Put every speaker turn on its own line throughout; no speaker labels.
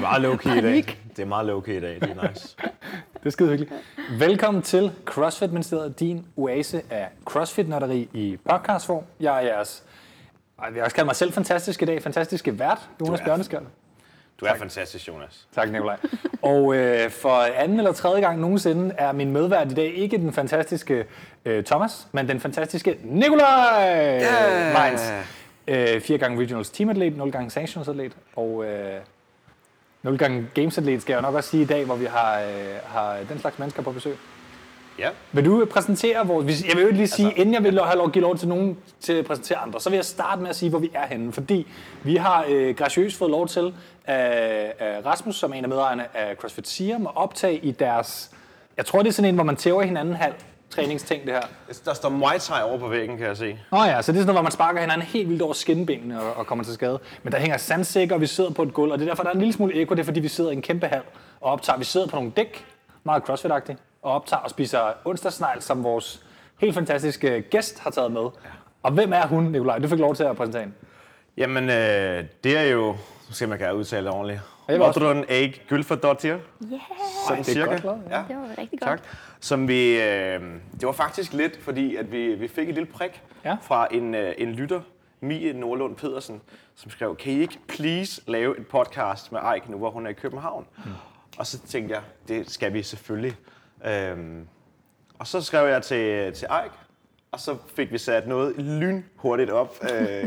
meget low-key i dag.
Panik.
Det er meget low-key i dag. Det er nice.
Det er skide hyggeligt. Velkommen til CrossFit Ministeriet, din oase af crossfit nørderi i podcastform. Jeg er jeres, ej, jeg vil også kalde mig selv fantastisk i dag, fantastiske vært, Jonas
Du er-
Bjørneskjold.
Du er fantastisk, Jonas.
Tak, Nikolaj. Og øh, for anden eller tredje gang nogensinde er min medvært i dag ikke den fantastiske øh, Thomas, men den fantastiske Nikolaj yeah. Meins. Øh, fire gange regionals teamatlet, 0 gange sanctionsatlet og øh, 0 gange gamesatlet, skal jeg nok også sige i dag, hvor vi har, øh, har den slags mennesker på besøg.
Ja.
Vil du øh, præsentere vores... hvis- Jeg vil jo lige sige, altså, inden jeg vil lo- have lov, give lov til nogen til at præsentere andre, så vil jeg starte med at sige, hvor vi er henne. Fordi vi har øh, graciøst fået lov til af, af Rasmus, som er en af medejerne af CrossFit Siam, at optage i deres... Jeg tror, det er sådan en, hvor man tæver hinanden halv træningsting, det her.
Der står Muay Thai over på væggen, kan jeg se.
Nå ja, så det er sådan noget, hvor man sparker hinanden helt vildt over skinbenene og, og kommer til skade. Men der hænger sandsækker, og vi sidder på et gulv, og det er derfor, der er en lille smule ekko. Det er, fordi vi sidder i en kæmpe hal og optager. Vi sidder på nogle dæk, meget crossfit og optager og spiser onsdagsnegl, som vores helt fantastiske gæst har taget med. Og hvem er hun, Nikolaj? Du fik lov til at præsentere hende.
Jamen, øh, det er jo... Nu skal man kan udtale det ordentligt.
jeg vil også-
Modron Egg Gylfadottir.
Ja,
Sådan
det er
cirka.
godt lavet,
ja.
det var rigtig godt.
Tak. Som vi, øh, det var faktisk lidt, fordi at vi, vi fik et lille prik
Ja.
ja. fra en, øh, en lytter, Mie Nordlund Pedersen, som skrev, kan I ikke please lave et podcast med Eik nu, hvor hun er i København? Mm. Og så tænkte jeg, det skal vi selvfølgelig. Øhm, og så skrev jeg til, til Eik, og så fik vi sat noget lynhurtigt op. øh, ja,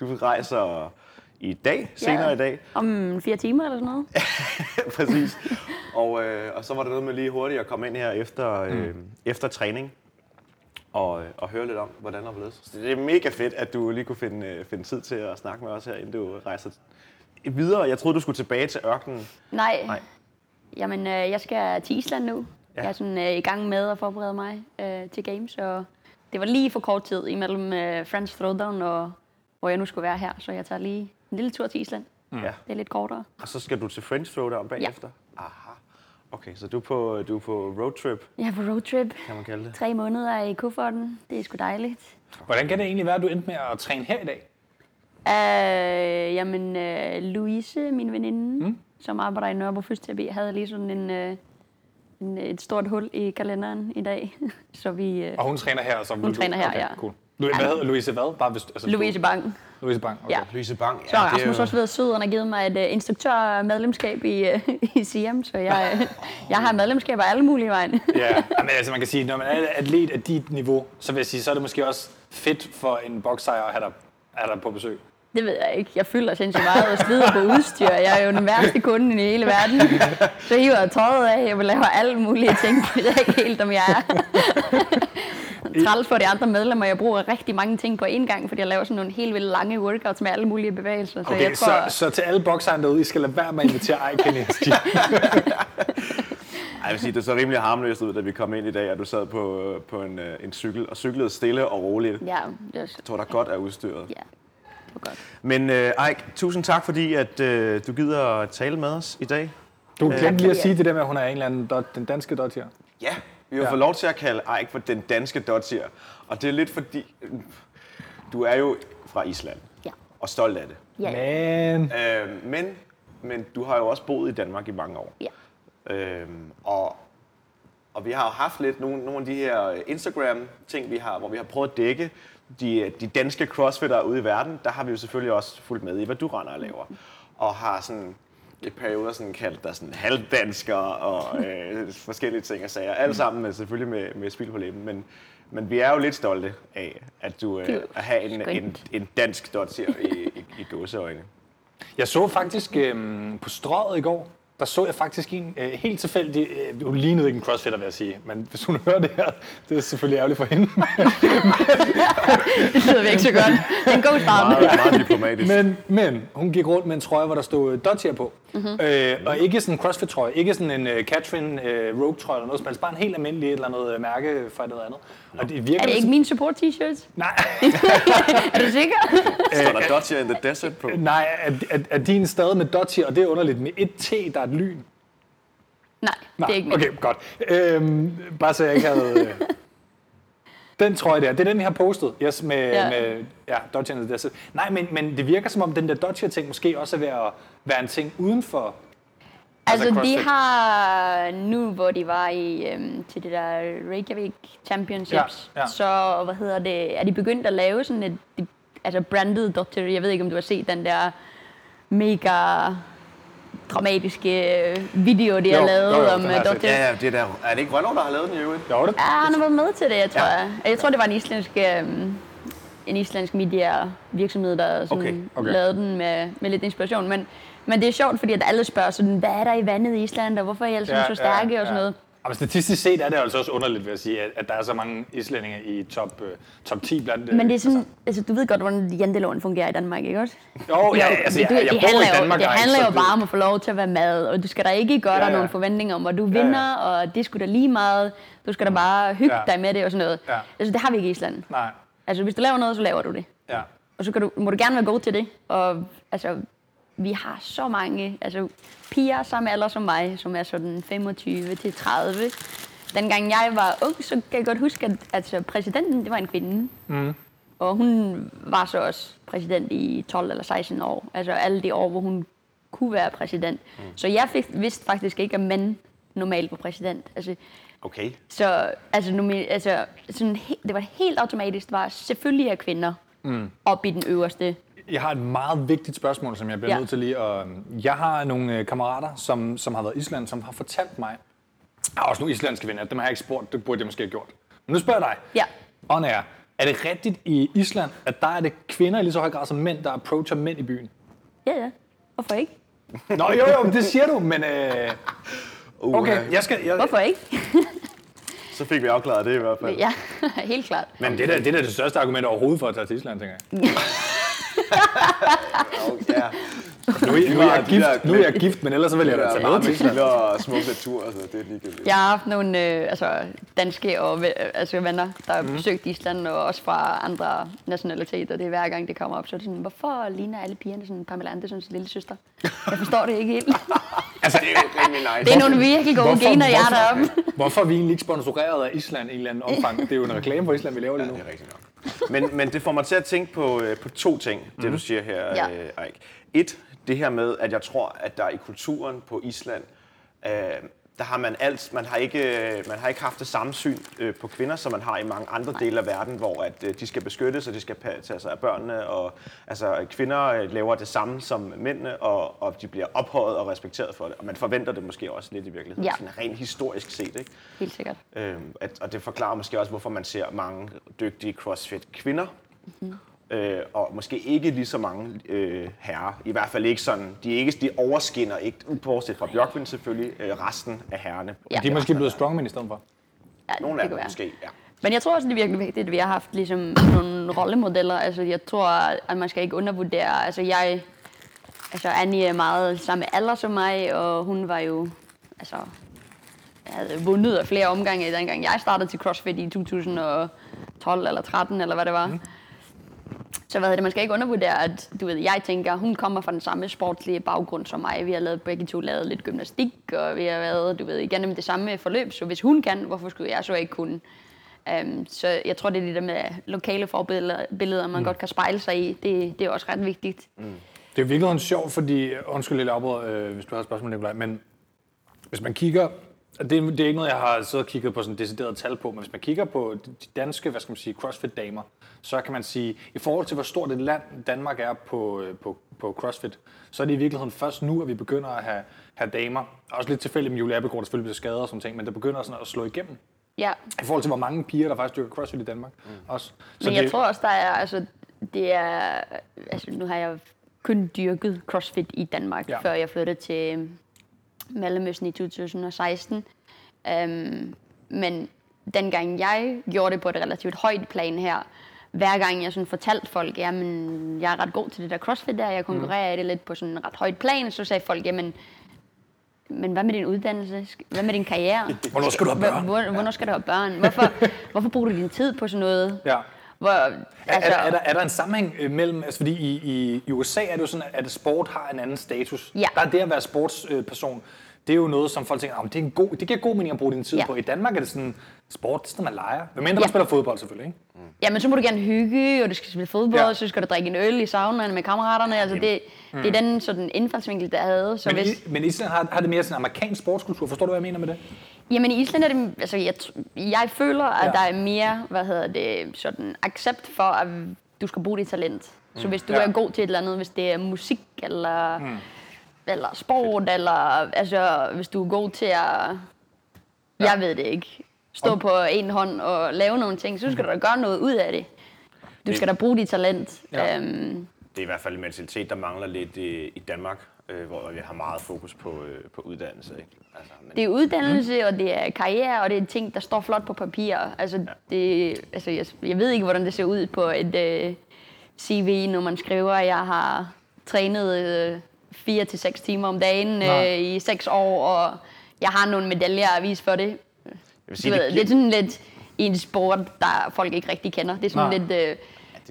du rejser i dag, senere i dag.
Om fire timer eller sådan noget.
Præcis. Og, øh, og så var der noget med lige hurtigt at komme ind her efter, øh, mm. efter træning og, øh, og høre lidt om, hvordan der blev. Så det er mega fedt, at du lige kunne finde, øh, finde tid til at snakke med os her, inden du rejser videre. Jeg troede, du skulle tilbage til ørkenen.
Nej.
Nej.
Jamen, øh, jeg skal til Island nu.
Ja.
Ja. Jeg er sådan øh, i gang med at forberede mig øh, til games, og det var lige for kort tid imellem øh, Friends Throwdown og hvor jeg nu skulle være her, så jeg tager lige en lille tur til Island.
Mm. Ja.
Det er lidt kortere.
Og så skal du til French Throwdown bagefter? Ja. Aha. Okay, så du er på, du er på roadtrip,
Jeg er på roadtrip.
kan man kalde det.
Tre måneder i kufferten. Det er sgu dejligt.
Hvordan kan det egentlig være, at du endte med at træne her i dag?
Øh, jamen, øh, Louise, min veninde, mm. som arbejder i Nørrebro Fysioterapi, havde lige sådan en, øh, en, et stort hul i kalenderen i dag. så vi... Øh,
Og hun træner her, som
Hun træner her,
okay,
ja.
Cool. Lu- Hvad hedder Louise hvad? Bare hvis, altså,
Louise Bang.
Louise Bang. Okay.
Ja.
Louise Bang, ja,
Så har
det er
Rasmus
jo-
også været sød, og han har givet mig et uh, instruktørmedlemskab i, uh, i Siam, så jeg, øh, jeg har medlemskaber alle mulige vejen.
Ja, men altså man kan sige, når man er atlet af dit niveau, så vil jeg sige, så er det måske også fedt for en boksejer at have dig, have dig på besøg.
Det ved jeg ikke. Jeg fylder sindssygt meget og slider på udstyr. Jeg er jo den værste kunde i hele verden. Så hiver jeg tøjet af, jeg laver alle mulige ting, det er ikke helt, om jeg er. Træls for de andre medlemmer. Jeg bruger rigtig mange ting på én gang, fordi jeg laver sådan nogle helt vildt lange workouts med alle mulige bevægelser. Så
Okay,
jeg tror,
så, så til alle bokserne derude, I skal lade være med at invitere Ej Kenny.
Ej, jeg vil sige, det så rimelig harmløst ud, da vi kom ind i dag, at du sad på, øh, på en, øh, en cykel og cyklede stille og roligt. Jeg
Ja, det var,
tror, der godt er udstyret.
ja, det var godt.
Men øh, Eik, tusind tak, fordi at, øh, du gider at tale med os i dag.
Du glemte lige at
Ja.
sige det der med, at hun er en eller anden dot, den danske dot her.
Ja, vi har
Ja.
ja. fået lov til at kalde Eik for den danske dotsier. Og det er lidt fordi, du er jo fra Island
Ja.
og stolt af det.
Ja, ja.
Men
Øh, men, men du har jo også boet i Danmark i mange år.
ja.
Øhm, og, og vi har jo haft lidt nogle, nogle af de her øh, Instagram-ting, vi har, hvor vi har prøvet at dække de, øh, de danske crossfitter ude i verden. Der har vi jo selvfølgelig også fulgt med i, hvad du render og laver. Og har sådan i perioder sådan kaldt dig sådan halvdansker og øh, forskellige ting og sager. Alt sammen med, selvfølgelig med, med spil på læben. Men, men vi er jo lidt stolte af, at du
Det er
øh,
jo
at have en, en,
skønt.
en dansk dotsier i, i, i gåseøjne.
jeg så faktisk øhm, på strøget i går, der så jeg faktisk en øh, helt tilfældig, øh, hun lignede ikke en crossfitter, vil jeg sige, men hvis hun hører det her, det er selvfølgelig ærgerligt for hende.
Det lyder ikke så godt. Det er en god start.
Meget, meget diplomatisk.
Men, men hun gik rundt med en trøje, hvor der stod øh, Dodger på.
Mhm.
Mm-hmm. Øh, og ikke sådan en CrossFit-trøje, ikke sådan en øh, Catherine øh, Rogue-trøje eller noget som helst. Bare en helt almindelig et eller andet øh, mærke fra et eller andet. Og det virker
Er det ikke
lidt-
min support-t-shirt?
Nej,
Er du sikker?
Står der dotsier in the desert på?
nej er, er, er din stadig med Dodger, og det er underligt. Med et T, der er et lyn.
Nej,
Nej,
det er ikke min.
okay, godt. Øhm, bare så jeg ikke havde... Øh... Den trøje der, det er den, vi har postet. Yes, med, ja.
Ja.
med ja, Dodge and the Desert. Nej, men, men det virker som om, den der Dodge-ting måske også er ved at være en ting uden for
Altså, de
CrossFit.
har nu, hvor de var i øhm, til det der Reykjavik Championships,
Ja, ja.
så hvad hedder det, er de begyndt at lave sådan et de, altså branded Dr. Jeg ved ikke, om du har set den der mega dramatiske øh, video, de
Jo,
har lavet
jo, jo,
om
den
øh,
har jeg set.
Dr.
Ja, ja, det er, der, er det ikke Rønnow, der har lavet den i øvrigt?
Jo, det.
Ja, han har været med til det, jeg tror
Ja.
ja. jeg. Jeg tror, det var en islandsk, øhm, en islandsk media virksomhed, der sådan
Okay,
okay,
okay.
okay. lavede den med, med lidt inspiration. Men, men det er sjovt, fordi at alle spørger sådan, hvad er der i vandet i Island, og hvorfor er I alle sammen ja, så stærke ja, og sådan noget.
Ja, men statistisk set er det altså også underligt, vil jeg sige, at, at der er så mange islændinge i top, øh, top 10 blandt... øh,
Men det er sådan, altså, du ved godt, hvordan janteloven fungerer i Danmark, ikke også?
Altså, jo, ja, altså, jeg,
Du-
jeg,
det
bor
handler
i
jo-
Danmark.
Det
og er
handler
ikke
jo
så
bare
fed.
om at få lov til at være med, og du skal da ikke gøre
Ja,
dig
ja.
nogle forventninger om, at du vinder, og det skulle da lige meget. Du skal da bare hygge
Ja.
dig med det og sådan noget.
Ja.
Altså, det har vi ikke i Island.
Nej,
Altså, hvis du laver noget, så laver du det.
ja.
Og så kan du, må du gerne være god til det. Og altså, vi har så mange altså, piger samme alder som mig, som er sådan 25 til 30. Dengang jeg var ung, så kan jeg godt huske, at altså, præsidenten det var en kvinde. Mm. Og hun var så også præsident i 12 eller 16 år. Altså alle de år, hvor hun kunne være præsident. Mm. Så jeg fik, vidste faktisk ikke, at mænd normalt var præsident. Altså,
Okay.
så altså, nu, altså sådan, he- det var helt automatisk, var selvfølgelig er kvinder mm. oppe i den øverste.
Jeg har et meget vigtigt spørgsmål, som jeg bliver ja.
Ja.
nødt til lige at... Jeg har nogle øh, kammerater, som, som har været i Island, som har fortalt mig... Jeg har også nogle islandske venner, dem har jeg ikke spurgt, det burde jeg måske have gjort. Men nu spørger jeg dig.
Ja.
On air. Er det rigtigt i Island, at der er det kvinder i lige så høj grad som mænd, der approacher mænd i byen?
Ja, ja. Hvorfor ikke?
Nå jo, jo, men det siger du, men... Øh,
Uh,
okay, jeg skal... Jeg,
Hvorfor ikke?
Så fik vi afklaret det i hvert fald.
ja, helt klart.
men det er, da, det er da det største argument overhovedet for at tage til Island, tænker jeg.
Okay, ja.
Nu, er- nu, er, jeg gift, nu er jeg gift, men ellers så vil jeg da
Ja,
tage med til Island.
barbecue og smuk natur, altså, det er ligegyldigt.
Jeg har haft nogle øh, altså, danske og, ve- øh, altså, venner, der
Mm.
har besøgt Island, og også fra andre nationaliteter. Det er hver gang, det kommer op, så er det sådan, hvorfor ligner alle pigerne sådan Pamela Andersens lille søster? Jeg forstår det ikke helt.
Altså, det er jo rimelig nice.
Det er nogle virkelig gode gener, jeg har deroppe.
hvorfor er vi egentlig ikke sponsoreret af Island i en eller anden omfang? Det er jo en reklame for Island, vi laver lige nu.
Det er rigtigt nok. Men, men det får mig til at tænke på, øh, på to ting, mm. det du siger her,
Ja.
ja. Eik. Et, det her med, at jeg tror, at der i kulturen på Island, øh, der har man alt, man har ikke, øh, man har ikke haft det samme syn øh, på kvinder, som man har i mange andre dele af verden, hvor at, øh, de skal beskyttes, og de skal pa- tage sig af børnene, og altså, kvinder øh, laver det samme som mændene, og, og de bliver ophøjet og respekteret for det, og man forventer det måske også lidt i virkeligheden, ja.
Ja.
sådan rent historisk set, ikke?
Helt sikkert.
Øhm, at, og det forklarer måske også, hvorfor man ser mange dygtige CrossFit-kvinder, mm-hmm. øh, og måske ikke lige så mange øh, herrer. I hvert fald ikke sådan. De, er ikke, de overskinner ikke, bortset fra Bjørkvind selvfølgelig, øh, resten af herrerne.
Ja.
De er måske blevet strongmen i stedet for.
Ja,
Nogle
det
af
kan
dem
være.
måske, ja.
Men jeg tror også, det er virkelig vigtigt, at vi har haft ligesom, nogle rollemodeller. Altså, jeg tror, at man skal ikke undervurdere. Altså, jeg, altså Annie er meget samme alder som mig, og hun var jo, altså, havde vundet af flere omgange, dengang jeg startede til CrossFit i 2012 eller 13 eller hvad det var. Mm. Så hvad hedder det, man skal ikke undervurdere, at du ved, jeg tænker, hun kommer fra den samme sportslige baggrund som mig. Vi har lavet, begge to lavet lidt gymnastik, og vi har været, du ved, igennem det samme forløb. Så hvis hun kan, hvorfor skulle jeg så ikke kunne? Um, så jeg tror, det er det der med lokale forbilleder, billeder, man mm. godt kan spejle sig i. Det, det er også ret vigtigt.
Det er jo virkelig sjovt, fordi... Undskyld, lidt afbrød, øh, hvis du har et spørgsmål, Nicolaj, men hvis man kigger... og Det, det er ikke noget, jeg har siddet og kigget på sådan decideret tal på, men hvis man kigger på de danske, hvad skal man sige, CrossFit-damer, så kan man sige, i forhold til hvor stort et land Danmark er på, øh, på, på CrossFit, så er det i virkeligheden først nu, at vi begynder at have, have damer. Også lidt tilfældigt med Julie Abelgaard, der selvfølgelig bliver skadet og sådan ting, men der begynder sådan at slå igennem.
Ja,
I forhold til, hvor mange piger, der faktisk dyrker CrossFit i Danmark mm. også.
men jeg tror også, der er, altså, det er, altså, nu har jeg kun dyrket CrossFit i Danmark,
Ja.
ja. før jeg flyttede til Mellemøsten i 2016. Um, men dengang jeg gjorde det på et relativt højt plan her, hver gang jeg sådan fortalte folk, jamen, jeg er ret god til det der CrossFit der, jeg konkurrerer mm. i det lidt på sådan en ret højt plan, så sagde folk, jamen, men hvad med din uddannelse? Sk- Hvad med din karriere?
Hvornår skal du have børn?
Hvor, hvor, hvornår skal du have børn? Hvorfor, hvorfor bruger du din tid på sådan noget?
Ja.
Hvor,
Altså,
altså,
er, er, der, er der en sammenhæng øh, mellem, altså fordi i, i, i USA er det jo sådan, at sport har en anden status.
Ja.
Der er det at være sportsperson, det er jo noget, som folk tænker, "Nå, men det, er en god, det giver god mening at bruge din tid
Ja.
på. I Danmark er det sådan, sport, det er sådan, man leger. Hvad mindre man
Ja.
spiller fodbold selvfølgelig, ikke?
Ja, men så må du gerne hygge, og du skal spille fodbold,
Ja.
ja. og så skal du drikke en øl i saunaen med kammeraterne. Altså, det, mm. det er den sådan indfaldsvinkel, der havde. Så
Men,
hvis,
i, men Island har, har det mere sådan en amerikansk sportskultur. Forstår du, hvad jeg mener med det?
Jamen i Island er det, altså jeg, tr- jeg føler, at
Ja.
ja. der er mere, hvad hedder det, sådan accept for, at du skal bruge dit talent. Så hvis du
Ja.
Mm. ja. er god til et eller andet, hvis det er musik eller, mm. eller sport, eller altså hvis du er god til at, jeg ved det ikke, stå på en hånd og lave nogle ting, så skal du da gøre noget ud af Mm. det. Du skal da bruge dit talent.
Ja.
Ja. Øhm,
Det er i hvert fald en mentalitet, der mangler lidt i, i Danmark, øh, hvor vi har meget fokus på, øh, på uddannelse. Ikke? Altså, men,
det er uddannelse, mm. og det er karriere, og det er ting, der står flot på papir. Altså, ja. det, altså jeg, jeg ved ikke, hvordan det ser ud på et øh, CV, når man skriver, at jeg har trænet øh, 4 til seks timer om dagen
Nej.
øh, i seks år, og jeg har nogle medaljer at vise for det.
jeg vil
Du
sige,
ved,
det,
det,
giver,
er sådan lidt en sport, der folk ikke rigtig kender. Det er sådan
Nej.
lidt... Øh,
ja, det er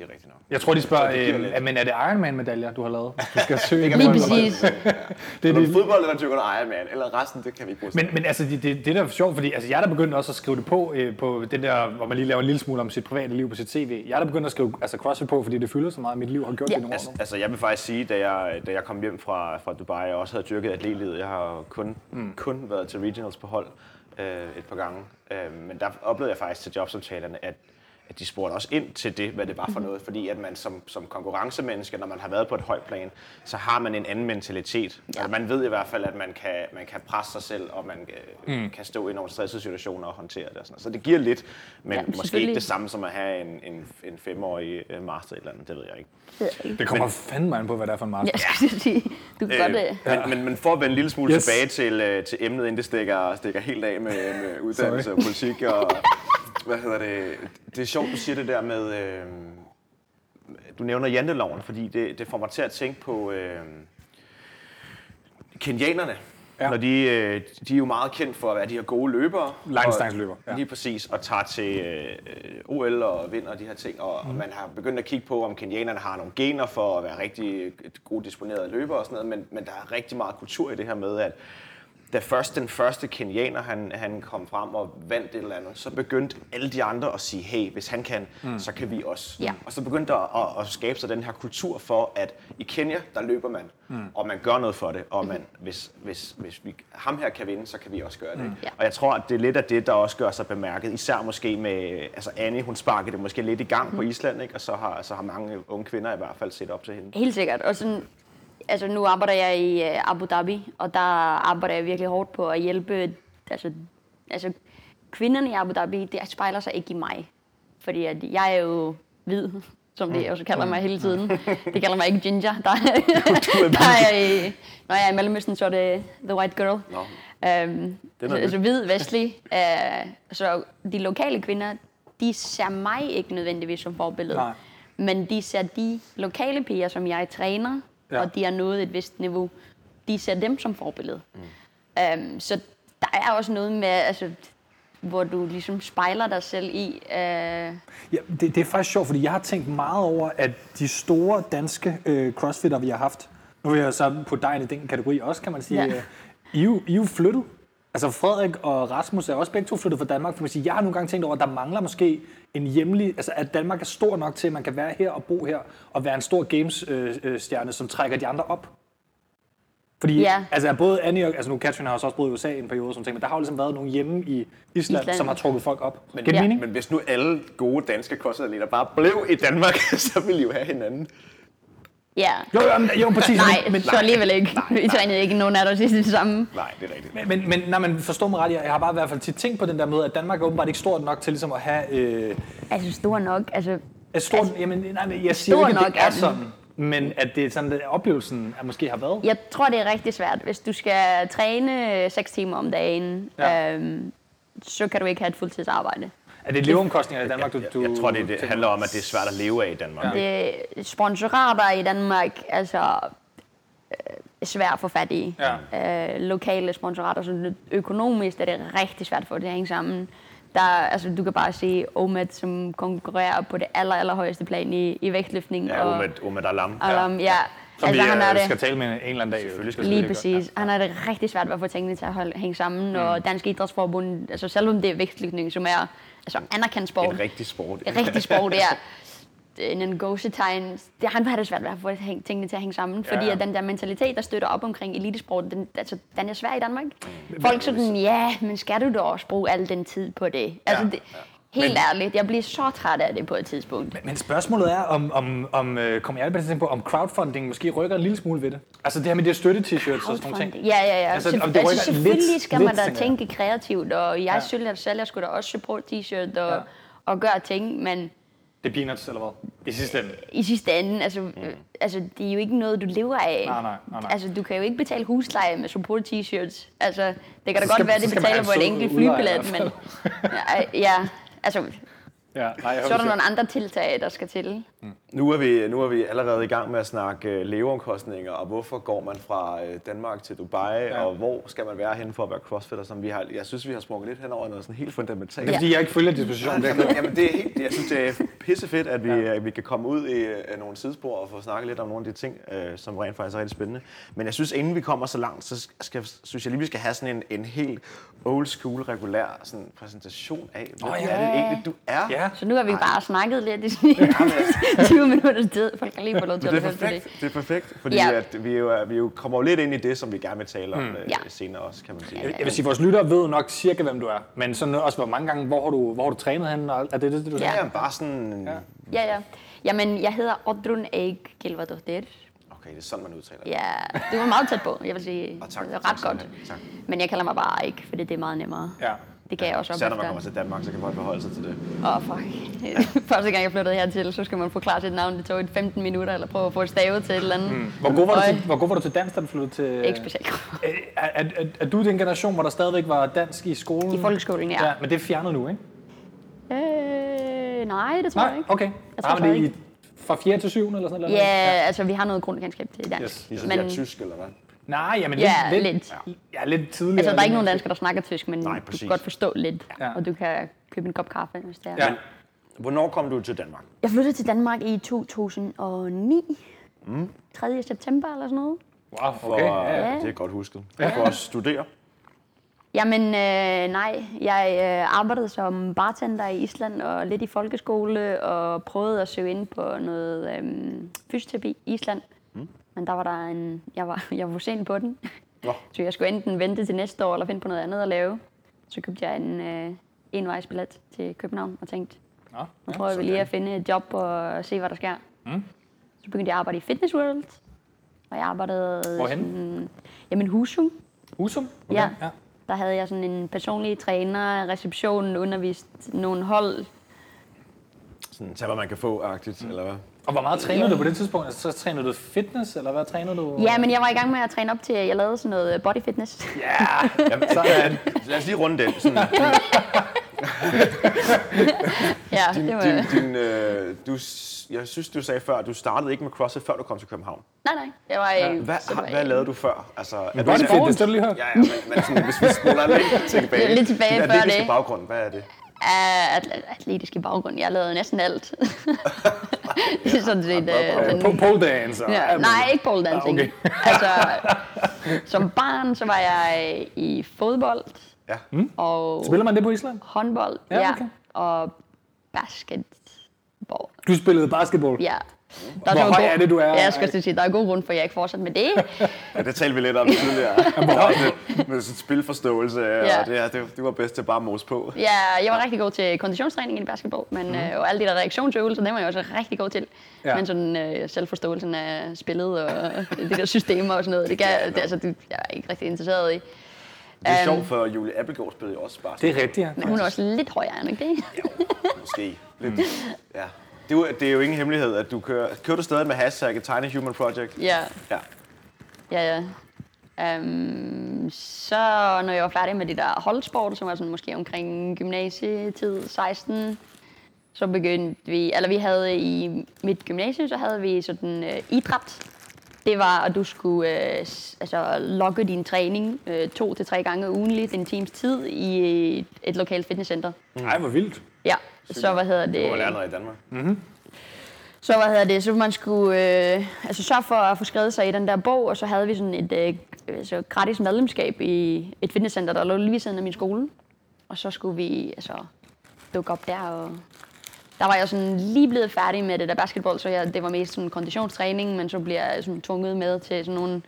rigtigt nok.
Jeg tror, de
Så det
spørger,
giver
øh,
lidt.
"Ah, men er det Ironman-medaljer, du har lavet? Du skal søge.
lige præcis.
Det, er
Når
det,
du er fodbold eller tykker Iron Man, eller resten, det kan vi ikke bruge.
Men, men altså, det, det, det der er sjovt, fordi altså, jeg er der begyndt også at skrive det på, øh, på den der, hvor man lige laver en lille smule om sit private liv på sit tv. Jeg er der begyndt at skrive altså, CrossFit på, fordi det fylder så meget i mit liv, og har gjort
Ja.
det i nogle år
Altså,
nu.
altså, jeg vil faktisk sige, da jeg, da jeg kom hjem fra, fra Dubai, jeg også havde dyrket atletlivet. Jeg har jo kun, mm. kun været til regionals på hold øh, et par gange. Øh, men der oplevede jeg faktisk til jobsamtalerne, at, at de spurgte også ind til det, hvad det var for noget. Fordi at man som, som konkurrencemenneske, når man har været på et højt plan, så har man en anden mentalitet. Ja. Altså, man ved i hvert fald, at man kan, man kan presse sig selv, og man øh, mm. kan stå i nogle stressede situationer og håndtere det. Og sådan noget. Så det giver lidt, men
Ja,
ja, måske ikke
selvfølgelig.
det samme som at have en, en, en femårig øh, master eller andet. Det ved jeg ikke.
Det kommer fandme an på, hvad det er for en mark.
Jeg skulle til at sige, du kan øh, godt... Øh,
men, men, men for at vende en lille smule
Yes.
yes. tilbage til, øh, til emnet, inden det stikker, stikker helt af med, med uddannelse
Sorry.
og politik og... Hvad hedder det? Det er sjovt, du siger det der med... Øh, du nævner janteloven, fordi det, det får mig til at tænke på... Øh, kenyanerne.
Ja.
Ja. Når de, øh, de er jo meget kendt for at være de her gode løbere.
Langdistanceløbere,
Og-
ja.
Lige præcis, og tager til øh, øh, OL og vinder de her ting. Og, mm. og man har begyndt at kigge på, om kenyanerne har nogle gener for at være rigtig øh, gode disponerede løbere og sådan noget. Men, men der er rigtig meget kultur i det her med, at da først den første kenianer han, han kom frem og vandt et eller andet, så begyndte alle de andre at sige, hey, hvis han kan, mm. så kan vi også.
Ja.
Og så begyndte der at, at, at skabe sig den her kultur for, at i Kenya, der løber man, mm. og man gør noget for det, og man, hvis, hvis, hvis vi, ham her kan vinde, så kan vi også gøre det. Mm.
Ja.
Og jeg tror, at det er lidt af det, der også gør sig bemærket, især måske med, altså Annie, hun sparkede det måske lidt i gang mm. på Island, ikke? og så har, så har mange unge kvinder i hvert fald set op til hende.
Helt sikkert. Og sådan, altså nu arbejder jeg i øh, Abu Dhabi, og der arbejder jeg virkelig hårdt på at hjælpe... Altså, altså kvinderne i Abu Dhabi, det spejler sig ikke i mig. Fordi at jeg er jo hvid, som de også kalder mig hele tiden. Det kalder mig ikke ginger. Der, der er jeg, når jeg er i Mellemøsten, så er det the white girl.
Nå.
Øhm,
er
så,
noget
altså hvid, vestlig. Øh, så de lokale kvinder, de ser mig ikke nødvendigvis som forbillede.
Nej.
Men de ser de lokale piger, som jeg træner,
Ja.
ja. og de har nået et vist niveau, de ser dem som forbillede. Mm. Øhm, så der er også noget med, altså, hvor du ligesom spejler dig selv i. Øh,
Ja, det, det er faktisk sjovt, fordi jeg har tænkt meget over, at de store danske øh, crossfitter, vi har haft, nu er jeg så på dig i den kategori også, kan man sige, ja.
Ja.
øh, I, er jo- I er jo flyttet. Altså Frederik og Rasmus er også begge to flyttet fra Danmark, for man siger, jeg har nogle gange tænkt over, at der mangler måske en hjemlig, altså at Danmark er stor nok til, at man kan være her og bo her, og være en stor games-stjerne, øh, stjerne, som trækker de andre op. Fordi
Ja.
altså, både Annie og, altså nu Katrin har også også boet i USA i en periode, som ting, men der har jo ligesom været nogle hjemme i Island, Island.
Island.
som har trukket folk op. Men,
Ja.
mening?
Men hvis nu alle gode danske crossatleter bare blev i Danmark, så ville I jo have hinanden.
ja.
Jo, jo, men- jo, præcis.
Nej,
men, men,
så alligevel ikke.
Nej, nej.
Vi trænede ikke nogen af os i det samme.
Nej, det er rigtigt.
Men, men, men, nej, men forstå mig ret, jeg jeg har bare i hvert fald tit tænkt på den der måde, at Danmark er åbenbart ikke stort nok til ligesom at have... Øh,
Altså stor nok. Altså,
at stort, altså, jamen, nej, men jeg siger jo
stor
ikke, at det
nok
er
er den.
sådan, men at det er sådan, at oplevelsen at måske har været.
Jeg tror, det er rigtig svært. Hvis du skal træne 6 timer om dagen,
Ja.
ja. øhm, så kan du ikke have et fuldtidsarbejde.
Er det leveomkostninger i Danmark, du,
Jeg,
du
jeg tror, det, det
tænker?
handler om, at det er svært at leve af i Danmark. Ja.
Det sponsorater i Danmark, altså øh, svært at få fat i. Ja. Øh, lokale sponsorater, så økonomisk er det rigtig svært for det at hænge sammen. Der, altså, du kan bare se Omed, som konkurrerer på det aller, allerhøjeste plan i, i vægtløftning.
Ja, Omid, Omid Alam.
Alam, ja.
Som
Altså,
vi
han er
øh,
det.
skal tale med en eller anden dag. Selvfølgelig skal
Lige præcis. Han har det rigtig svært ved at få tingene til at holde, hænge sammen,
Mm.
og Dansk Idrætsforbund, altså selvom det er vægtslutning, som er altså, anerkendt sport,
En rigtig sport.
et rigtigt sprog, det er en en gåsetegn. Det, han har det svært ved at få hæng- tingene til at hænge sammen, fordi
ja.
at den der mentalitet, der støtter op omkring elitesport, den, altså, den er svær i
Mm.
Danmark. Folk sådan, ja, men skal du da også bruge al den tid på det? Altså,
Ja,
det, helt ærligt, jeg bliver så træt af det på et tidspunkt.
Men spørgsmålet er, om, om, om øh, kommer jeg altid til at tænke på, om crowdfunding måske rykker en lille smule ved det? Altså det her med de her støtte-t-shirts og sådan nogle ting.
Ja, ja, ja.
Altså,
Altså,
om det
altså,
rykker
selvfølgelig
lidt-
skal
lidt,
man da
tænker jeg.
tænke kreativt, og jeg
Ja.
ja. sælger, sælger sgu da også support t-shirt og,
Ja.
ja. og gøre ting, men
Det er peanuts, eller hvad? I sidste ende.
i sidste ende, altså, mm. altså, det er jo ikke noget, du lever af.
Nej, nej, nej, nej.
Altså, du kan jo ikke betale husleje med support t-shirts. Altså, det kan da
Så skal-
godt være,
så
det
skal man have
betaler på
en sød
en enkelt
udlejer i
flybillet,
hvert
men... Ja, ja, altså,
Ja, nej, jeg
så er der nogle andre tiltag, der skal til.
Nu er, vi, nu er vi allerede i gang med at snakke øh, leveomkostninger, og hvorfor går man fra øh, Danmark til Dubai, ja. og hvor skal man være henne for at være crossfitter, som vi har... Jeg synes, vi har sprunget lidt hen over noget sådan helt fundamentalt.
Det er fordi, jeg ikke følger dispositionen. Det er
Altså, Jamen, jamen, det er helt, jeg synes, det er pissefedt, at vi, at vi kan komme ud i øh, nogle sidespor og få snakket lidt om nogle af de ting, øh, som rent faktisk er rigtig spændende. Men jeg synes, inden vi kommer så langt, så skal, synes jeg lige, vi skal have sådan en, en helt old school, regulær sådan, præsentation af, hvad
Åh,
oh,
ja.
ja. er det egentlig, du er.
Ja.
Så nu har vi bare snakket lidt i sådan 20 minutters tid. Folk kan lige få lov til
Men
at
det er
høre på det.
perfekt, det er perfekt, fordi
Ja.
at vi, jo, er- vi jo kommer jo lidt ind i det, som vi gerne vil tale om mm. øh,
Ja.
senere også, kan man sige.
Jeg vil sige, vores lyttere ved nok cirka, hvem du er. Men sådan også, hvor mange gange, hvor har du, hvor har du trænet henne? Og alt- er det det, det du
Ja.
Ja, bare sådan...
Ja, ja. Jamen, jeg hedder Odrun Eik Gilvardottir.
Okay, det er sådan, man udtaler det.
Ja, du var meget tæt på, jeg vil sige.
Og tak,
det var
tak
ret
skal du
godt.
have. Tak.
Men jeg kalder mig bare Eik, fordi det er meget nemmere.
Ja.
Det kan jeg også op
Især når man
efter.
kommer til Danmark, så kan folk forholde sig til det.
Åh, oh, fuck. Første gang, jeg flyttede hertil, så skal man forklare sit navn. Det tog et 15 minutter, eller prøve at få et stave til et eller andet. Mm.
Hvor god, var du til, hvor god var du til dans, da du flyttede til...
Ikke specielt.
Er, er, er, er du i den generation, hvor der stadigvæk var dansk i skolen?
I folkeskolen, ja.
ja men det er fjernet nu, ikke?
Øh, nej, det tror jeg
Nej,
ikke.
okay.
Jeg tror
Nej, men det er
ikke.
i, fra 4. til 7. eller sådan noget?
Ja, altså, vi har noget grundkendskab til dansk.
Yes.
Ligesom men... de er tysk, eller hvad?
Nej, jamen
Ja,
lidt,
lidt.
Ja, lidt tidligere.
Altså, der er ikke nogen
lidt-
danskere, der snakker tysk, men
Nej,
du
præcis.
kan godt forstå lidt.
Ja.
Og du kan købe en kop kaffe, hvis det er.
Ja.
Hvornår kom du til Danmark?
Jeg flyttede til Danmark i 2009. Mm. 3. september eller sådan noget.
Wow,
For,
okay. Ja, ja.
ja. Det er godt husket. For at studere.
Jamen øh, nej, jeg øh, arbejdede som bartender i Island og lidt i folkeskole og prøvede at søge ind på noget øh, fysioterapi i Island. Mm. Men der var der en, jeg var, jeg var for sent på den.
Nå.
Så jeg skulle enten vente til næste år eller finde på noget andet at lave. Så købte jeg en øh, envejsbillet til København og tænkte,
Nå,
Nu prøver vi lige at finde et job og se, hvad der sker. Mm. Så begyndte jeg at arbejde i Fitness World. Og jeg arbejdede...
Hvorhenne?
Sådan, jamen Husum.
Husum? Okay.
Mm. Ja. ja. Der havde jeg sådan en personlig træner, reception, undervist nogle hold.
Sådan, tag hvad man kan få-agtigt, mm. eller hvad?
Og hvor meget trænede du på det tidspunkt? Altså, så trænede du fitness, eller hvad trænede du?
Ja, men jeg var i gang med at træne op til, at jeg lavede sådan noget body fitness.
Ja,
Jamen,
sådan.
lad os lige runde den. Sådan,
ja,
din,
det var...
din, din, øh, du, s- jeg synes, du sagde før, at du startede ikke med CrossFit, før du kom til København.
Nej, nej. Jeg var i...
Hvad,
så var
har,
jeg-
hvad lavede du før? Altså, er
Body
en-
fitness, det skal du lige høre.
Ja, ja, men, men sådan, hvis vi spoler lidt tilbage.
Lidt tilbage
Den
før
atletiske
det.
baggrund, hvad er det?
af atl- atletisk i baggrund. Jeg lavede næsten alt. det er sådan set... øh, sådan-
Po- Pole dancer.
Ja, nej, ikke pole dancing.
Ah,
Okay. altså, som barn, så var jeg i fodbold
Ja. Mm.
og
Spiller man det på Island?
håndbold.
Ja, okay.
Og basketball.
Du spillede basketball.
Ja.
Hvor
Der så
høj
god-
er det, du er?
Ja, jeg skal til at sige, der er god grund for, at jeg ikke fortsætter med det.
ja, det talte vi lidt om tidligere. Der var det med sådan spilforståelse, ja.
Ja.
og det, her, det, det var bedst til bare at mose på.
Ja, jeg var rigtig god til konditionstræning i basketball, men mm. øh, og alle de der reaktionsøvelser, dem var jeg også rigtig god til.
Mhm. Ja.
Ja. Men sådan øh, selvforståelsen af spillet og de der systemer og sådan noget, det, gav, det, altså, det jeg er ikke rigtig interesseret i.
Det er sjovt, for Julie Appelgaard spillede jo også bare
Øhm. Det er rigtigt, ja.
Men hun er også lidt højere, er hun ikke det?
Måske. Lidt.
Mm.
Ja. Det, er jo, det er jo ingen hemmelighed, at du kører... Kører du stadig med hashtagget Tiny Human Project?
Ja,
Ja.
ja, ja. Um, så når jeg var færdig med det der holdsport, som var sådan måske omkring gymnasietid, 16, så begyndte vi, eller vi havde i mit gymnasie, så havde vi sådan øh, idræt. Det var, at du skulle øh, s- altså, logge din træning øh, to til tre gange ugenligt, en times tid, i et, et
Mm.
lokalt fitnesscenter.
Ej, hvor vildt.
Ja, så hvad hedder det?
Mm.
Du har lært noget i Danmark.
Så hvad hedder det, så man skulle øh, altså sørge for at få skrevet sig i den der bog, og så havde vi sådan et øh, øh, så gratis medlemskab i et fitnesscenter, der lå lige ved siden af min skole. Og så skulle vi altså dukke op der, og der var jeg sådan lige blevet færdig med det der basketball, så jeg, det var mest sådan konditionstræning, men så bliver jeg sådan tvunget med til sådan nogle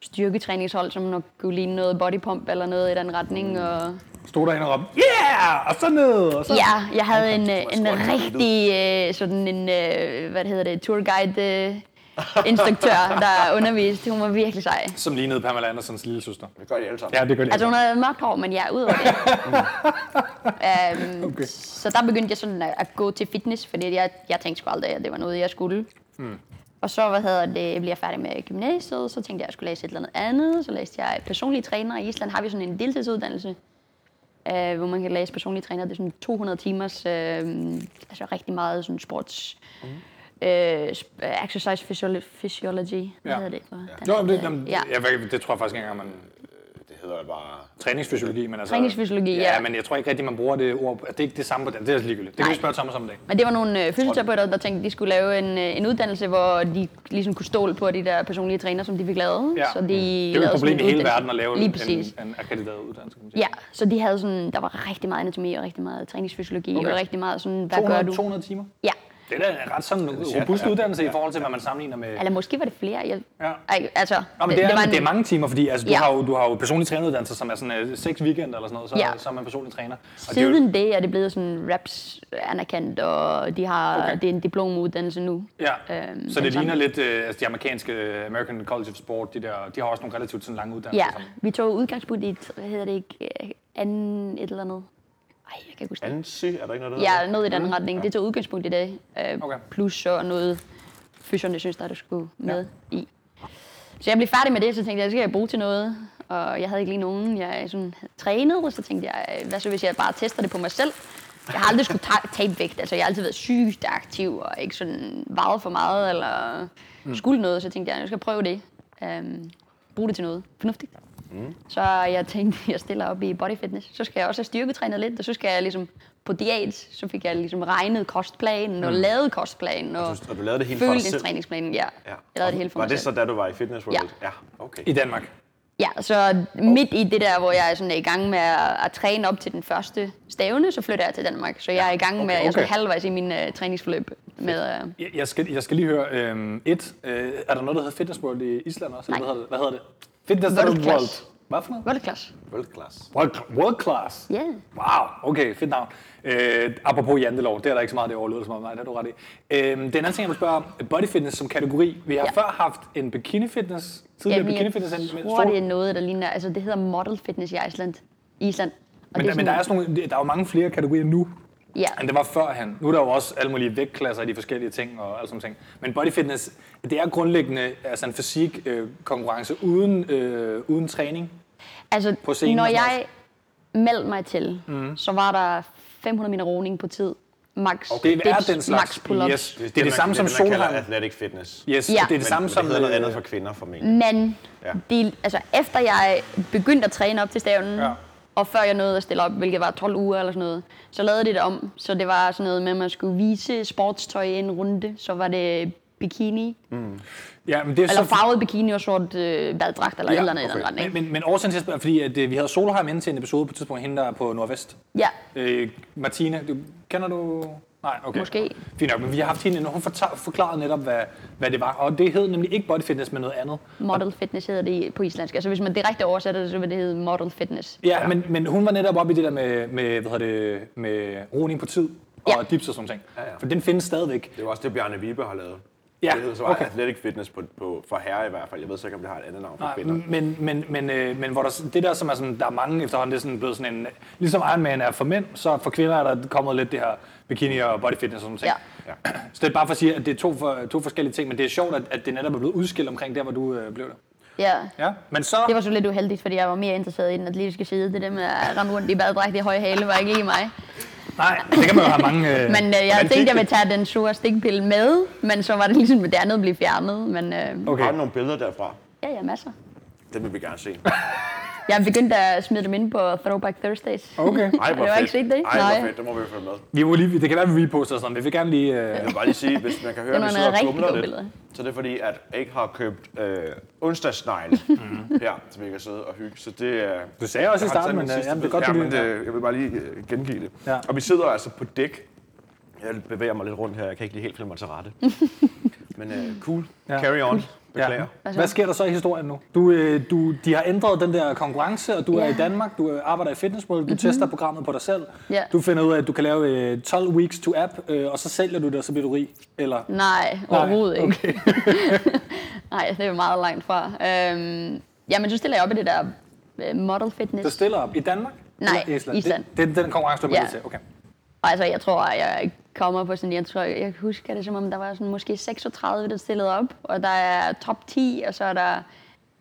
styrketræningshold, som nok kunne ligne noget bodypump eller noget i den retning. Og
Stod derinde og råbte, yeah! Og så ned, og så...
Ja, jeg havde en,
jeg
øh, en
tror, jeg har
rigtig øh, sådan en, øh, hvad hedder det, tourguide øh, instruktør, der underviste. Hun var virkelig sej.
Som lignede Pamela Andersens lille søster.
Det gør de alle sammen.
Ja, det gør det.
Altså hun havde mørkt hår, men jeg er ud over det. um,
Okay.
okay. Så der begyndte jeg sådan at, at gå til fitness, fordi jeg, jeg tænkte sgu aldrig, at det var noget, jeg skulle. Mm.
Hmm.
Og så hvad hedder det, blev jeg færdig med gymnasiet, så tænkte jeg, at jeg skulle læse et eller andet andet. Så læste jeg personlig træner. I Island har vi sådan en deltidsuddannelse, øh, hvor man kan læse personlig træner. Det er sådan 200 timers, øh, altså rigtig meget sådan sports...
Mhm.
Mm. Øh, sp- exercise physiolo- physiology, hvad
Ja.
hedder det? på dansk?
Jo, men det, jamen,
Ja.
ja. jeg, ved- det tror jeg faktisk ikke engang, man...
Det hedder bare...
Træningsfysiologi, men altså...
Træningsfysiologi,
ja.
ja.
men jeg tror ikke rigtig, man bruger det ord... på- Det er ikke det samme på dansk. Det er altså ligegyldigt. Det kan
Nej.
vi spørge Thomas om en dag.
Men det var nogle øh, fysioterapeuter, der tænkte, at de skulle lave en, øh, en uddannelse, hvor de ligesom kunne stole på de der personlige træner, som de fik lavet.
Ja.
Så
Mm.
de
Det er jo et problem i hele verden at lave en,
Lige
en,
præcis.
en akkrediteret uddannelse. kan man sige.
Ja, så de havde sådan, der var rigtig meget anatomi og rigtig meget træningsfysiologi
Okay.
og rigtig meget sådan, hvad gør
200,
du?
200 timer.
Ja,
Det er da en ret sådan
sjovt,
robust
ja.
uddannelse i forhold til, hvad man sammenligner med...
eller måske var det flere. Jeg,
Ja.
Ej, altså,
Nå, men det, er, det,
var en-
det er mange timer, fordi altså, du,
Ja.
har jo, du har jo personlig træneruddannelse, som er sådan øh, seks weekender eller sådan noget, så,
Ja.
så er man personlig træner. Og det er jo,
Siden det er det blevet sådan reps anerkendt, og de har,
Okay.
okay. det er en diplomuddannelse nu.
ja.
øhm,
så
den
det ligner
samme.
lidt øh, altså, de amerikanske øh, American College of Sport, de, der, de har også nogle relativt sådan, lange uddannelser.
Ja,
som-
vi tog udgangspunkt i, et- hvad hedder det ikke, øh, anden et eller andet. Ej, jeg kan ikke huske det.
Ansi, er der ikke noget, der hedder
Ja, noget i den retning. Det tog udgangspunkt i det. Øh,
Okay.
okay. Plus så noget, fyserne synes, der, der skulle med ja. i. Så jeg blev færdig med det, så tænkte jeg, det skal jeg bruge til noget. Og jeg havde ikke lige nogen, jeg sådan havde trænet, og så tænkte jeg, hvad så hvis jeg bare tester det på mig selv? Jeg har aldrig skulle ta- tabe vægt, altså jeg har altid været sygt aktiv, og ikke sådan vejet for meget, eller
Mm.
skulle noget, så tænkte jeg, nu skal jeg prøve det. Øhm, bruge det til noget fornuftigt.
Mm.
Så jeg tænkte, jeg stiller op i body fitness. Så skal jeg også have styrketrænet lidt, og så skal jeg ligesom på diæt. Så fik jeg ligesom regnet kostplanen og lavet kostplanen og,
det? Mm. Og du lavede det hele for dig selv?
følelsestræningsplanen. Ja.
Ja.
jeg lavede det hele for
Var
mig
det
selv.
så, da du var i Fitness World?
Ja.
ja okay.
I Danmark.
Ja, så midt i det der, hvor jeg er sådan i gang med at, at træne op til den første stævne, så flytter jeg til Danmark. Så jeg er i gang med, okay, okay. jeg er sådan
okay.
halvvejs i min uh, træningsforløb med... Uh,
Jeg- Jeg skal, jeg skal lige høre, øhm, et, øh, er der noget, der hedder Fitness World i Island også? Eller
Nej.
Hvad hedder det? Hvad hedder det? Fitness
World
World.
Class.
World. Hvad for noget?
World class.
World class.
World, world Class?
Ja.
Wow, okay, fedt navn. Øh, apropos Jantelov, det er der ikke så meget, det overleder som om mig, det har du ret i. Øh, den anden ting, jeg vil spørge om, body fitness som kategori. Vi har ja.
Ja.
før haft en bikini fitness, tidligere
Jamen,
bikini fitness.
jeg tror, det er noget, der ligner... Altså, det hedder model fitness i Island. Island. Og
men,
det
der, men der er, sådan nogle, der er jo mange flere kategorier nu,
Ja.
end der var førhen. Nu er der jo også alle mulige vægtklasser i de forskellige ting og alt sådan ting. Men body fitness, det er grundlæggende altså en fysik øh, konkurrence uden, øh, uden træning.
Altså,
på scenen
når
og sådan Mhm.
jeg meldte mig til, mm. så var der 500 meter roning på tid. Max
Okay. Det er
dips,
den slags.
max pull-ups.
Yes. Det er det samme som
Det man kalder
Solheim.
athletic fitness.
Yes,
Ja.
det er det
Men-
samme
men
som...
det hedder noget
øh,
andet for kvinder, formentlig.
Men
Ja.
ja. de, altså, efter jeg begyndte at træne op til stævnen,
Ja.
ja. og før jeg nåede at stille op, hvilket var 12 uger eller sådan noget, så lavede de det om. Så det var sådan noget med, at man skulle vise sportstøj i en runde. Så var det bikini,
Ja, men det er
eller
så,
farvet bikini og sort øh, baddragt eller ja, et eller andet okay. i den retning.
Men, men, men årsagen til, at jeg spørger, er fordi at, øh, vi havde Solheim inde til en episode på et tidspunkt, hende der er på Nordvest.
Ja,
Øh, Martina, du, kender du... Nej, okay.
Måske.
Fint nok, men vi har haft hende, inde, og hun forta- forklarede netop, hvad, hvad det var. Og det hed nemlig ikke body fitness, men noget andet.
model fitness hedder det på islandsk. Altså hvis man direkte oversætter det, så vil det hedde model fitness.
Ja, ja. Men, men hun var netop oppe i det der med, med, hvad hedder det, med roning på tid og
Ja.
dips og sådan ting.
Ja, ja.
For den findes stadigvæk.
Det var også det, Bjarne Vibe har lavet.
Ja,
det hedder så bare
okay.
athletic fitness på, på, for herrer i hvert fald. Jeg ved så ikke, om det har et andet navn for
Nej, mm,
kvinder.
men, men, men, øh, men hvor der, det der, som er sådan, der er mange efterhånden, det er sådan blevet sådan en, ligesom Ironman er for mænd, så for kvinder er der kommet lidt det her bikini og body fitness og sådan ting.
Ja.
Så det er bare for at sige, at det er to, for, to forskellige ting, men det er sjovt, at, at det netop er blevet udskilt omkring der, hvor du øh, blev der.
Ja.
Ja, men så...
Det var så lidt uheldigt, fordi jeg var mere interesseret i den atletiske side. Det der med at rende rundt i baddragt i høje hale var ikke lige mig.
Nej, det kan man jo have mange... Øh,
Men øh, jeg
Hvordan
tænkte,
gik
jeg ville
det?
tage den sure stikpille med, men så var det ligesom, at det andet blev fjernet. Men øh,
Okay. Har
okay.
du nogle billeder derfra?
ja, ja, masser.
Det vil vi gerne se.
Jeg begyndte at smide dem ind på Throwback Thursdays.
Okay.
Ej,
Det var ikke set det.
Ej, hvor
Nej.
fedt. Det må vi jo følge med.
Vi må lige, det kan være, vi reposter og sådan noget, men vi vil gerne lige... Øh,
Jeg vil bare lige sige, hvis man kan høre, at
Det
vi sidder
var
og
nogle rigtig
gumler
gode
lidt,
billeder.
så det er fordi, at ikke har købt øh, onsdagsnegle
Mhm.
her, så vi kan sidde og hygge. Så det, øh,
Du sagde også i
jeg har
starten,
taget
men,
min
øh,
sidste
jamen, det
bid.
er godt, du
ja,
lige-
men, øh, Jeg vil bare lige øh, gengive det.
Ja.
Ja. Og vi sidder altså på dæk. Jeg bevæger mig lidt rundt her, jeg kan ikke lige helt finde mig til rette. men øh, cool.
Ja.
Ja. Carry on. Beklager.
Ja. Hvad sker der så i historien nu? Du, øh, du, de har ændret den der konkurrence, og du er
Ja. Mhm.
i Danmark, du øh, arbejder i Fitness World, du mm-hmm. tester programmet på dig selv.
Ja.
Du finder ud af, at du kan lave øh, 12 weeks to app, øh, og så sælger du det, og så bliver du rig. Eller,
Nej, overhovedet ikke. Nej, det er jo meget langt fra. Øhm, jamen, så stiller jeg op i det der øh, model
du
fitness.
stiller op i Danmark?
Nej,
eller Island.
Island.
Det, det er den konkurrence, du er med
Ja.
til. Okay.
Og altså, jeg tror, at jeg kommer på sådan, jeg tror, jeg husker det, som om der var sådan måske 36, der stillede op, og der er top 10, og så er der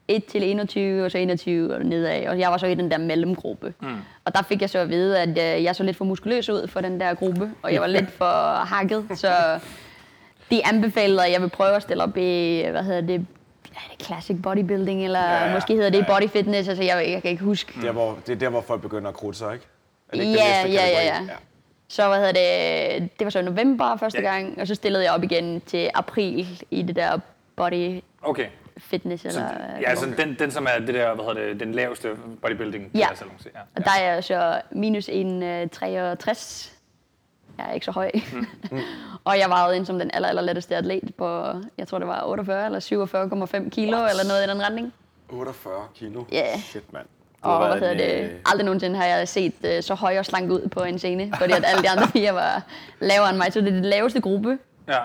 1 til 21, og så 21 og nedad, og jeg var så i den der mellemgruppe. Mm. Og der fik jeg så at vide, at øh, jeg så lidt for muskuløs ud for den der gruppe, og jeg var lidt for hakket, så de anbefalede, at jeg vil prøve at stille op i, hvad hedder det, er det classic bodybuilding, eller
Ja,
ja,
ja.
måske hedder det
Ja, ja.
body fitness, altså jeg, jeg kan ikke huske,
Det, er, hvor, det er der, hvor folk begynder at krudte sig, ikke? Er det ikke
Ja,
den næste
ja, ja,
kategori?
ja. Så hvad hedder det, det var så i november første
Ja.
gang, og så stillede jeg op igen til april i det der body
Okay.
fitness.
Så,
Eller,
ja, altså den, den, som er det der, hvad hedder det, den laveste bodybuilding.
Ja.
klasse, eller hvad man siger.
Og der er jeg så minus en, øh, 63. Jeg er ikke så høj. og jeg vejede ind som den aller, aller letteste atlet på, jeg tror det var 48 eller 47,5 kilo eller noget i den retning.
48 kilo.
Ja.
Shit, mand. Du har
Og hvad
været
hedder
en,
det?
øh,
Aldrig nogensinde har jeg set øh, så høj og slank ud på en scene, fordi at alle de andre piger var lavere end mig. Så det er den laveste gruppe,
Ja.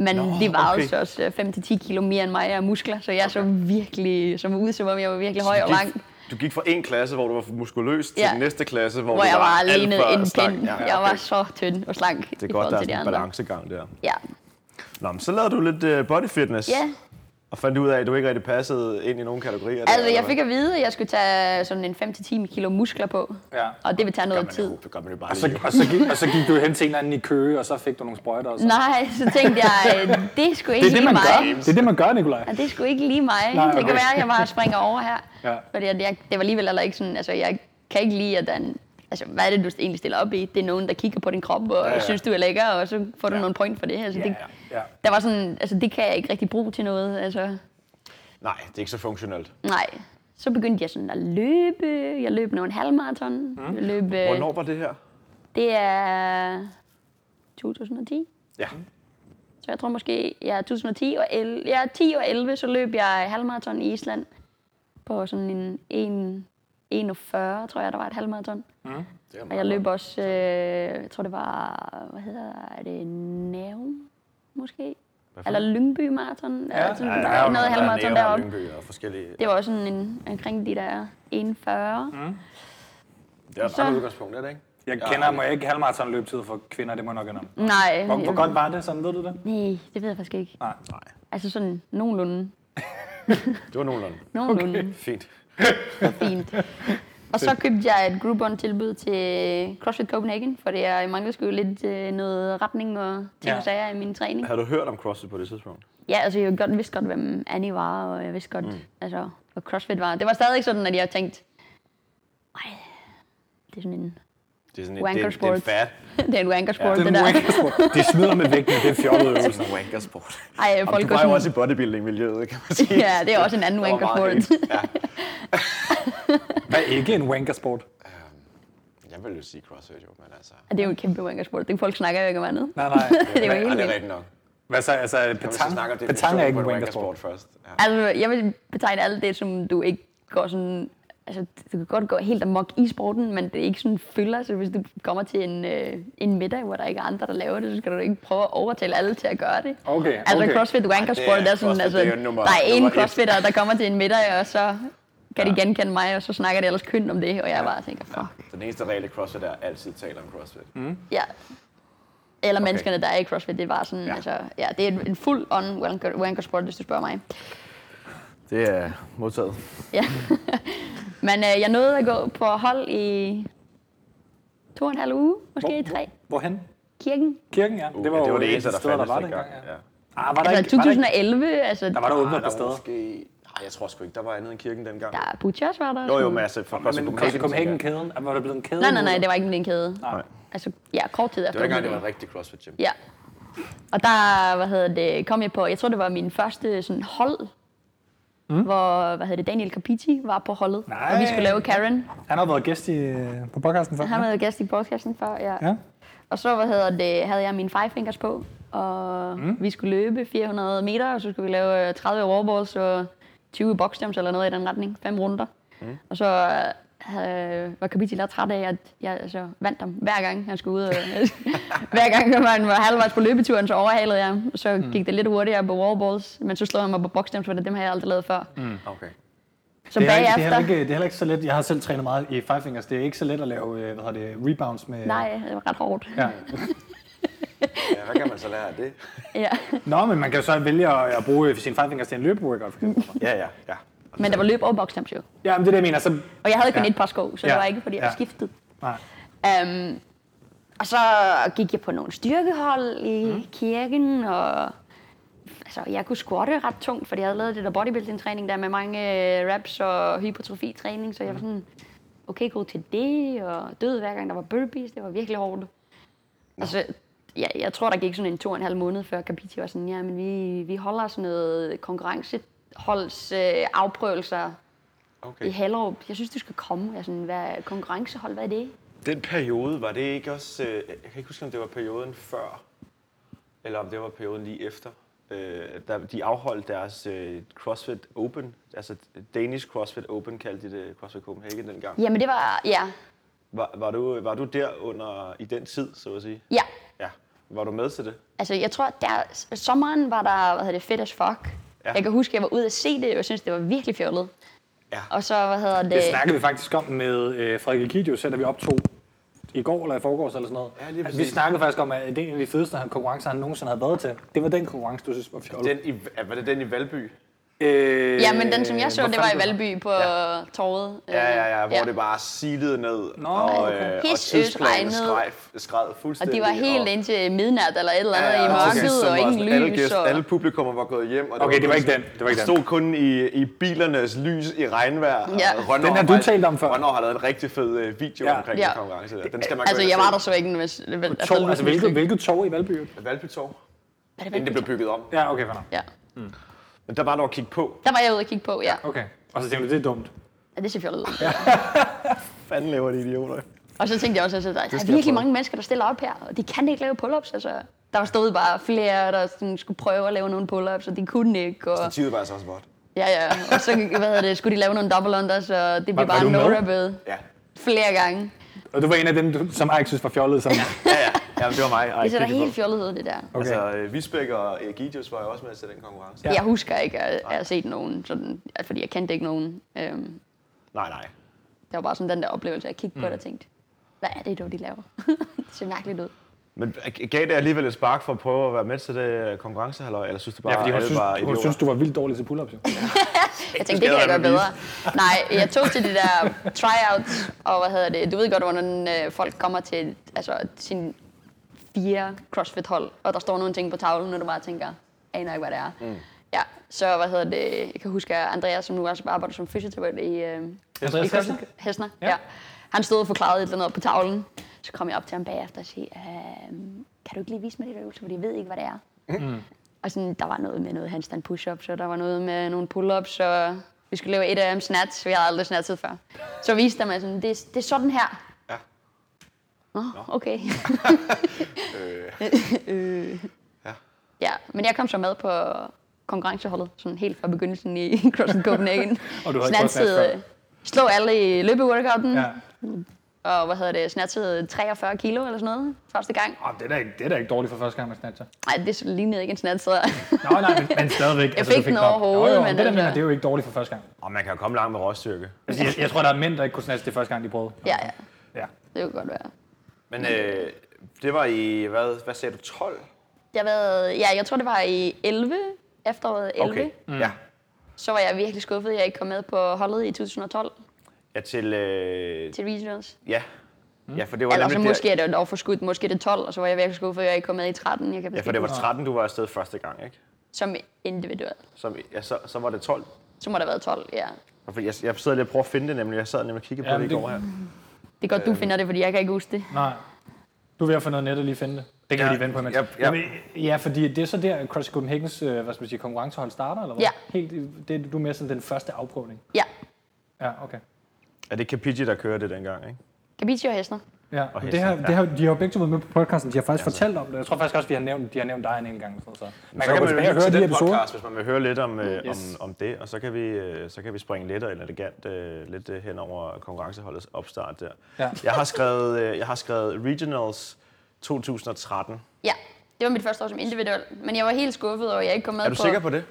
Men Nå, de vejede
okay.
okay. så også øh, 5-10 kilo mere end mig af muskler, så jeg okay. så virkelig, som ud som om jeg var virkelig høj og
gik-
lang,
Du gik fra en klasse, hvor du var muskuløs, til
Ja.
den næste klasse, hvor,
hvor
du
jeg var
alt
alene
for
en
slank.
pind.
Ja, ja,
Jeg var
okay.
så tynd og slank
Det er
i
godt,
forhold
der er
til de
sådan en
andre.
balancegang der.
Ja.
Nå, men så lavede du lidt øh, body fitness.
ja,
Og fandt ud af, at du ikke rigtig passede ind i nogen kategorier. der,
altså
eller
jeg
hvad?
fik at vide, at jeg skulle tage sådan en 5-10 kilo muskler på,
Ja.
og det vil tage
Gør
noget
man jo-
tid. Altså,
Det gør man jo bare
Og så,
lige.
og, så gik, og så gik du hen til en eller anden i Køge, og så fik du nogle sprøjter og sådan.
Nej, så tænkte jeg, øh, det skulle
Det
ikke
er det,
lige
man gør.
mig.
Det er det, man gør, Nikolaj.
Ja, det skulle ikke lige mig.
Nej,
Nej, det
okay.
kan være, at jeg bare springer over her.
Ja.
ja. Fordi at jeg, det var alligevel heller ikke sådan, altså jeg kan ikke lide, at den, altså hvad er det, du egentlig stiller op i? Det er nogen, der kigger på din krop og ja,
ja.
ja. synes, du er lækker, og så får du
Ja.
ja. nogle point for det. Altså, det
Ja.
Der var sådan, altså det kan jeg ikke rigtig bruge til noget, altså
Nej, det er ikke så funktionelt.
nej. Så begyndte jeg sådan at løbe. Jeg løb nogle halvmarathon. Mm. Jeg løb, øh,
Hvornår var det her?
det er 2010.
Ja.
Så jeg tror måske, ja, 2010 og 11, ja, 10 og 11, så løb jeg halvmarathon i Island på sådan en 1, 41, tror jeg, der var et halvmarathon.
Det er
Og jeg løb også, øh, jeg tror det var, hvad hedder er det, Nævn, måske? Eller Lyngby Marathon, ja, eller sådan, ja, ja, noget halvmarathon deroppe.
Lyngby og forskellige...
Det var også sådan en, omkring de der 41. Mm.
Det er et
så-
meget udgangspunkt, er det ikke?
Jeg kender mig ikke halvmarathonløbetid for kvinder, det må jeg nok indrømme.
Nej,
Hvor, hvor godt var det, sådan ved du det?
nej, det ved jeg faktisk ikke.
Nej.
Nej,
Altså sådan nogenlunde,
det var nogenlunde
nogenlunde. Okay.
fint.
fint. Og så købte jeg et Groupon-tilbud til CrossFit Copenhagen, for jeg manglede sgu lidt øh, noget retning og ting
Ja.
ja. og sager i min træning.
Har du hørt om CrossFit på det tidspunkt?
Ja, altså jeg godt, vidste godt, hvem Annie var, og jeg vidste godt, mm. altså, hvad CrossFit var. Det var stadig sådan, at jeg tænkte, nej, det er sådan en,
Det er sådan
Wanker
det, er- det er en
sport.
fat.
det er en wanker sport,
Den
det der.
wankersport. De smider med vægten, det er fjollet
Det er
øvelse.
sådan en wankersport.
Ej,
Og
folk
du var
går
jo
sådan,
også i bodybuilding-miljøet, kan man sige.
Ja, det er også en anden
Der var meget
wankersport.
hate. Ja.
Hvad er ikke en wankersport?
Jeg vil jo sige CrossFit, jo, men altså...
det er jo en kæmpe wankersport. Det folk snakker jo ikke om andet.
Nej, nej.
det er jo
Ej,
helt
det er
vildt.
rigtigt nok.
Hvad så, altså, petang, petang er ikke en wankersport.
først. Ja.
Altså, jeg vil betegne alt det, som du ikke går sådan... Altså, du kan godt gå helt amok i sporten, men det er ikke sådan fylder. Så hvis du kommer til en, øh, en middag, hvor der ikke er andre, der laver det, så skal du ikke prøve at overtale alle til at gøre det.
Okay,
Altså,
okay.
CrossFit Wanker
det er-
Sport, det er sådan,
CrossFit,
altså,
det er jo nummer-
der er
nummer
en
et.
crossfitter, der kommer til en middag, og så kan de genkende mig, og så snakker de ellers kønt om det, og jeg bare tænker, fuck.
Den eneste regel i CrossFit er, at altid taler om CrossFit. Mm.
Ja. Eller menneskerne, der er i CrossFit, det var sådan,
Ja.
ja. altså, ja, det er en- en fuld on wanker, wanker sport, hvis du spørger mig.
Det er modtaget.
Ja. Men øh, jeg nåede at gå på hold i to og en halv uge, måske
Hvor-
tre.
Hvorhen?
Kirken.
Kirken, Uh, ja.
Det var, ja, det, var det eneste, der
sted, der
fandtes
var
dengang.
dengang. Ja.
Ja.
Ah, var der ikke,
Altså
var der ikke,
2011, altså...
Ah, der var der åbnet på
var
steder.
måske... Ah, jeg tror sgu ikke, der var andet end kirken dengang.
Der er Butchers var der.
Jo,
også.
jo, men altså, for Costa
Men
Copenhagen. tænker jeg.
Copenhagen-kæden, var der blevet en kæde?
Nej, nej,
nu?
nej, det var ikke en kæde.
Nej.
Altså, ja, kort tid
Det
efter.
var dengang, det var en rigtig CrossFit gym.
Ja. Og der, hvad hedder det, kom jeg på, jeg tror, det var min første sådan hold, mm. hvor, hvad hedder det, Daniel Capiti var på holdet.
Nej.
Og vi skulle lave Karen.
Han har været gæst i, øh, på podcasten før.
Han
ja.
havde været gæst i podcasten før, ja.
Ja.
Og så, hvad hedder det, havde jeg mine five fingers på, og mm. vi skulle løbe 400 meter, og så skulle vi lave øh, 30 wallballs og 20 boxjumps eller noget i den retning, fem runder. Mm. Og så øh, havde, var Kapiti lidt træt af, at jeg altså, vandt ham hver gang, han skulle ud. Og, hver gang når han var halvvejs på løbeturen, så overhalede jeg ham. Så
Mm.
gik det lidt hurtigere på wallballs, men så slog han mig på boxjumps, for det dem har jeg aldrig lavet før. Mm.
Okay.
Så
Det er, ikke, det, er
bagefter...
heller ikke, det er heller ikke så let. Jeg har selv trænet meget i Five Fingers. Det er ikke så let at lave øh, hvad hedder det, rebounds med...
Nej, det var ret hårdt.
Ja.
Ja, hvad kan man så lære af det?
Ja.
Nå, men man kan jo så vælge at, at bruge øh, sin Five Fingers til en løbeworkout, for eksempel.
Ja, ja, ja.
Men der var løb og boxjumps jo.
ja, men det er det, jeg mener. Så,
Og jeg havde kun
Ja.
ja. et par sko, så
Ja.
det var ikke, fordi jeg
Ja.
ja. skiftede.
nej.
Um, og så gik jeg på nogle styrkehold i mm. kirken, og altså, jeg kunne squatte ret tungt, fordi jeg havde lavet det der bodybuilding-træning der med mange øh, reps og hypertrofitræning, så jeg var sådan okay god til det, og døde hver gang der var burpees, det var virkelig hårdt. Altså, jeg, jeg tror, der gik sådan en to og en halv måned, før Capiti var sådan, ja, men vi, vi holder sådan noget konkurrenceholds øh, afprøvelser i
Okay.
Hellerup. Jeg synes, du skal komme. Jeg er sådan, hvad, konkurrencehold, hvad er det?
Den periode, var det ikke også... Øh, jeg kan ikke huske, om det var perioden før, eller om det var perioden lige efter. Øh, der, de afholdt deres øh, CrossFit Open, altså Danish CrossFit Open kaldte de det, CrossFit Copenhagen dengang.
Jamen, det var, ja,
Var, var, du, var du der under, i den tid, så at sige?
Ja,
Ja. Var du med til det?
altså jeg tror, der s- sommeren var der, hvad hedder det, fedt as fuck.
Ja.
Ja. Jeg kan huske, at jeg var ude at se det, og synes det var virkelig fjollet.
Ja.
Og så, hvad hedder det...
Det snakkede vi faktisk om med øh, Frederik Elkidio, selv da vi optog i går eller i forgårs eller sådan noget.
Ja, lige
at vi
præcis.
snakkede faktisk om, at det er en af de fedeste han- konkurrencer, han nogensinde havde været til. Det var den konkurrence, du synes var fjollet.
Den i, ja, var det den i Valby?
Øh,
Ja, men den, som jeg så,
hvor
det var
fanden
i Valby på ja. torvet.
Ja, ja, ja, hvor ja. det bare silede ned,
Nå,
og,
okay.
øh, og
Pis, øs,
tidsplanen
regnede.
skred, skred
Og
fuldstændig.
det var helt indtil midnat eller et eller andet ja, ja, i
og til
mørket,
sidst, så
og
var
ingen
sådan alle
lys.
gæster-
Og...
Alle publikummer var gået hjem. Og
Okay, det var
kun
ikke den.
sådan-
Det var ikke den.
stod kun i, i bilernes lys i regnvejr. og
Ja.
Rønner
Den har
har
du
faktisk-
talt om før.
Rønner har lavet en rigtig fed øh, video
Ja.
omkring
Ja.
den konkurrence. Der. Den skal man gå
Altså,
ind og
jeg var der
se.
så ikke. Hvis, vel,
Tog, altså, hvilket, hvilket tog i Valby?
Valby Torv,
Var det
inden det
Valby?
blev bygget om.
Ja, okay, fair.
Ja.
Men der var der at kigge på.
Der var jeg ude og kigge på, ja.
Okay. Og så tænkte du, det er dumt.
ja det ser fjollet ud.
Fanden laver de idioter.
Og så tænkte jeg også, at der er
jeg prøve.
virkelig mange mennesker, der stiller op her, og de kan ikke lave pull-ups. Altså, der stod bare flere, der sådan skulle prøve at lave nogle pull-ups, og de kunne ikke. Og,
Tidet var altså også godt.
ja, ja. og så hvad hedder det, skulle de lave nogle double unders, og det
Var-
blev
var du
bare
med?
no rappet
Ja.
flere gange.
Og du var en af dem, du, som Ike synes var fjollet. Som,
Ja, ja. Jamen, det var mig. Ej,
Det ser da
kigge
helt
på.
fjollet ud, det der.
Okay.
Altså, øh, Visbæk og Egidius var jo også med til den konkurrence.
Ja.
Jeg husker ikke at at have set nogen, sådan, at- fordi jeg kendte ikke nogen. Øhm,
Nej, nej.
det var bare sådan den der oplevelse, jeg kiggede på
Mm.
det og tænkte, hvad er det dog, de laver? det ser mærkeligt ud.
Men øh, gav det alligevel et spark for at prøve at være med til det konkurrencehalløj, eller synes du bare,
ja, fordi hun
alle
synes,
var
hun
idioter?
synes, du var vildt dårlig til pull-ups. Jo.
Jeg tænkte, det kan jeg
skal
gøre
jeg
bedre. Nej, jeg tog til de der tryouts, og hvad hedder det, du ved godt, hvordan øh, folk kommer til altså, sin fire CrossFit-hold, og der står nogle ting på tavlen, og du bare tænker, aner ikke, hvad det er. Mm. Ja, så hvad hedder det, jeg kan huske, at Andreas, som nu også arbejder som fysioterapeut i, øh,
Andreas
i CrossFit-
Hessner?
Hessner,
Ja.
ja. ja. Han stod og forklarede et eller andet på tavlen, så kom jeg op til ham bagefter og sagde, øh, kan du ikke lige vise mig det der øvelse, fordi jeg ved ikke, hvad det er.
Mm.
Og sådan, der var noget med noget handstand push-ups, og der var noget med nogle pull-ups, og vi skulle lave et af dem snatch, vi havde aldrig snatchet før. Så viste der mig sådan, det, det er sådan her.
Ja.
Nå, okay. øh.
Ja.
ja, men jeg kom så med på konkurrenceholdet, sådan helt fra begyndelsen i CrossFit Copenhagen. øh,
Og du havde ikke prøvet snatch
Snatchede-
før?
Slog alle i løbeworkouten,
Ja.
ja. og hvad hedder det, snatchede 43 kilo eller sådan noget første gang.
Oh, det, er da ikke, det er da ikke dårligt for første gang, man snatcher.
Nej, det lignede ikke en snatch, så
Nå, nej, men, men stadigvæk. altså, Jeg
fik den over
jo,
hovedet,
jo,
men
men det, der
altså-
mener, det er jo ikke dårligt for første gang.
Og man kan jo komme langt med råstyrke.
Altså, jeg, jeg, tror, der er mænd, der ikke kunne snatche det første gang, de prøvede.
ja, ja,
ja.
det kunne godt være.
Men øh, det var i, hvad, hvad sagde du, 12?
Det har været, ja, jeg tror, det var i 11, efteråret 11. Okay.
Mm. Ja.
Så var jeg virkelig skuffet, at jeg ikke kom med på holdet i 2012
ja, til, øh,
til regionals.
ja.
Mm.
Ja, for det var
Eller så
nemlig
måske er det dog forskudt, måske det 12, og så var jeg virkelig skuffet, at jeg ikke kom med i 13. Jeg kan
Ja, for det var 13, du var afsted første gang, ikke?
Som individuel.
Som, ja, så, så var det 12,
Så må der have været 12, ja.
Fordi jeg, jeg sidder lige og prøver at finde det nemlig. Jeg sad nemlig og kiggede på
Jamen,
det i
det-
går her.
Det er godt,
Øhm.
du finder det, fordi jeg kan ikke huske det.
Nej. Du er ved at få noget net og lige finde det. Det kan ja,
Ja,
vi lige vente på imens.
ja, ja.
Jamen, ja, fordi det er så der, Crush Copenhagen's øh, hvad skal man sige, konkurrencehold starter, eller hvad?
Ja.
Helt, i- det, du er med sådan den første afprøvning.
Ja.
Ja, okay.
Er det Capigi, der kører det dengang, ikke?
Capizio og Hessner.
Ja, og det
hesten,
her, det her, de har jo begge to været med på podcasten, de har faktisk fortalt om det. Jeg tror faktisk også, vi har nævnt, de har nævnt dig en enkelt gang. eller Sådan, noget, altså. så. Man
så
kan,
kan
gå
man jo
tilbage og
lytte
høre
til
de
den
episoder.
podcast, hvis man vil høre lidt om, øh,
Yes.
yes. om, om det, og så kan vi, øh, så kan vi springe lidt og elegant øh, lidt øh, hen over konkurrenceholdets opstart der.
Ja.
Jeg, har skrevet, øh, jeg har skrevet Regionals 2013.
Ja, det var mit første år som individuel. Men jeg var helt skuffet over, at jeg ikke kom med
Er du
på...
sikker på det?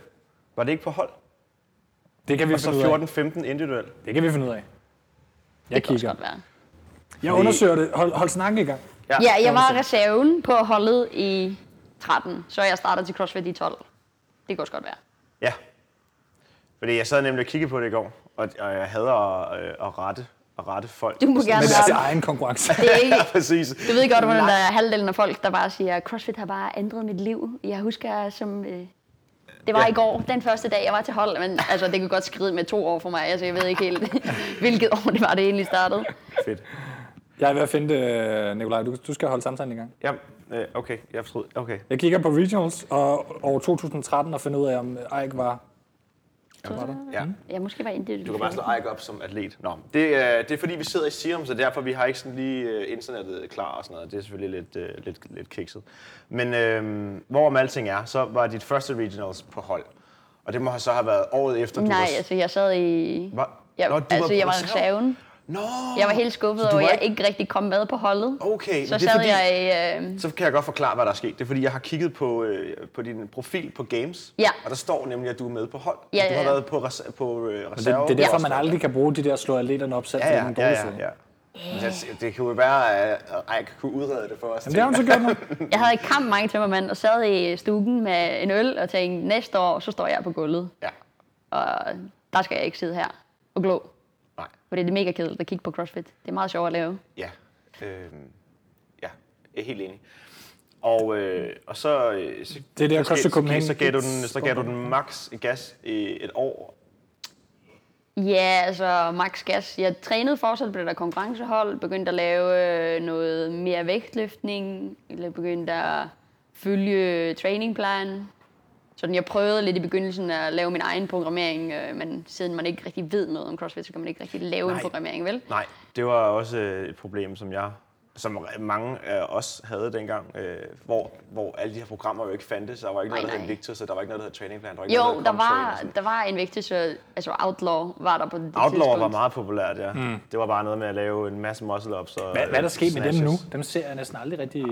Var det ikke på hold?
Det kan vi
Og så
finde ud af.
14-15 individuelt.
Det kan vi finde ud af. Jeg
det kan også
kigger.
godt være.
Jeg
Fordi-
undersøger det. Hold, hold snakken i gang.
Ja, jeg var reserven på holdet i 13, så jeg startede til CrossFit i 12. Det kan også godt være.
Ja. Fordi jeg sad nemlig og kiggede på det i går, og, og jeg hader at, øh, at, rette, at rette folk.
Du må gerne
Med
starte.
deres egen konkurrence.
Det er ikke,
Præcis.
du ved godt, hvordan der er halvdelen af folk, der bare siger, CrossFit har bare ændret mit liv. Jeg husker, som øh, det var
Ja.
i går, den første dag, jeg var til hold, men altså, det kunne godt skride med to år for mig. Altså, jeg ved ikke helt, hvilket år det var, det egentlig startede.
Fedt.
Jeg er ved at finde det, Nikolaj. Du, du skal holde samtalen i gang.
Ja, øh, okay, jeg forstod. Okay.
Jeg kigger på regionals og over 2013 og finder ud af, om Eik var... var der.
Ja.
Jeg måske var individuelt.
Du kan bare slå Ike op som atlet. Nå, det, er, det er fordi, vi sidder i Serum, så derfor vi har ikke sådan lige øh, internettet klar og sådan noget. Det er selvfølgelig lidt, øh, lidt, lidt kikset. Men øh, hvorom alting er, så var dit første regionals på hold. Og det må have så have været året efter, du
Nej,
var...
altså, jeg sad i...
var
Jeg,
Nå, du
altså, jeg var
på
reserven.
Nå,
Jeg var helt skuffet
du
over,
var Oh,
at jeg ikke rigtig kom med på holdet.
Okay,
Så
men
sad fordi... jeg i... Øh,
Så kan jeg godt forklare, hvad der er sket. Det er fordi, jeg har kigget på, øh, på din profil på Games,
Ja.
og der står nemlig, at du er med på hold.
Ja,
Du
ja,
har
ja.
været på, res- på øh,
Det,
reserve.
det er derfor,
og-
man aldrig kan bruge de der slå atleterne op selv.
Ja,
fordi
ja,
den gode
ja, ja,
side.
ja. Det, det kan jo være, at Ejk kunne udrede det for os.
Men det har hun så gjort nu.
jeg havde kamp mange tømmermænd og sad i stuen med en øl og tænkte, næste år, så står jeg på gulvet.
Ja,
Og der skal jeg ikke sidde her og glå.
nej,
For det er mega kedeligt at kigge på CrossFit. Det er meget sjovt at lave.
ja. Øhm, ja, jeg er helt enig. Og, øh, og så, øh, så,
Det der
så,
koster
så, så,
Copenhagen.
så, gav du den, så gav du den max gas i et år.
Ja, altså max gas. Jeg trænede fortsat på det der konkurrencehold, begyndte at lave øh, noget mere vægtløftning, eller begyndte at følge trainingplan. Sådan jeg prøvede lidt i begyndelsen at lave min egen programmering, øh, men siden man ikke rigtig ved noget om CrossFit, så kan man ikke rigtig lave Nej. en
Nej.
programmering, vel?
Nej, det var også øh, et problem, som jeg som re- mange af os havde dengang, øh, hvor, hvor alle de her programmer jo ikke fandtes. Der var ikke noget,
Nej,
der hed
nej.
Invictus, og der var ikke noget, der hed Training Plan. Der var ikke
Jo,
noget,
der
Comtrain og
var,
sådan.
der var en vigtig, så, altså Outlaw var der på det
Outlaw
tidspunkt.
var meget populært, ja. Mm. Det var bare noget med at lave en masse muscle-ups og
Hvad, hvad er der sket med dem nu?
snatches.
Dem ser jeg næsten aldrig rigtig...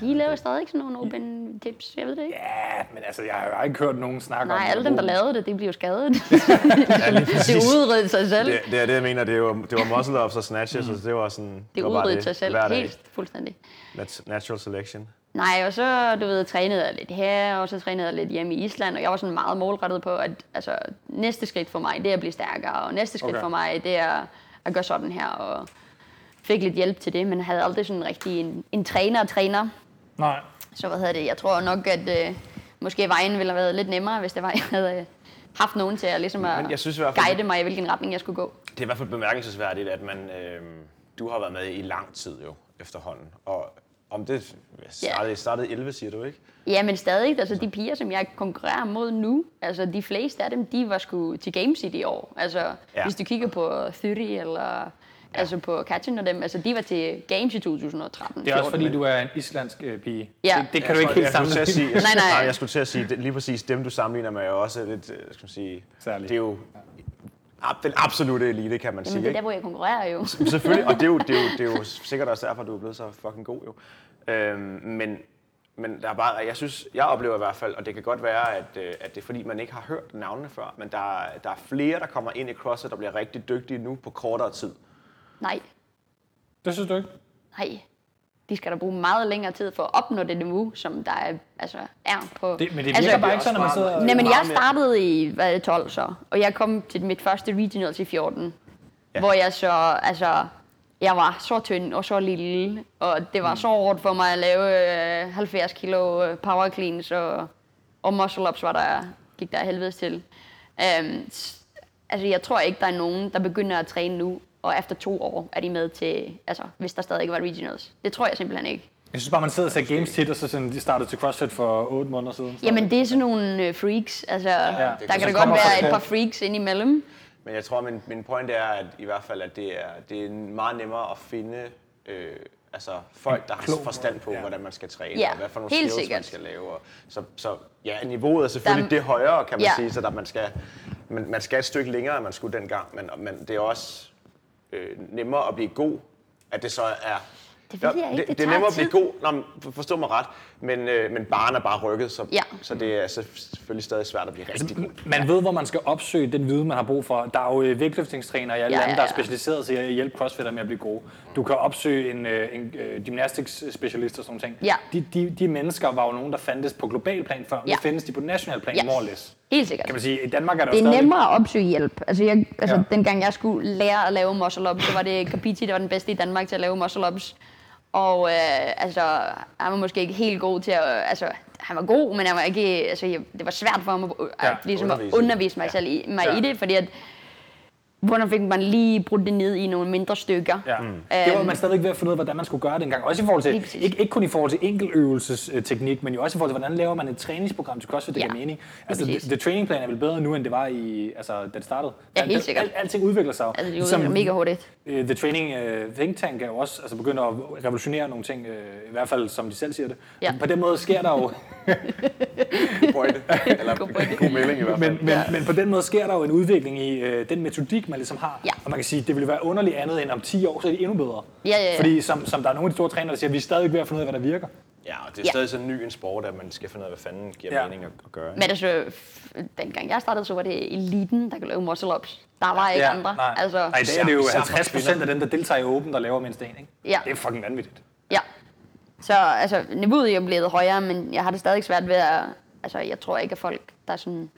De laver stadig ikke sådan nogle open tips, jeg ved det ikke.
Ja, men altså, jeg har jo ikke hørt nogen snakke om
Nej, alle
det.
dem, der lavede det, de blev jo skadet. det udryddede sig selv.
Det, det er det, jeg mener. Det var, det var muscle-ups og snatches, mm. og det var sådan...
det
var bare
udryddede sig selv
Hver dag.
helt fuldstændig.
Nat- Natural selection.
Nej, og så, du ved, trænede jeg lidt her, og så trænede jeg lidt hjemme i Island, og jeg var sådan meget målrettet på, at altså, næste skridt for mig, det er at blive stærkere, og næste skridt
Okay.
okay. for mig, det er at gøre sådan her, og fik lidt hjælp til det, men havde aldrig sådan rigtig en, en træner og træner.
Nej.
Så hvad hedder det, jeg tror nok, at øh, måske vejen ville have været lidt nemmere, hvis det var, jeg havde øh, haft nogen til at, ligesom at
Men jeg synes i hvert fald-
guide mig i, hvilken retning jeg skulle gå.
Det er i hvert fald bemærkelsesværdigt, at man, øh, du har været med i lang tid jo, efterhånden. Og om det startede, startede 11, siger du, ikke?
Ja, men stadig. Altså, de piger, som jeg konkurrerer mod nu, altså de fleste af dem, de var sgu til Games i de år. Altså, ja.
Ja.
hvis du kigger på Thyri eller ja. altså på Katjen og dem, altså de var til Games i 2013.
Det er også fordi, du er en islandsk øh, pige.
Ja.
Det, det kan du ikke helt
jeg, skulle til at
sammenligne.
sige, jeg,
Nej, nej.
nej, jeg skulle til at sige, det, lige præcis dem, du sammenligner med, er jo også lidt, øh, skal man sige...
Særlig.
Det er jo ab, den absolute elite, kan man
Jamen,
sige,
det er der,
ikke?
hvor jeg konkurrerer jo.
Men Selvfølgelig, og det er, jo, det, er jo, det er jo sikkert også derfor, du er blevet så fucking god jo. Øhm, men, men der er bare, jeg synes, jeg oplever i hvert fald, og det kan godt være, at, øh, at det er fordi, man ikke har hørt navnene før, men der, er- der er flere, der kommer ind i CrossFit, der bliver rigtig dygtige nu på kortere tid.
Nej,
Det synes du ikke?
nej. De skal da bruge meget længere tid for at opnå det niveau, som der er, altså, er på...
Det, men det virker
altså,
bare ikke sådan, når man
også
sidder...
meget-
Nej, men
meget
jeg
mere.
startede i hvad, er det, 12 så, og jeg kom til mit første regionals i 14, ja.
Ja.
hvor jeg så, altså, jeg var så tynd og så lille, og det var
Mm.
så hårdt for mig at lave øh, 70 kilo øh, power cleans, og, og muscle ups var der, gik der af helvedes til. Øhm, s- altså jeg tror ikke, der er nogen, der begynder at træne nu, og efter to år er de med til, altså hvis der stadig ikke var regionals. Det tror jeg simpelthen ikke.
Jeg synes bare, man sidder og ser games tit, og så sådan, de startede til CrossFit for 8 måneder siden.
Jamen det er sådan nogle øh, freaks, altså ja, der
det
kan da
kan
godt
komme
være
op.
et par freaks indimellem.
Men jeg tror, min, min point er at i hvert fald, at det er, det er meget nemmere at finde øh, altså folk, der har
klog
forstand på,
måde, ja.
hvordan man skal træne,
Ja,
og hvad for nogle
helt
skills, man
sikkert.
skal lave. Og, så, så ja, niveauet er selvfølgelig
Der-
det højere, kan man
Ja.
sige, så der, man, skal, man, man skal et stykke længere, end man skulle dengang, men, men det er også øh, nemmere at blive god, at det så er...
Det ved jeg ikke,
det,
det
det er
tager
nemmere at blive
tid.
god, Nå, men for- forstå mig ret, men, øh, men barnet er bare rykket, så,
Ja.
så det er selvfølgelig stadig svært at blive rigtig god.
Man ved, hvor man skal opsøge den viden, man har brug for. Der er jo øh, vægtløftningstrænere i alle ja,
Ja, ja,
lande, der er
ja.
specialiseret til at hjælpe crossfitter med at blive gode. Du kan opsøge en, øh, en øh, gymnastics-specialist og sådan nogle ting.
Ja.
De, de, de mennesker var jo nogen, der fandtes på global plan før, men
Ja.
ja. findes de på national plan,
Ja.
yes. more or less.
Helt sikkert.
Kan man sige, i Danmark er der
Det
jo
er
stadig...
nemmere at opsøge hjælp. Altså, jeg, altså ja.
Ja.
dengang jeg skulle lære at lave muscle ups, så var det Capiti, der var den bedste i Danmark til at lave muscle ups. Og øh, altså, han var måske ikke helt god til at... Øh, altså, han var god, men han var ikke, altså, jeg, det var svært for ham at, øh,
Ja,
at, ligesom at
undervise i det.
undervise mig, ja. selv i, mig ja.
Ja.
i det, fordi at, hvordan fik man lige brudt det ned i nogle mindre stykker.
Ja. Mm. Det var man stadigvæk ved at finde ud af, hvordan man skulle gøre det engang. Også i forhold
Øhm. Lige præcis.
til, ikke, ikke kun i forhold til enkeltøvelsesteknik, men jo også i forhold til, hvordan laver man et træningsprogram til CrossFit, der
Ja,
giver mening. Altså,
præcis.
the, the training plan er vel bedre nu, end det var, i, altså, da det startede.
Ja,
Men
helt
det-
sikkert.
Al, alting udvikler sig jo.
Altså, det var mega hurtigt.
øh, The Training øh, Think Tank er jo også altså, begyndt at revolutionere nogle ting, øh, i hvert fald som de selv siger det.
Ja.
På den måde sker der jo
pointe. Eller
God pointe.
god melding i hvert fald.
men, men, men på den måde sker der jo en udvikling i øh, den metodik, man ligesom har.
Ja.
Og man kan sige, det ville være underligt andet end om 10 år, så er de endnu bedre.
Ja, ja, ja.
Fordi som, som der er nogle af de store trænere, der siger, vi er stadig ved at finde ud af, hvad der virker.
Ja, og det er
Ja.
stadig sådan ny en sport, at man skal finde ud af, hvad fanden giver
Ja.
mening at, at gøre. ikke?
Men altså, f- dengang jeg startede, så var det eliten, der kunne lave muscle-ups. Der var ikke andre.
Nej.
Altså,
Ej, i dag er det jo
Især- især for
50 procent af dem, der deltager i Open, der laver mindst en. Ikke?
Ja.
Det er fucking vanvittigt.
Ja. Så altså, niveauet er blevet højere, men jeg har det stadig svært ved at... Altså, jeg tror ikke, at folk, der sådan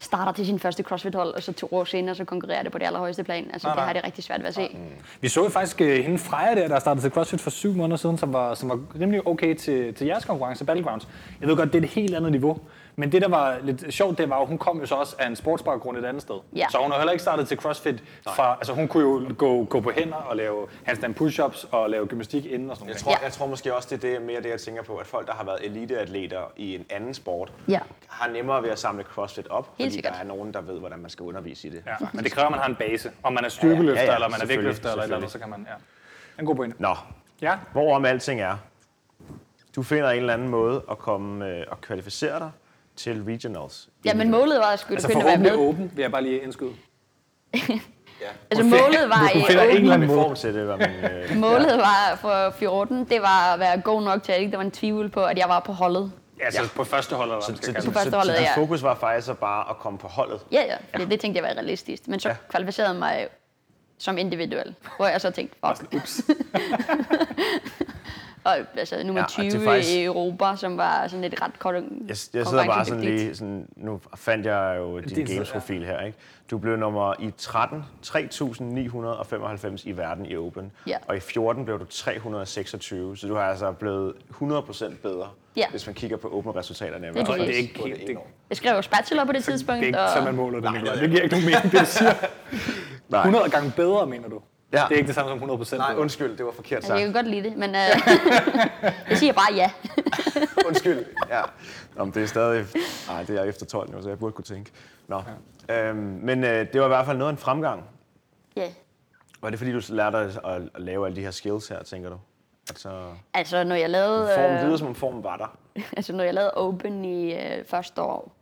starter til sin første CrossFit-hold, og så to år senere, så konkurrerer det på det allerhøjeste plan. Altså,
Nej,
det har
nej.
det rigtig svært ved at se.
Vi så jo faktisk øh, hende Freja der, der startede til CrossFit for syv måneder siden, som var, som var rimelig okay til, til jeres konkurrence, Battlegrounds. Jeg ved godt, det er et helt andet niveau. Men det, der var lidt sjovt, det var jo, hun kom jo så også af en sportsbaggrund et andet sted.
Ja.
Så hun har heller ikke startet til CrossFit. Fra, altså, hun kunne jo gå, gå på hænder og lave handstand push-ups og lave gymnastik inden og sådan
Jeg
noget.
tror,
Ja.
jeg tror måske også, det er det, mere det, jeg tænker på, at folk, der har været eliteatleter i en anden sport,
Ja.
har nemmere ved at samle CrossFit op, fordi
sikkert.
der er nogen, der ved, hvordan man skal undervise i det.
Ja, men det kræver, at man har en base. Om man er styrkeløfter,
Ja, ja, ja,
eller man er
selvfølgelig,
vægtløfter, eller et eller andet, så kan man... Ja. Det er En god pointe.
Nå,
Ja,
hvorom alting er, du finder en eller anden måde at komme øh, og kvalificere dig til regionals.
Ja, men målet var at skulle
altså
altså, begynde at være
forhåbentlig
med.
åben, vil jeg bare lige indskyde.
Altså, målet var,
Du finder en
i,
eller
I
anden måde.
form til det, hvad man... Øh,
målet var for 14, det var at være god nok til, at ikke der var en tvivl på, at jeg var på holdet.
Altså ja. på første hold, eller hvad man skal kalde
så,
det.
første
så,
holdet,
så dit
ja.
fokus var faktisk så bare at komme på holdet.
Ja, ja, fordi det tænkte jeg var realistisk. Men så ja. kvalificerede jeg mig som individuel, hvor jeg så tænkte, fuck.
Ups.
Og altså nummer
Ja,
ja,
og det er
20
faktisk-
i Europa, som var sådan et ret kort
Jeg, jeg sidder bare sådan lige, sådan, nu fandt jeg jo din,
Din side,
games-profil her, ikke? Du blev nummer i 13, 3995 i verden i Open,
Ja.
og i 14 blev du 326, så du har altså blevet 100% bedre,
Ja.
hvis man kigger på Open-resultaterne.
Det er
Og
præcis.
det er ikke helt... Det,
Jeg skrev også bachelor på det
det er
tidspunkt,
ikke
og
så, man måler det. Nicolaj. Det giver ikke nogen mening, det jeg siger.
Nej.
100 gange bedre, mener du?
Ja.
Det er ikke det samme som 100 procent
Nej, undskyld, det var forkert
altså, jeg kan
sagt.
godt lide det, men øh, jeg siger bare ja.
Undskyld. Ja. Nå, men det er stadig... Nej, det er efter 12 nu, så jeg burde kunne tænke. Nå. Ja. Øhm, men øh, det var i hvert fald noget af en fremgang.
ja.
Var det fordi, du lærte at, at, at lave alle de her skills her, tænker du? Altså,
Altså, når jeg lavede,
formen
øh,
lyder, som om formen var der.
altså, når jeg lavede open i øh, første år,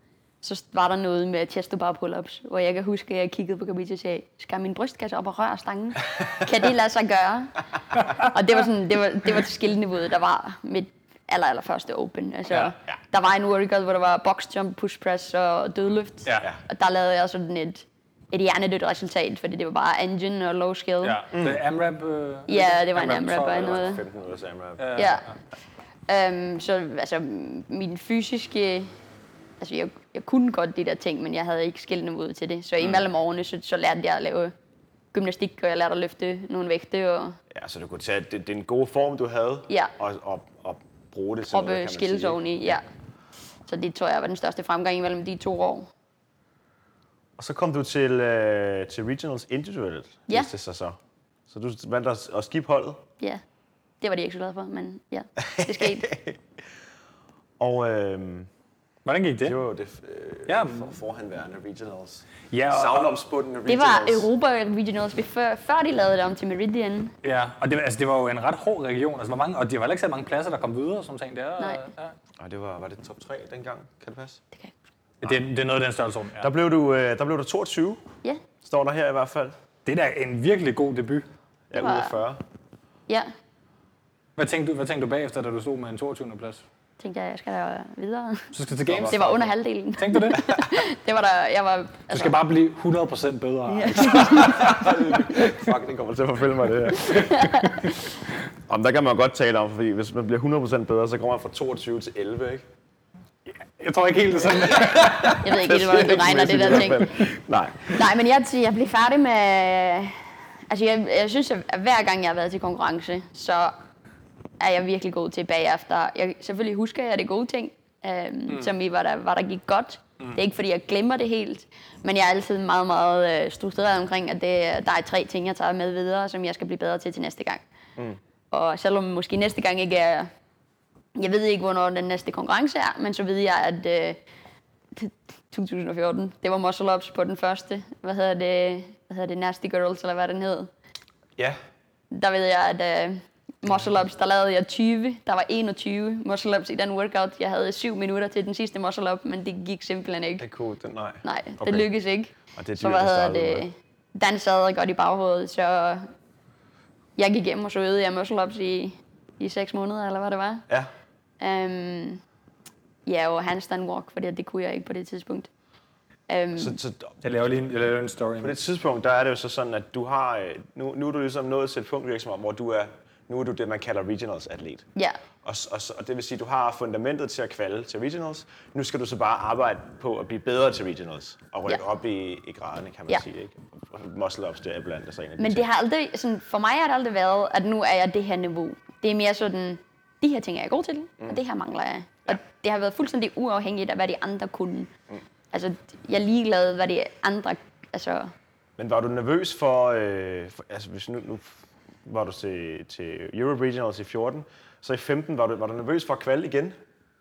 så var der noget med chest to bar pull-ups, hvor jeg kan huske, at jeg kiggede på Kabita og sagde, skal min brystkasse op og røre stangen? Kan det lade sig gøre? og det var, sådan, det var, det var skilniveauet, der var mit aller, aller første open. Altså, ja,
Ja,
ja.
ja.
Der var en workout, hvor der var box jump, push press og dødløft.
Ja.
Og der lavede jeg sådan et, et hjernedødt resultat, fordi det var bare engine og low skill.
Ja, mm. det er AMRAP... Øh,
Ja, det var en AMRAP
12,
og
eller
noget.
15 minutter samrap.
Ja. Øhm, så altså, min fysiske... Altså, jeg, jeg kunne godt de der ting, men jeg havde ikke skældende ud til det. Så imellem årene, så, så lærte jeg at lave gymnastik, og jeg lærte at løfte nogle vægte. Og,
Ja, så du kunne tage det, den gode form, du havde,
Ja.
og, og, og bruge det til noget, kan
proppe
man
skills
sige.
oveni, ja. Så det tror jeg var den største fremgang imellem de to år.
Og så kom du til, øh, til Regionals individuelt,
Ja.
viste det sig så. Så du valgte at, at skip holdet.
Ja, det var de ikke så glade for, men ja, det skete.
Og øh,
Hvordan gik det?
det var jo det øh,
Ja.
ja. for, forhenværende Regionals.
Ja, og-
Savnomsbundne Regionals.
Det var Europa Regionals, vi før, før de lavede det om til Meridian.
Ja, og det, var- altså, det var jo en ret hård region, altså, hvor mange, og det var heller ikke så mange pladser, der kom videre, som ting der.
Nej.
Ja.
Og det var, var det top 3 dengang, kan det passe?
Det kan jeg ikke huske.
Det, det er noget af den størrelse rum. Ja.
Der blev du, øh, der blev du 22,
Ja,
står der her i hvert fald.
Det er da en virkelig god debut.
Ja,
var-
ud af 40.
ja,
Hvad tænkte du, hvad tænkte du bagefter, da du stod med en 22. plads?
tænkte jeg, jeg skal da videre.
Så skal til Games.
Det var under halvdelen.
Tænkte du det?
Det var der, jeg var...
Du skal bare blive 100% bedre. Ja.
Fuck, det kommer til at forfølge mig, det her. Om der kan man jo godt tale om, fordi hvis man bliver 100% bedre, så kommer man fra 22 til 11, ikke?
Jeg tror ikke helt det er sådan.
Jeg ved ikke helt, hvordan det regner, det der ting.
Nej.
Nej, men jeg, jeg blev færdig med... Altså, jeg, jeg synes, at hver gang jeg har været til konkurrence, så er jeg virkelig god til bagefter. Jeg, selvfølgelig husker jeg det gode ting, øhm, mm. som i, hvor der, hvor der gik godt. Mm. Det er ikke, fordi jeg glemmer det helt, men jeg er altid meget, meget øh, struktureret omkring, at det, der er tre ting, jeg tager med videre, som jeg skal blive bedre til til næste gang. Mm. Og selvom måske næste gang ikke er... Jeg ved ikke, hvornår den næste konkurrence er, men så ved jeg, at... Øh, 2014. Det var Muscle Ups på den første. Hvad hedder det? Hvad hedder det? Nasty Girls, eller hvad den hed.
Ja.
Der ved jeg, at uh, Muscle Ups, der lavede jeg 20. Der var 21 Muscle Ups i den workout. Jeg havde 7 minutter til den sidste Muscle Up, men det gik simpelthen ikke.
Det kunne den, nej.
Nej, det
Okay.
lykkedes ikke.
Og det er
så
dyrt
hvad
at
hedder
starte ud
det? Dan sad godt i baghovedet, så jeg gik hjem og så øvede jeg Muscle Ups i, i 6 måneder, eller hvad det var.
Ja.
Um, ja, og handstand walk, fordi det kunne jeg ikke på det tidspunkt. Um,
Mm. Så, så
Jeg laver lige en, jeg laver en story.
på det tidspunkt, der er det jo så sådan, at du har... øh, Nu, nu er du ligesom nået til et punkt i virksomheden, hvor du er... Nu er du det, man kalder regionals atlet.
ja,
Og, s- og, s- og det vil sige, at du har fundamentet til at kvalde til regionals. Nu skal du så bare arbejde på at blive bedre til regionals. Og rykke
Ja.
ja. op i, i graderne, kan man
Ja.
ja. sige. Ikke? Og Muscle ups, det er blandt andet en af de
Men det
ting.
har aldrig, sådan, for mig har det aldrig været, at nu er jeg det her niveau. Det er mere sådan, de her ting er jeg god til, mm. og det her mangler jeg. Og det har været fuldstændig uafhængigt af, hvad de andre kunne. Mm. Altså, jeg er ligeglad, hvad de andre... Altså,
Men var du nervøs for, øh, for altså hvis nu, nu var du til, til Euro Regionals i 14, så i 15 var du, var du nervøs for at kvalde igen?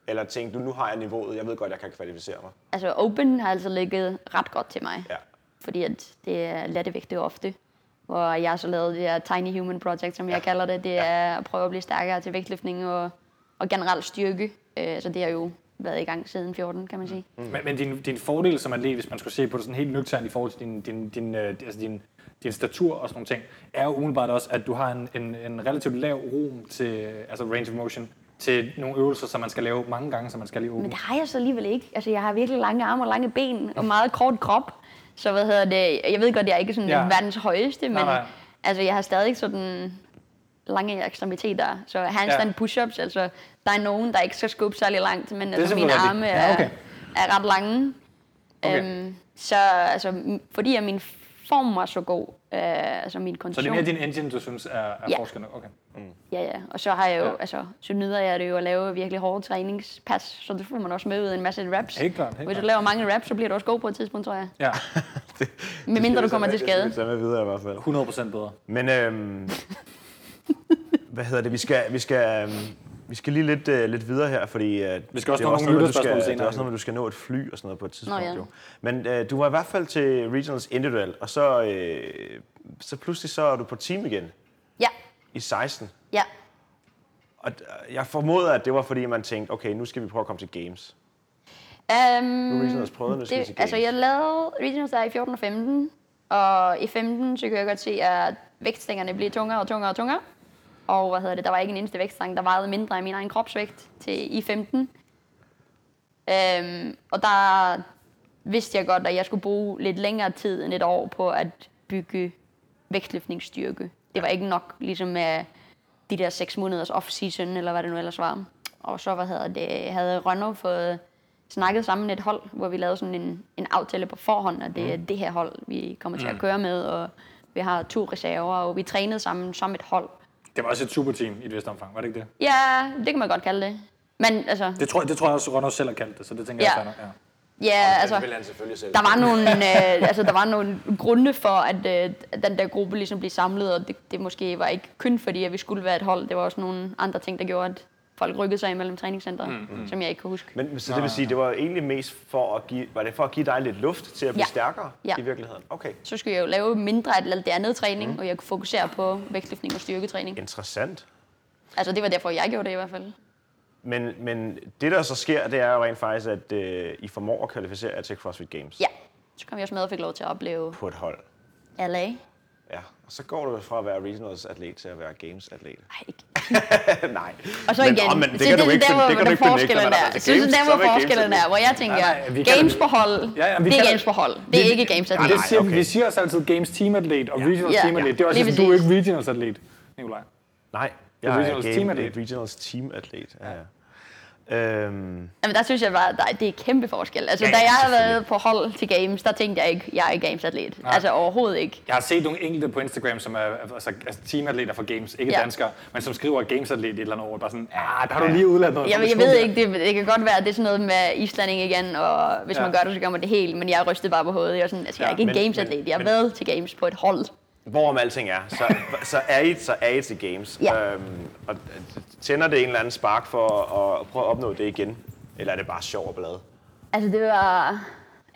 Eller tænkte du, nu har jeg niveauet, jeg ved godt, jeg kan kvalificere mig?
altså, Open har altså ligget ret godt til mig.
Ja.
Fordi at det er lettevægte ofte. Hvor jeg så lavede det her Tiny Human Project, som jeg kalder det. Det er at prøve at blive stærkere til vægtløftning og, og generelt styrke. Øh, så det har jo været i gang siden 14, kan man sige.
Men, men din, din fordel som atlet, hvis man skulle se på det sådan helt nøgternt i forhold til din, din, din, øh, altså din, din statur og sådan nogle ting, er jo umiddelbart også, at du har en, en, en relativt lav rom til, altså range of motion, til nogle øvelser, som man skal lave mange gange, som man skal lige åbne.
Men det har jeg så alligevel ikke. Altså, jeg har virkelig lange arme og lange ben og meget kort krop. Så hvad hedder det? Jeg ved godt, jeg er ikke sådan
Ja.
ja. verdens højeste, men
nej.
altså, jeg har stadig sådan lange ekstremiteter. Så handstand
Ja.
ja. push-ups, altså, der er nogen, der ikke skal skubbe særlig langt, men altså, mine
simpelthen rigtigt.
arme
Ja,
er,
okay.
er ret lange.
Okay.
Øhm, så altså, m- fordi at min form var så god, øh, altså min
så
kondition.
det er mere din engine, du synes er, er
Ja.
forskellen. Okay.
Ja, ja. Og så har jeg jo,
Ja.
ja. altså, så nyder jeg det jo at lave virkelig hårde træningspas, så det får man også med ud af en masse raps.
Helt klart, helt
Hvis du
klart.
laver mange raps, så bliver du også god på et tidspunkt, tror jeg.
Ja,
Med mindre du kommer til
Det
skade.
skal vi tage med videre i hvert fald.
100% bedre.
Men øhm, hvad hedder det? Vi skal, vi skal, øhm, vi skal lige lidt, øh, lidt videre her, fordi øh,
Vi skal også
det er
nå
også
nogle
noget, med, du skal,
lytterspørgsmål
det er
senere.
også noget, med, du skal nå et fly og sådan noget på et tidspunkt.
ja.
jo. Men øh, du var i hvert fald til Regionals individuelt, og så, øh, så pludselig så er du på team igen
Ja,
i 16.
ja.
Og d- jeg formoder, at det var fordi, man tænkte, okay, nu skal vi prøve at komme til games. Nu
Um,
er Regionals prøvet, nu skal vi til
det,
games.
altså, jeg lavede regionals der i 14 og 15, og i 15, så kunne jeg godt se, at vægtstængerne blev tungere og tungere og tungere. Og hvad hedder det, der var ikke en eneste vægtstang, der vejede mindre end min egen kropsvægt til i 15. Øhm, og der vidste jeg godt, at jeg skulle bruge lidt længere tid end et år på at bygge vægtløftningsstyrke. Det var ikke nok ligesom med de der seks måneders off-season, eller hvad det nu ellers var. Og så hvad hedder det, havde Rønnow fået snakket sammen med et hold, hvor vi lavede sådan en, en aftale på forhånd, og det er det her hold, vi kommer til at køre med, og vi har to reserver, og vi trænede sammen som et hold.
Det var også et super team i et vist omfang, var det ikke det?
Ja, det kan man godt kalde det. Men altså,
Det tror, det tror jeg også, Ronald selv har kaldt det, så det tænker
Ja.
jeg er fair nok, ja.
Ja, altså,
det vil han selvfølgelig selv.
der var nogle, øh, altså, der var nogle grunde for, at øh, at den der gruppe ligesom blev samlet, og det, det måske var ikke kun fordi, at vi skulle være et hold. Det var også nogle andre ting, der gjorde, at folk rykkede sig imellem træningscenter, mm. som jeg ikke kan huske.
Men så det vil sige, det var egentlig mest for at give, var det for at give dig lidt luft til at blive
Ja.
stærkere
Ja.
i virkeligheden? Okay.
Så skulle jeg jo lave mindre af alt det andet træning, mm. og jeg kunne fokusere på vægtløftning og styrketræning.
Interessant.
Altså, det var derfor, jeg gjorde det i hvert fald.
Men, men det, der så sker, det er jo rent faktisk, at øh, I formår at kvalificere jer til CrossFit Games
Ja, så kom jeg også med og fik lov til at opleve
på et hold.
LA.
Ja, og så går du fra at være regionals atlet til at være games atlet.
Ej, ikke.
Nej.
Og så
Men-
igen,
åh, men det
så
kan du ikke-
der,
det
hvor
kan du
der
ikke benægte,
forskellen
når der
er.
er til
Så det er
altså, games,
der,
så er
hvor
det
forskellen
games.
er, hvor jeg tænker,
Nej, nej, vi kalder
games
det-
på hold,
Ja, ja, vi
det er
kalder-
games på hold. Det er ikke games
Ah, Nej,
atlet.
det siger,
okay.
okay. Vi siger også altid Games Team Atlet og Regionals
Ja.
Team Atlet. Det er også
Lige
sådan, du er
præcis.
ikke Regionals Atlet, Nikolaj.
Nej,
er
jeg er
regionals
game,
teamatlet.
et regionals teamatlet. Ja, ja. Øhm,
Jamen, der synes jeg bare, der, det er kæmpe forskel. Altså,
Ja,
ja,
ja,
da jeg har været
selvfølgelig.
på hold til games, der tænkte jeg ikke, jeg er games atlet. Altså, overhovedet ikke.
Jeg har set nogle enkelte på Instagram, som er altså, altså teamatleter for games, ikke ja.
Ja.
danskere, men som skriver gamesatlet et eller andet over, bare sådan, ah, der har du lige udladt noget.
Jeg, jeg ved ikke, det, det kan godt være, at det er sådan noget med islanding igen, og hvis
Ja.
ja. man gør det, så gør man det helt, men jeg rystede bare på hovedet. Jeg er sådan, altså, jeg
Ja,
er ikke
men-
en games atlet,
men-
jeg har
men-
været til games på et hold.
hvorom alting er, så, så, er I, så er I til games.
Ja.
Øhm, og tænder det en eller anden spark for at, at prøve at opnå det igen? Eller er det bare sjov og blade?
Altså, det var...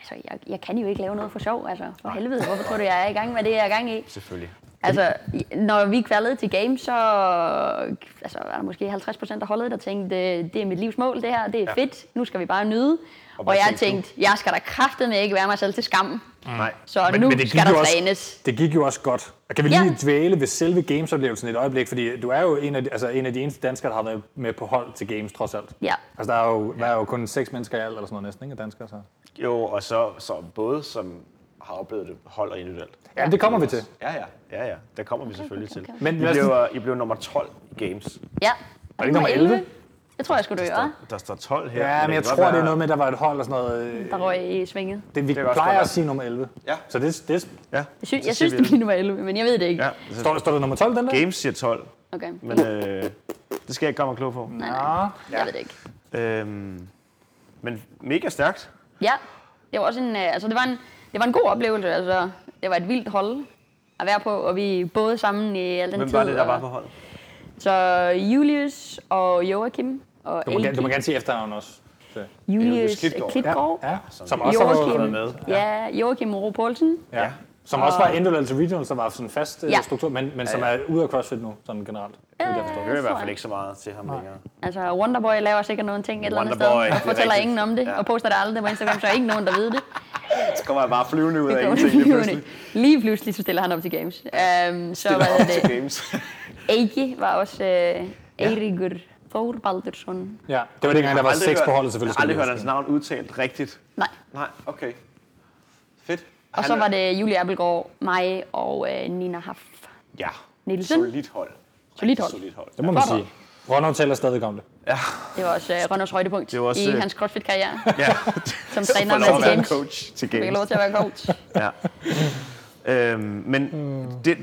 Altså, jeg, jeg kan jo ikke lave noget for sjov, altså. For helvede, hvorfor tror du, jeg er i gang med det, jeg er i gang i?
Selvfølgelig.
Altså, i- når vi kvalede til games, så altså, er der måske 50 procent af holdet, der tænkte, det det er mit livs mål, det her, det er
Ja.
ja. fedt, nu skal vi bare nyde. Og,
hvad
og jeg
tænkte du?
tænkte, jeg skal da kraftedeme ikke være mig selv til skam.
Mm.
Nej.
Så men, nu men
det
skal
gik
der
jo også-
trænes.
Det gik jo også godt. Og Kan vi
Ja.
lige dvæle ved selve gamesoplevelsen et øjeblik? Fordi du er jo en af, de, altså en af de eneste danskere, der har været med på hold til games, trods alt.
Ja.
Altså, der er jo, der er jo kun seks mennesker i alt, eller sådan noget næsten, ikke? af Danskere, så.
Jo, og så, så både som har oplevet det hold og individuelt.
Ja, det kommer vi til.
Ja, ja. ja, ja. Der kommer vi selvfølgelig
okay,
til.
okay.
Men
Men I
lad os lige-
blev, øh, I blev nummer 12 i games.
Ja.
det ikke nummer 11?
Det tror jeg skulle du gøre,
Der, der står 12 her.
Ja, men jeg
det kan
tror,
godt
det er
være-
noget med, at der var et hold og sådan noget. øh,
der røg i svinget.
Det, vi
kan
det
også godt
plejer
være.
at sige nummer 11.
Ja.
Så det, det
Ja.
Jeg synes,
så
jeg
siger
synes
vi
det bliver nummer 11, men jeg ved det ikke.
Ja,
står, der- står der nummer 12, den der?
games siger 12,
Okay.
men øh, det skal jeg ikke komme og klog på.
Mm.
Nej, nej,
Ja.
jeg ved det ikke.
Øhm, men mega stærkt.
Ja, det var også en, øh, altså det var en, det var en god oplevelse. Altså, det var et vildt hold at være på, og vi boede sammen i al den
Hvem
tid.
var det, der
og-
var på holdet?
Så Julius og Joachim og
Du må, gerne- du må
Elke.
gerne sige efternavn også. Så.
Julius
Julius
Klitgaard.
Klitgaard.
Ja. Som også har været
Joachim,
været med.
ja, Joachim Ro Poulsen.
Ja. Som også
Ah.
var individual til regional, som var sådan en fast ja. Øh.
Ja.
struktur, men, men som er ude af CrossFit nu, sådan generelt. Det er derfor.
Jeg hører i hvert fald ikke så meget til ham længere.
Altså, Wonderboy laver sikkert nogle ting et eller andet
Wonderboy,
sted,
det
og
er
fortæller
rigtigt.
ingen om det, og poster det aldrig på Instagram, så er ingen nogen, der ved det.
Så kommer jeg bare flyvende ud af
Så
ingenting lige
lige
pludselig.
Lige pludselig, så stiller han op til games. Um, så var
Til
det
games.
Eiki, var også øh, Eirigur Þórbaldursson.
Ja, det var dengang, der var seks på holdet selvfølgelig.
Jeg har aldrig
skal
hørt
vi
hans navn udtalt rigtigt.
Nej.
Nej, okay. Fedt.
Og så var det Julie Appelgaard, mig og øh, Nina Haff.
Ja.
Nielsen.
Solidt hold.
Solidt hold.
Solidt hold.
huske. Det må man
Godt.
sige. Ronald taler stadig om det.
Det var også øh, Rønners højdepunkt
Det var også,
i
øh,
hans CrossFit-karriere,
Ja.
som
Så
træner
får lov at
med
være
til games.
coach til
Fik
games.
lov til at være coach.
Ja. øhm, men
Hmm.
mm. det,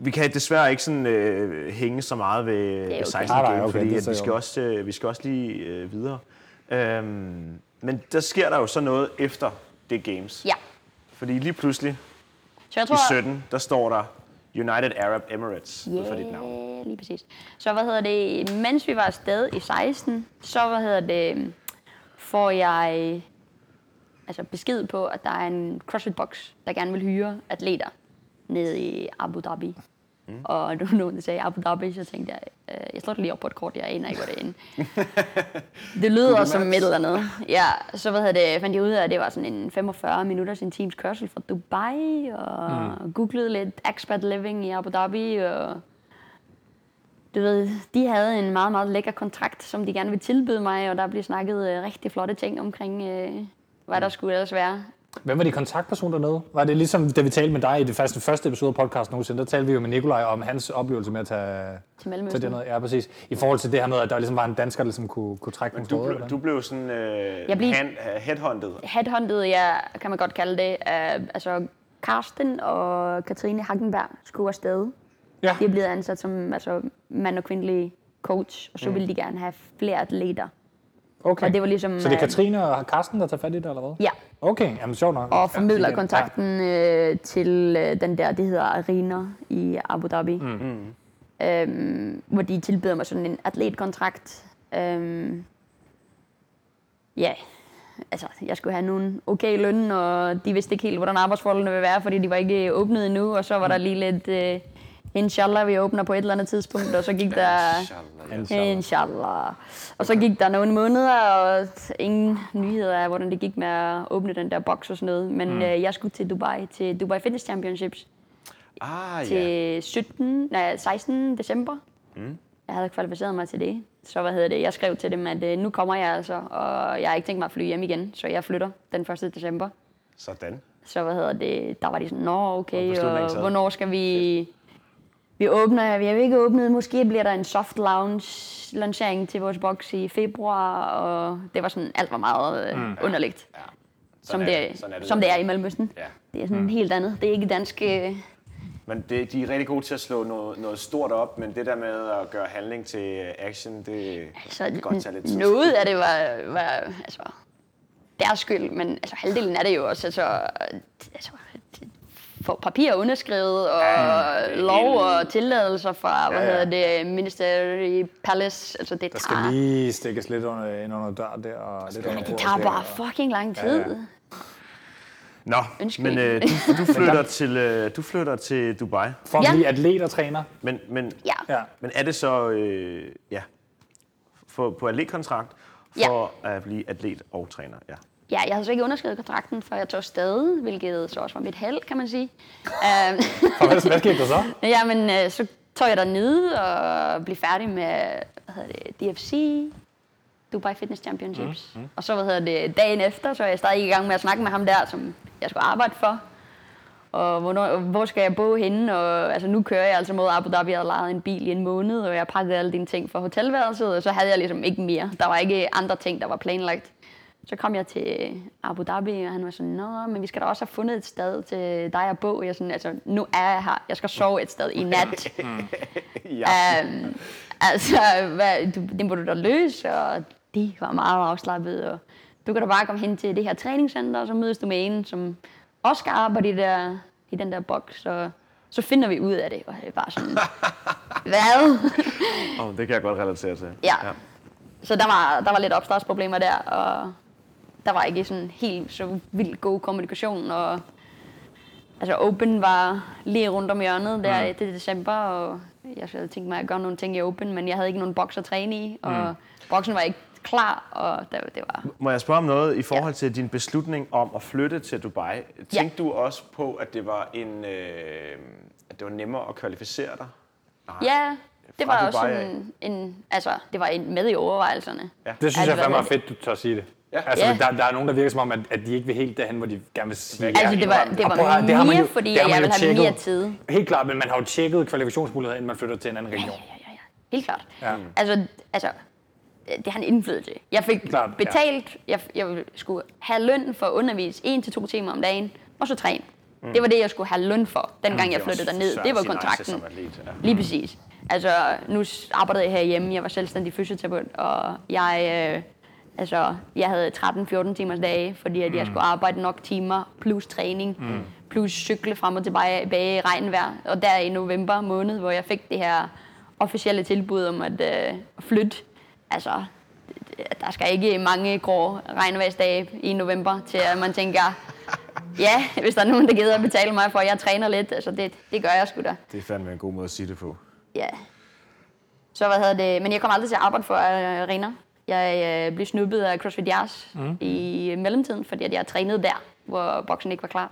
vi kan desværre ikke sådan, øh, hænge så meget ved,
okay.
ved 16 game,
Nej, nej, okay,
okay, fordi
det
at
ser
vi,
jeg
skal
jo.
også, øh, vi skal også lige øh, videre. Øhm, men der sker der jo så noget efter det games.
Ja.
Fordi lige pludselig
Så jeg
i
tror...
17, der står der United Arab Emirates yeah. for dit navn.
Ja, lige præcis. Så hvad hedder det, mens vi var afsted i 16, så hvad hedder det, får jeg altså besked på, at der er en CrossFit Box, der gerne vil hyre atleter nede i Abu Dhabi. Mm. Og nu nogen der sagde Abu Dhabi, så tænkte jeg, øh, jeg slår det lige op på et kort, jeg aner ikke, hvor det er inde. det lyder som et eller andet. Ja, så hvad hedder det, fandt jeg ud af, at det var sådan en 45 minutters en times kørsel fra Dubai, og mm. googlede lidt expat living i Abu Dhabi, og du ved, de havde en meget, meget lækker kontrakt, som de gerne ville tilbyde mig, og der blev snakket øh, rigtig flotte ting omkring, øh, hvad der skulle ellers være.
Hvem var de kontaktperson dernede? Var det ligesom, da vi talte med dig i det første, første episode af podcasten nogensinde, der talte vi jo med Nikolaj om hans oplevelse med at tage
Til
til
Mellemøsten.
det noget. Ja, præcis. I forhold til det her med, at der ligesom var en dansker, der ligesom kunne, kunne trække nogle
Du,
tråde.
blev,
eller?
du blev sådan øh,
Jeg blev-
hand, øh, headhunted.
Headhunted, ja, kan man godt kalde det. Uh, altså, Karsten og Katrine Hagenberg skulle afsted.
Ja.
De er blevet ansat som altså, mand og kvindelig coach, og så mm. ville de gerne have flere atleter
Okay.
Og det var ligesom,
så det er
øh,
Katrine og Karsten, der tager fat i det, eller hvad?
Ja,
Okay, jamen sjovt nok.
og
Ja,
formidler ja, kontakten øh, til øh, den der, det hedder Arena i Abu Dhabi. Mm. Øhm, hvor de tilbyder mig sådan en atletkontrakt. Øhm, ja, altså jeg skulle have nogle okay løn, og de vidste ikke helt, hvordan arbejdsforholdene ville være, fordi de var ikke åbnet endnu, og så var der lige lidt, øh, inshallah, vi åbner på et eller andet tidspunkt, og så gik der...
Inshallah,
Inshallah.
Inshallah. Og så gik der nogle måneder, og ingen nyheder af, hvordan det gik med at åbne den der boks og sådan noget. Men mm. øh, jeg skulle til Dubai, til Dubai Fitness Championships
ja. Ah, ja.
til 17, nej, 16. december. Mm. Jeg havde kvalificeret mig til det. Så hvad hedder det? Jeg skrev til dem, at øh, nu kommer jeg altså, og jeg har ikke tænkt mig at flyve hjem igen, så jeg flytter den 1. december.
Sådan.
Så hvad hedder det, der var de sådan, nå okay,
beslutningen
og
taget.
hvornår skal vi... Vi åbner, vi har ikke åbnet, måske bliver der en soft lounge lancering til vores boks i februar, og det var sådan, alt var meget mm. underligt,
Ja.
som,
Sådan er
det,
Sådan er det.
som det er i Mellemøsten.
Ja.
Det er sådan mm. helt andet. Det er ikke dansk... øh,
Men det, de er rigtig gode til at slå noget, noget stort op, men det der med at gøre handling til øh, action, det
Så
kan godt tage lidt tid.
Altså, noget af det var, var altså, deres skyld, men altså, halvdelen af det jo også, altså, altså for papir underskrevet, og
Ja,
ja,
det er
lov
helt-
og tilladelser fra, hvad
Ja, ja.
hedder det, Ministry Palace, altså det
Der skal
tager,
lige stikkes lidt under, ind under dør der, og lidt under
det
bordet
tager
der.
bare fucking lang tid. Ja, ja.
Nå,
Undskyld.
men øh, du, du, flytter til, øh, du flytter til Dubai.
For at
Ja.
blive atlet og træner.
Men, men,
ja.
Ja.
men er det så øh, ja, for, på atletkontrakt for ja. at blive atlet og træner? Ja.
Ja, jeg havde så ikke underskrevet kontrakten, før jeg tog afsted, hvilket så også var mit held, kan man sige. Øhm,
Og hvad, hvad skete der så?
Jamen, øh, så tog jeg dernede og blev færdig med, hvad hedder det, DFC, Dubai Fitness Championships. Mm, mm. Og så, hvad hedder det, dagen efter, så er jeg stadig i gang med at snakke med ham der, som jeg skulle arbejde for. Og hvornår, og hvor skal jeg bo henne? Og, altså, nu kører jeg altså mod Abu Dhabi. Jeg havde lejet en bil i en måned, og jeg pakkede alle dine ting fra hotelværelset, og så havde jeg ligesom ikke mere. Der var ikke andre ting, der var planlagt. Så kom jeg til Abu Dhabi, og han var sådan, Nå, men vi skal da også have fundet et sted til dig at bo. Og Jeg sådan, altså, nu er jeg her. Jeg skal sove et sted i nat.
ja.
Øhm, altså, hvad, du, det må du da løse, og de var meget afslappet, og du kan da bare komme hen til det her træningscenter, og så mødes du med en, som også skal arbejde i, der, i den der boks, og så finder vi ud af det, og det er bare sådan, hvad?
Oh, det kan jeg godt relatere til.
Ja. Så der var, der var lidt opstartsproblemer der, og der var ikke sådan helt så vildt god kommunikation, og altså Open var lige rundt om hjørnet der mm. til december, og jeg havde tænkt mig at gøre nogle ting i Open, men jeg havde ikke nogen boks at træne i, og mm. boksen var ikke klar, og det, det var...
Må jeg spørge om noget i forhold til din beslutning om at flytte til Dubai? Tænkte du også på, at det var en, øh, at det var nemmere at kvalificere dig?
Ah,
Ja, det
Fra
var også
Dubai af.
sådan en, altså, det var en, med i overvejelserne.
Ja.
Det synes
Ja,
jeg
det var
fandme er
lidt-
fedt, du tør sige det.
Ja.
Altså,
Ja.
Der, der er nogen, der virker som om, at, at de ikke vil helt derhen, hvor de gerne vil sige.
Altså, det var,
Og
det var
prøv at høre,
mere,
har man jo-
fordi
det har
jeg
man jo
ville have mere
tjekket.
tid.
Helt klart, men man har jo tjekket kvalifikationsmuligheder, inden man flytter til en anden region.
Ja, ja, ja. Helt klart.
Ja.
Ja. Altså, altså, det har han indflydelse. Jeg fik
Klart,
klart,
ja.
betalt, ja. jeg, jeg skulle have løn for at undervise 1 til to timer om dagen, og så træne. Mm. Det var det, jeg skulle have løn for, dengang mm, jeg flyttede derned. Det var kontrakten.
Som atlet, ja.
Lige præcis. Altså, nu s- arbejdede jeg herhjemme, jeg var selvstændig fysioterapeut, og jeg, øh, altså, jeg havde 13-14 timers dage, fordi at jeg skulle arbejde nok timer, plus træning, mm. plus cykle frem og tilbage tilbage i regnvejr. Og der i november måned, hvor jeg fik det her officielle tilbud om at øh, flytte, altså, det- det- der skal ikke mange grå regnværsdage i november, til at man tænker, ja, hvis der er nogen, der gider at betale mig for, at jeg træner lidt, altså det, det gør jeg sgu da.
Det er fandme en god måde at sige det på.
Ja. Så hvad hedder det? Men jeg kom aldrig til at arbejde for øh, Arena. Jeg øh, blev snuppet af CrossFit Jars mm. i mellemtiden, fordi at jeg trænede der, hvor boksen ikke var klar.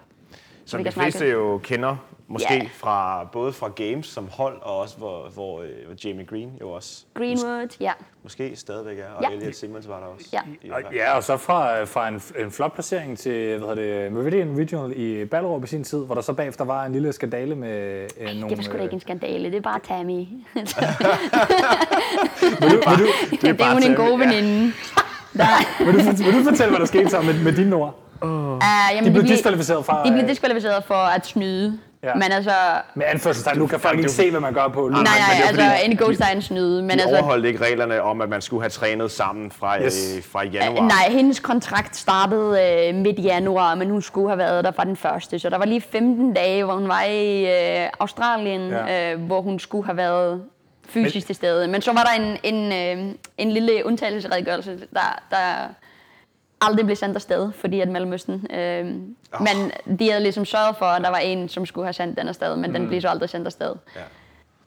Som
vi
de
kan snakke.
fleste jo kender, måske
Ja.
fra, både fra games som hold, og også hvor, hvor, øh, hvor Jamie Green jo også
Greenwood, ja.
måske stadigvæk er, og
Ja.
Elliot Simmons var der også.
Ja.
I
Og,
Irak.
ja, og så fra, fra en, en flot placering til hvad hedder det, Meridian Regional i Ballerup i sin tid, hvor der så bagefter var en lille skandale med øh, nogle...
Det var sgu da ikke en skandale, det er bare Tammy.
Det
det er
bare
hun en
til-
god veninde. Der,
vil, du, fort- vil du fortælle, hvad der skete så med, med dine ord?
uh, jamen,
De blev diskvalificeret fra...
De blev
øh,
diskvalificeret for at snyde.
Ja.
Men altså,
øh, Med anførselstegn, nu kan folk ikke se, hvad man gør på.
nej,
men det er
nej,
jo
altså
fordi-
en god sejn snyde, men
De
altså,
overholdt ikke reglerne om, at man skulle have trænet sammen fra,
Yes.
yes. øh, fra januar.
nej, hendes kontrakt startede øh, midt i januar, men hun skulle have været der fra den første, så der var lige 15 dage, hvor hun var i øh, Australien,
Ja.
ja. øh, hvor hun skulle have været fysisk men, til stede. Men så var der en, en, øh, en lille undtagelsesredegørelse, der, der aldrig blev sendt afsted, fordi at Mellemøsten... Øh, oh. Men de havde ligesom sørget for, at der var en, som skulle have sendt den afsted, men mm. den blev så aldrig sendt afsted.
Ja.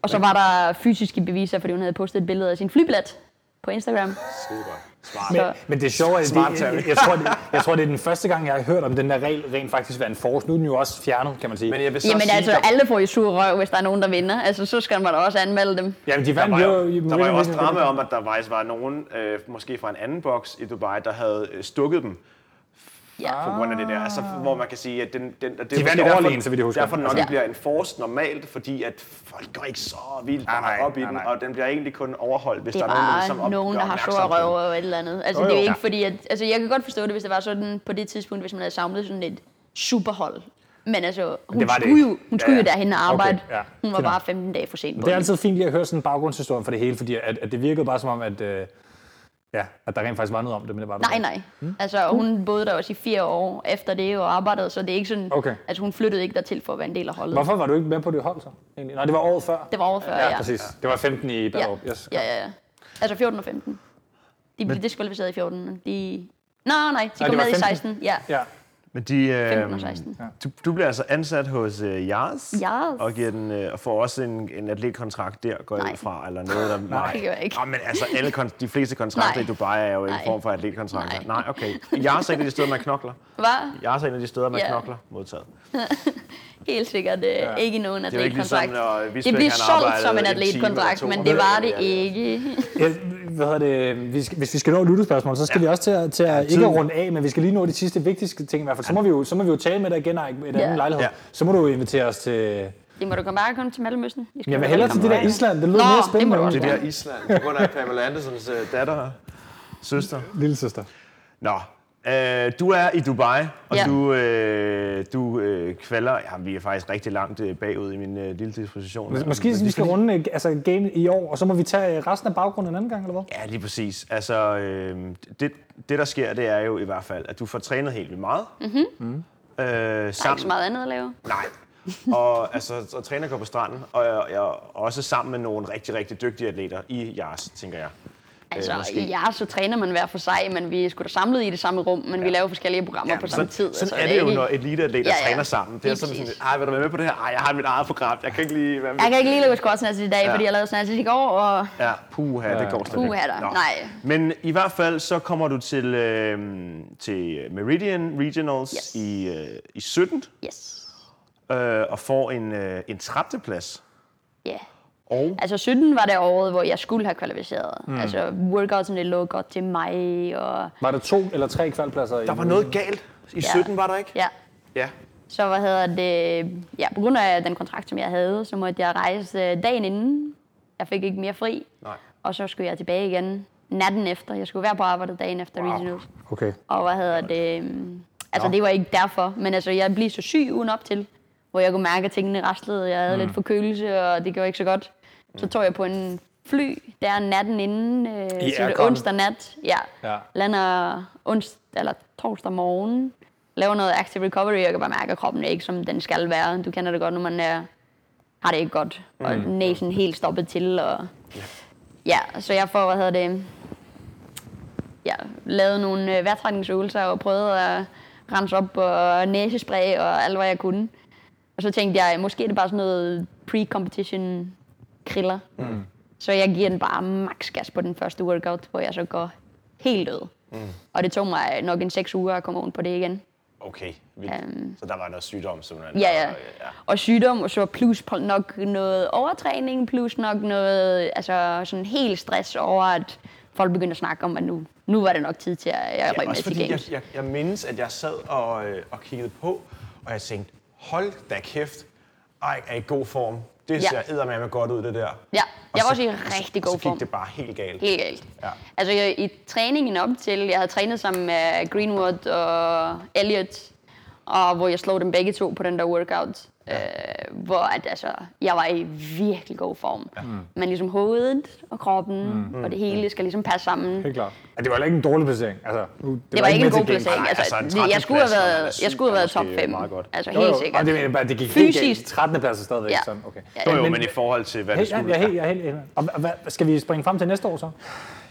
Og så var der fysiske beviser, fordi hun havde postet et billede af sin flybillet på Instagram.
Super. Smart.
Men,
Så-
men det er sjovt, at det,
Smart,
jeg,
Terry.
jeg, jeg, tror, det, jeg tror, det er den første gang, jeg har hørt om den der regel rent faktisk være en force. Nu er den jo også fjernet, kan man sige.
Men jeg vil så
Jamen
sige,
altså,
der,
alle får jo sur røv, hvis der er nogen, der vinder. Altså, så skal man da også anmelde dem.
Jamen, de
der,
vandt
var
jo...
jo, der var jo også
Eurovision-
drama om, at der faktisk var nogen, øh, måske fra en anden boks i Dubai, der havde øh, stukket dem
Ja.
på grund af det der. Altså, hvor man kan sige, at den, den, det
Ah. vandt
måske derfor-
overlegent, så vidt jeg husker. Altså,
Derfor nok
Ja.
ja. bliver en force normalt, fordi at folk går ikke så vildt
Nej, nej,
meget op i
nej,
den,
nej.
og den bliver egentlig kun overholdt, hvis
Det
der
er
er nogen, der
bare
ligesom op,
nogen, der
gør
har
opmærksom
sår
på den.
røv og et eller andet. Altså,
Jo,
jo,
jo.
jo. det er jo ikke
Ja.
fordi, at... Altså, jeg kan godt forstå det, hvis det var sådan på det tidspunkt, hvis man havde samlet sådan et superhold. Men altså, hun
det var det
skulle,
ikke.
jo, hun skulle
Ja,
jo
ja.
derhen og arbejde.
Okay, ja.
Hun var
Fint nok.
bare 15 dage for sent på
Det er
den.
altid fint lige at høre sådan en baggrundshistorie for det hele, fordi at, at det virkede bare som om, at, øh, ja, at der rent faktisk var noget om det, men det var der
Nej,
ikke.
nej. Altså, hun boede der også i fire år efter det og arbejdede, så det er ikke sådan...
Okay.
Altså, hun flyttede ikke dertil for at være en del af holdet.
Hvorfor var du ikke med på det hold så? Egentlig? Nej, det var året før.
Det var over før,
ja,
ja.
præcis. Det var 15 i Ballerup.
Ja.
Yes.
ja, ja, ja. Altså 14 og 15. De blev diskvalificeret i 14. De... Nå, nej, de
det
kom
var Øhm,
med i
15.
16. Ja,
ja.
Men de,
øh,
15 og 16.
du, du bliver altså ansat hos øh, Jars,
Jars.
og giver den, øh, og får også en, en atletkontrakt der, går jeg
Nej.
ud fra, eller noget der... Nej,
det gør jeg ikke.
Nå, men altså, alle kon- de fleste kontrakter
Nej.
i Dubai er jo en
Nej.
form for atletkontrakter.
Nej.
Nej. Nej, okay. Jars er et af de steder, man knokler.
Var
Jars er et af de steder, man
Ja.
knokler. Modtaget.
helt sikkert øh, ja. ikke nogen
jo ikke ligesom,
atletkontrakt.
når Visbæk,
det blev
han
solgt som en
arbejdede en time eller
atletkontrakt,
to
men
om
det var det
dagen.
ikke.
Jeg, hvad hedder det? Vi skal, hvis vi skal nå lyttespørgsmål, så skal ja. vi også til at, til at ikke at runde af, men vi skal lige nå de sidste vigtigste ting i hvert fald. Så må vi jo, så må vi jo tale med dig igen, Eik, ved en
Ja.
anden lejlighed.
Ja.
Så må du invitere os til...
Det må du komme bare komme til Mellemøsten. Vi skal
Jeg vil
være
hellere til det der
velkommen.
Island. Det lyder
Nå,
mere
det må
spændende.
du også
Det der Island, på grund af Pamela Andersons øh, datter og søster.
Lille søster.
Nå, øh, du er i Dubai, og
Ja.
ja. du, øh, du øh, kvalder... Ja, vi er faktisk rigtig langt øh, bagud i min øh, lille disposition. her.
Måske
Men det
vi
er
skal runde øh, altså, game i år, og så må vi tage øh, resten af baggrunden en anden gang, eller hvad?
Ja, lige præcis. Altså, øh, det, det der sker, det er jo i hvert fald, at du får trænet helt vildt meget. Mm-hmm. Øh,
Der er ikke så
sammen.
meget andet at lave.
Nej. og altså, og træner går på stranden, og jeg, jeg, er også sammen med nogle rigtig, rigtig dygtige atleter i jeres, tænker jeg.
Altså,
måske.
ja, så træner man hver for sig, men vi er sgu da samlet i det samme rum, men vi laver forskellige programmer på samme
sådan,
tid.
Sådan
altså,
er det jo,
ikke-
når eliteatleter
Ja, ja.
træner sammen. Det er
Lige
sådan, sådan,
præcis.
ej, vil du være med på det her? Ej, jeg har mit eget program. Jeg kan ikke lige være med.
Jeg kan ikke lige lave squats i dag,
Ja.
fordi jeg lavede sådan i går, og
Ja, puha, ja. det går slet
Puha da,
ikke. Nå.
nej.
Men i hvert fald så kommer du til, øh, til Meridian Regionals
Yes.
yes. i, øh, i 17.
yes.
øh, og får en, øh, en 13. plads.
Ja. Yeah.
Og
Altså 17 var det året, hvor jeg skulle have kvalificeret. Mm. Altså workoutsene lå godt til mig, og
Var der to eller tre kvalpladser?
der var noget galt. I
Ja.
17 var der ikke?
ja.
Ja.
Så hvad hedder det, ja, på grund af den kontrakt, som jeg havde, så måtte jeg rejse øh, dagen inden. Jeg fik ikke mere fri,
Nej.
og så skulle jeg tilbage igen natten efter. Jeg skulle være på arbejde dagen efter wow. regionals.
Okay.
Og hvad hedder det, øhm, altså det var ikke derfor, men altså jeg blev så syg ugen op til, hvor jeg kunne mærke, at tingene raslede. Jeg havde mm. lidt forkølelse, og det gjorde ikke så godt. Så tog jeg på en fly der natten inden, øh, så det er
aircon.
onsdag nat. Ja.
Ja.
Lander ons, eller torsdag morgen, laver noget active recovery, og jeg kan bare mærke, at kroppen er ikke, som den skal være. Du kender det godt, når man er, har det ikke godt, og næsen helt stoppet til. Og, ja. så jeg får, hvad hedder det, ja, lavet nogle øh, vejrtrækningsøvelser og prøvede at rense op og næsespray og alt, hvad jeg kunne. Og så tænkte jeg, måske er det bare sådan noget pre-competition kriller. Mm. Så jeg giver den bare max gas på den første workout, hvor jeg så går helt død. Mm. Og det tog mig nok en seks uger at komme oven på det igen.
Okay. Vildt.
Øhm.
Så der var noget sygdom simpelthen.
Ja, ja.
Og, øh, ja.
Og sygdom, og så plus på- nok noget overtræning, plus nok noget, altså sådan helt stress over, at folk begyndte at snakke om, at nu, nu var det nok tid til, at jeg røg
Ja,
med
også
til
fordi jeg,
games.
jeg, jeg mindes, at jeg sad og, øh, og kiggede på, og jeg tænkte, hold da kæft, ej, er i god form. Det
Ja.
ser eddermame godt ud, det der.
Ja,
Og
jeg var
så-
også i rigtig god
så
form.
gik det bare helt galt.
Helt galt.
Ja.
Altså jeg, i træningen op til, jeg havde trænet sammen med Greenwood og Elliot, og hvor jeg slog dem begge to på den der workout. Øh, hvor at, altså, jeg var i virkelig god form. Ja. Men ligesom hovedet og kroppen mm. og det hele skal ligesom passe sammen.
Helt klart. Ja, det var heller ikke en dårlig placering. Altså, nu,
Det var ikke en
med
god
til games.
placering.
Nej,
Altså,
altså, en
det- jeg, skulle have
13. plads, når man er
været, jeg
syv,
skulle have
er
været top
måske
5.
meget godt.
Altså
Jo, jo.
helt
Og
sikkert.
det, mener jeg bare, det gik helt
Fysisk.
galt. 13. plads er stadigvæk
Ja.
sådan. Okay.
Ja,
Jo, jo,
Men-
men, i forhold til, hvad det
Helt, ja,
skulle...
jeg er helt, jeg er helt enig. Og, og hvad, skal vi springe frem til næste år så?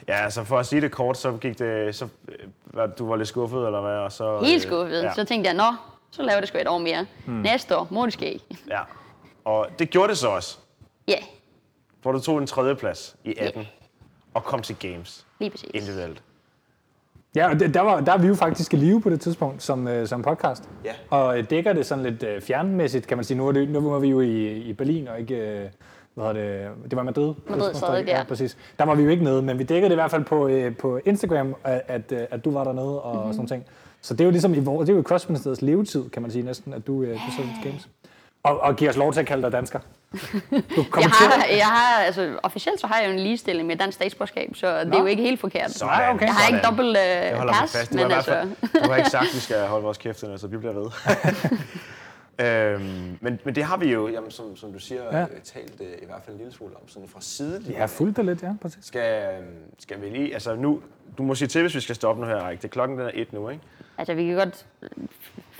Ja, altså for at sige det kort, så gik det... Så, øh, hvad, du var lidt skuffet, eller hvad? Og så,
Helt
øh,
skuffet.
Ja, Mm.
Så tænkte jeg, nå, så laver det sgu et år mere. Næste år, må det ske.
ja. Og det gjorde det så også,
Ja,
hvor du tog en tredjeplads i 18 og kom til Games
lige præcis.
individuelt.
Ja, og det- der, var, der er vi jo faktisk i live på det tidspunkt som, øh, som podcast.
Ja.
Og øh, dækker det sådan lidt øh, fjernmæssigt, kan man sige. Nu var, det, nu var vi jo i, i Berlin og ikke... Øh, hvad hedder det? Det var Madrid.
Madrid stadig, ja.
ja. præcis. Der var vi jo ikke nede, men vi dækkede det i hvert fald på, øh, på Instagram, at, at, øh, at du var dernede og
Mhm.
mm-hmm. sådan noget. Så det er jo ligesom i vores, det er jo i Crossministeriets levetid, kan man sige næsten, at du, øh, du så til games. Og, og giver os lov til at kalde dig dansker. Du kommer
Jeg har, jeg har, altså, officielt så har jeg jo en ligestilling med dansk statsborgerskab, så det er jo ikke helt forkert.
Sådan.
Nej, okay.
Jeg har ikke
Sådan.
dobbelt
Jeg
øh,
holder mig
pas,
fast. Du har,
men
i hvert fald,
altså...
du har ikke sagt, at vi skal holde vores kæft, så vi bliver ved. øhm, men, men det har vi jo, jamen, som, som du siger,
Ja.
ja. talt øh, i hvert fald en lille smule om, sådan fra sidelinjen.
Ja, fuldt det lidt, ja, præcis.
Skal, skal vi lige, altså nu, du må sige til, hvis vi skal stoppe nu her, Erik. Det er klokken, den er et nu, ikke?
Altså, vi kan godt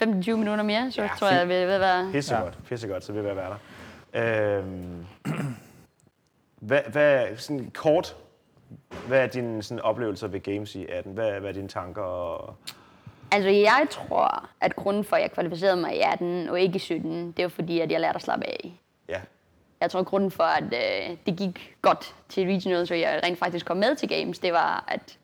15-20 minutter mere, så
Ja,
ja, tror jeg,
fint.
vi ved at være...
Pissegodt, ja. pissegodt, så vil jeg være der. Øhm, hvad, hvad, sådan kort, hvad er dine sådan, oplevelser ved Games i 18? Hvad, hvad er dine tanker? Og...
Altså, jeg tror, at grunden for, at jeg kvalificerede mig i 18 og ikke i 17, det var fordi, at jeg lærte at slappe af.
Ja.
Jeg tror, grunden for, at øh, det gik godt til regionals, så jeg rent faktisk kom med til games, det var, at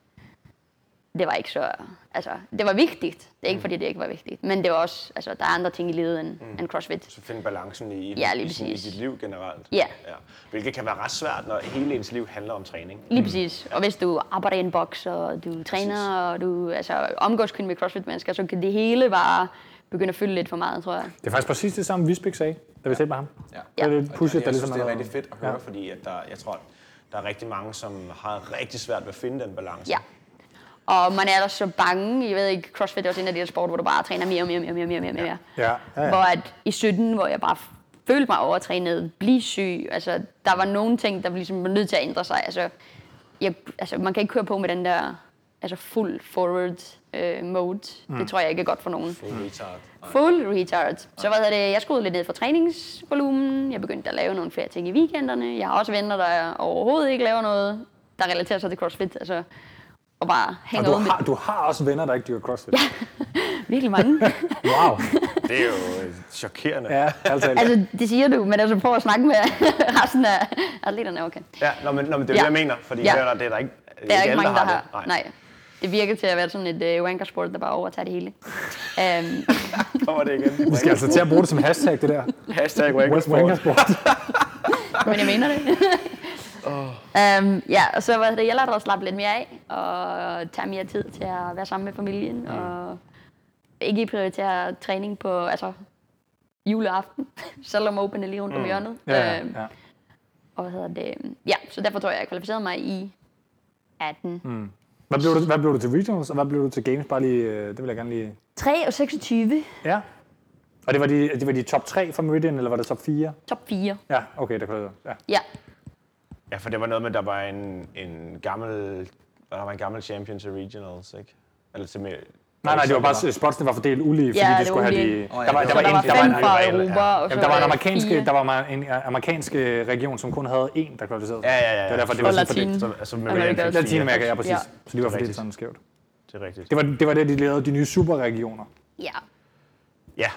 det var ikke så... Altså, det var vigtigt. Det
Mm.
er ikke, fordi det ikke var vigtigt. Men det var også... Altså, der er andre ting i livet end, mm. end CrossFit.
Så finde balancen i,
Ja, lige
i, sådan, i
præcis.
dit liv generelt.
Ja.
ja. Hvilket kan være ret svært, når hele ens liv handler om træning.
Lige præcis. Og hvis du arbejder i en boks, og du træner, og du altså, omgås kun med CrossFit-mennesker, så kan det hele bare begynde at fylde lidt for meget, tror jeg.
Det er faktisk præcis det samme, Visbæk sagde, da vi talte med ham.
Ja.
Det er lidt
Og
pushet, der
jeg
ligesom
synes, det er
har-
rigtig fedt at høre,
Ja.
ja. fordi at der, jeg tror, at der er rigtig mange, som har rigtig svært ved at finde den balance.
Ja. Og man er ellers så bange. Jeg ved ikke, CrossFit er også en af de der sport, hvor du bare træner mere og mere og mere og mere, mere, mere, mere. Ja.
Ja, ja, ja.
Hvor at i 17, hvor jeg bare følte mig overtrænet, blive syg, altså der var nogle ting, der ligesom var nødt til at ændre sig. Altså, jeg, altså man kan ikke køre på med den der altså fuld forward øh, mode. Mm. Det tror jeg ikke er godt for nogen.
Full retard.
Full retard. Så hvad hedder det? Jeg skruede lidt ned for træningsvolumen. Jeg begyndte at lave nogle flere ting i weekenderne. Jeg har også venner, der overhovedet ikke laver noget, der relaterer sig til CrossFit. Altså, og bare
Og
hænger
du
ud med
har, du har også venner, der ikke dyrker CrossFit. Ja.
virkelig mange.
Wow.
Det er jo øh, chokerende.
Ja, altså, altså,
altså, det siger du, men altså prøv at snakke med resten af atleterne. Okay.
Ja, nå, men, nå, men det er ja.
Ja.
det, jeg mener, fordi
Ja.
ja. det, er der, det er der ikke,
Der er ikke mange, der
det.
har. Nej. Det virker til at være sådan et uh, wankersport, der bare overtager det hele. Um,
Kommer det igen.
vi skal altså til at bruge det som hashtag, det der.
Hashtag
West
wankersport.
Wangersport.
men jeg mener det. um, ja, og så var det, jeg lærte at slappe lidt mere af, og tage mere tid til at være sammen med familien, mm. og ikke prioritere træning på altså, juleaften, selvom Open er lige rundt om hjørnet.
Mm. Ja, ja,
Øhm,
ja.
Og hvad hedder det? Ja, så derfor tror jeg, jeg kvalificerede mig i 18. Mm.
Hvad blev, du, hvad blev du til regionals, og hvad blev du til games? Bare lige, øh, det vil jeg gerne lige...
3 og 26.
Ja. Og det var de, det var de top 3 fra Meridian, eller var det top 4?
Top 4.
Ja, okay, det kunne jeg ja.
Ja,
Ja, for det var noget med, der var en, en gammel... Der var en gammel champion til regionals, ikke? Eller til... med-
Nej, nej, det var bare,
Eller-
spotsene var fordelt ulige, fordi
Ja,
de
det
skulle
var
have de...
ulige.
Der var,
det
der
så
var,
der var
en, der var,
fem
en,
der
fra
var en-
Europa, og så
Jamen, der var en
øh,
amerikansk,
fire.
der var ma- en amerikansk øh, region, som kun havde én, der kvalificerede. sig.
Ja, ja, ja.
Det var derfor, det var
Og
sådan
Latin.
fordelt.
Så, så med
Amerika.
Amerika.
Latinamerika, ja, præcis.
Ja.
Så de var fordelt
Rigtigt.
sådan skævt.
Det er rigtigt.
Det var, det var det, de lavede de nye superregioner.
Ja.
Ja.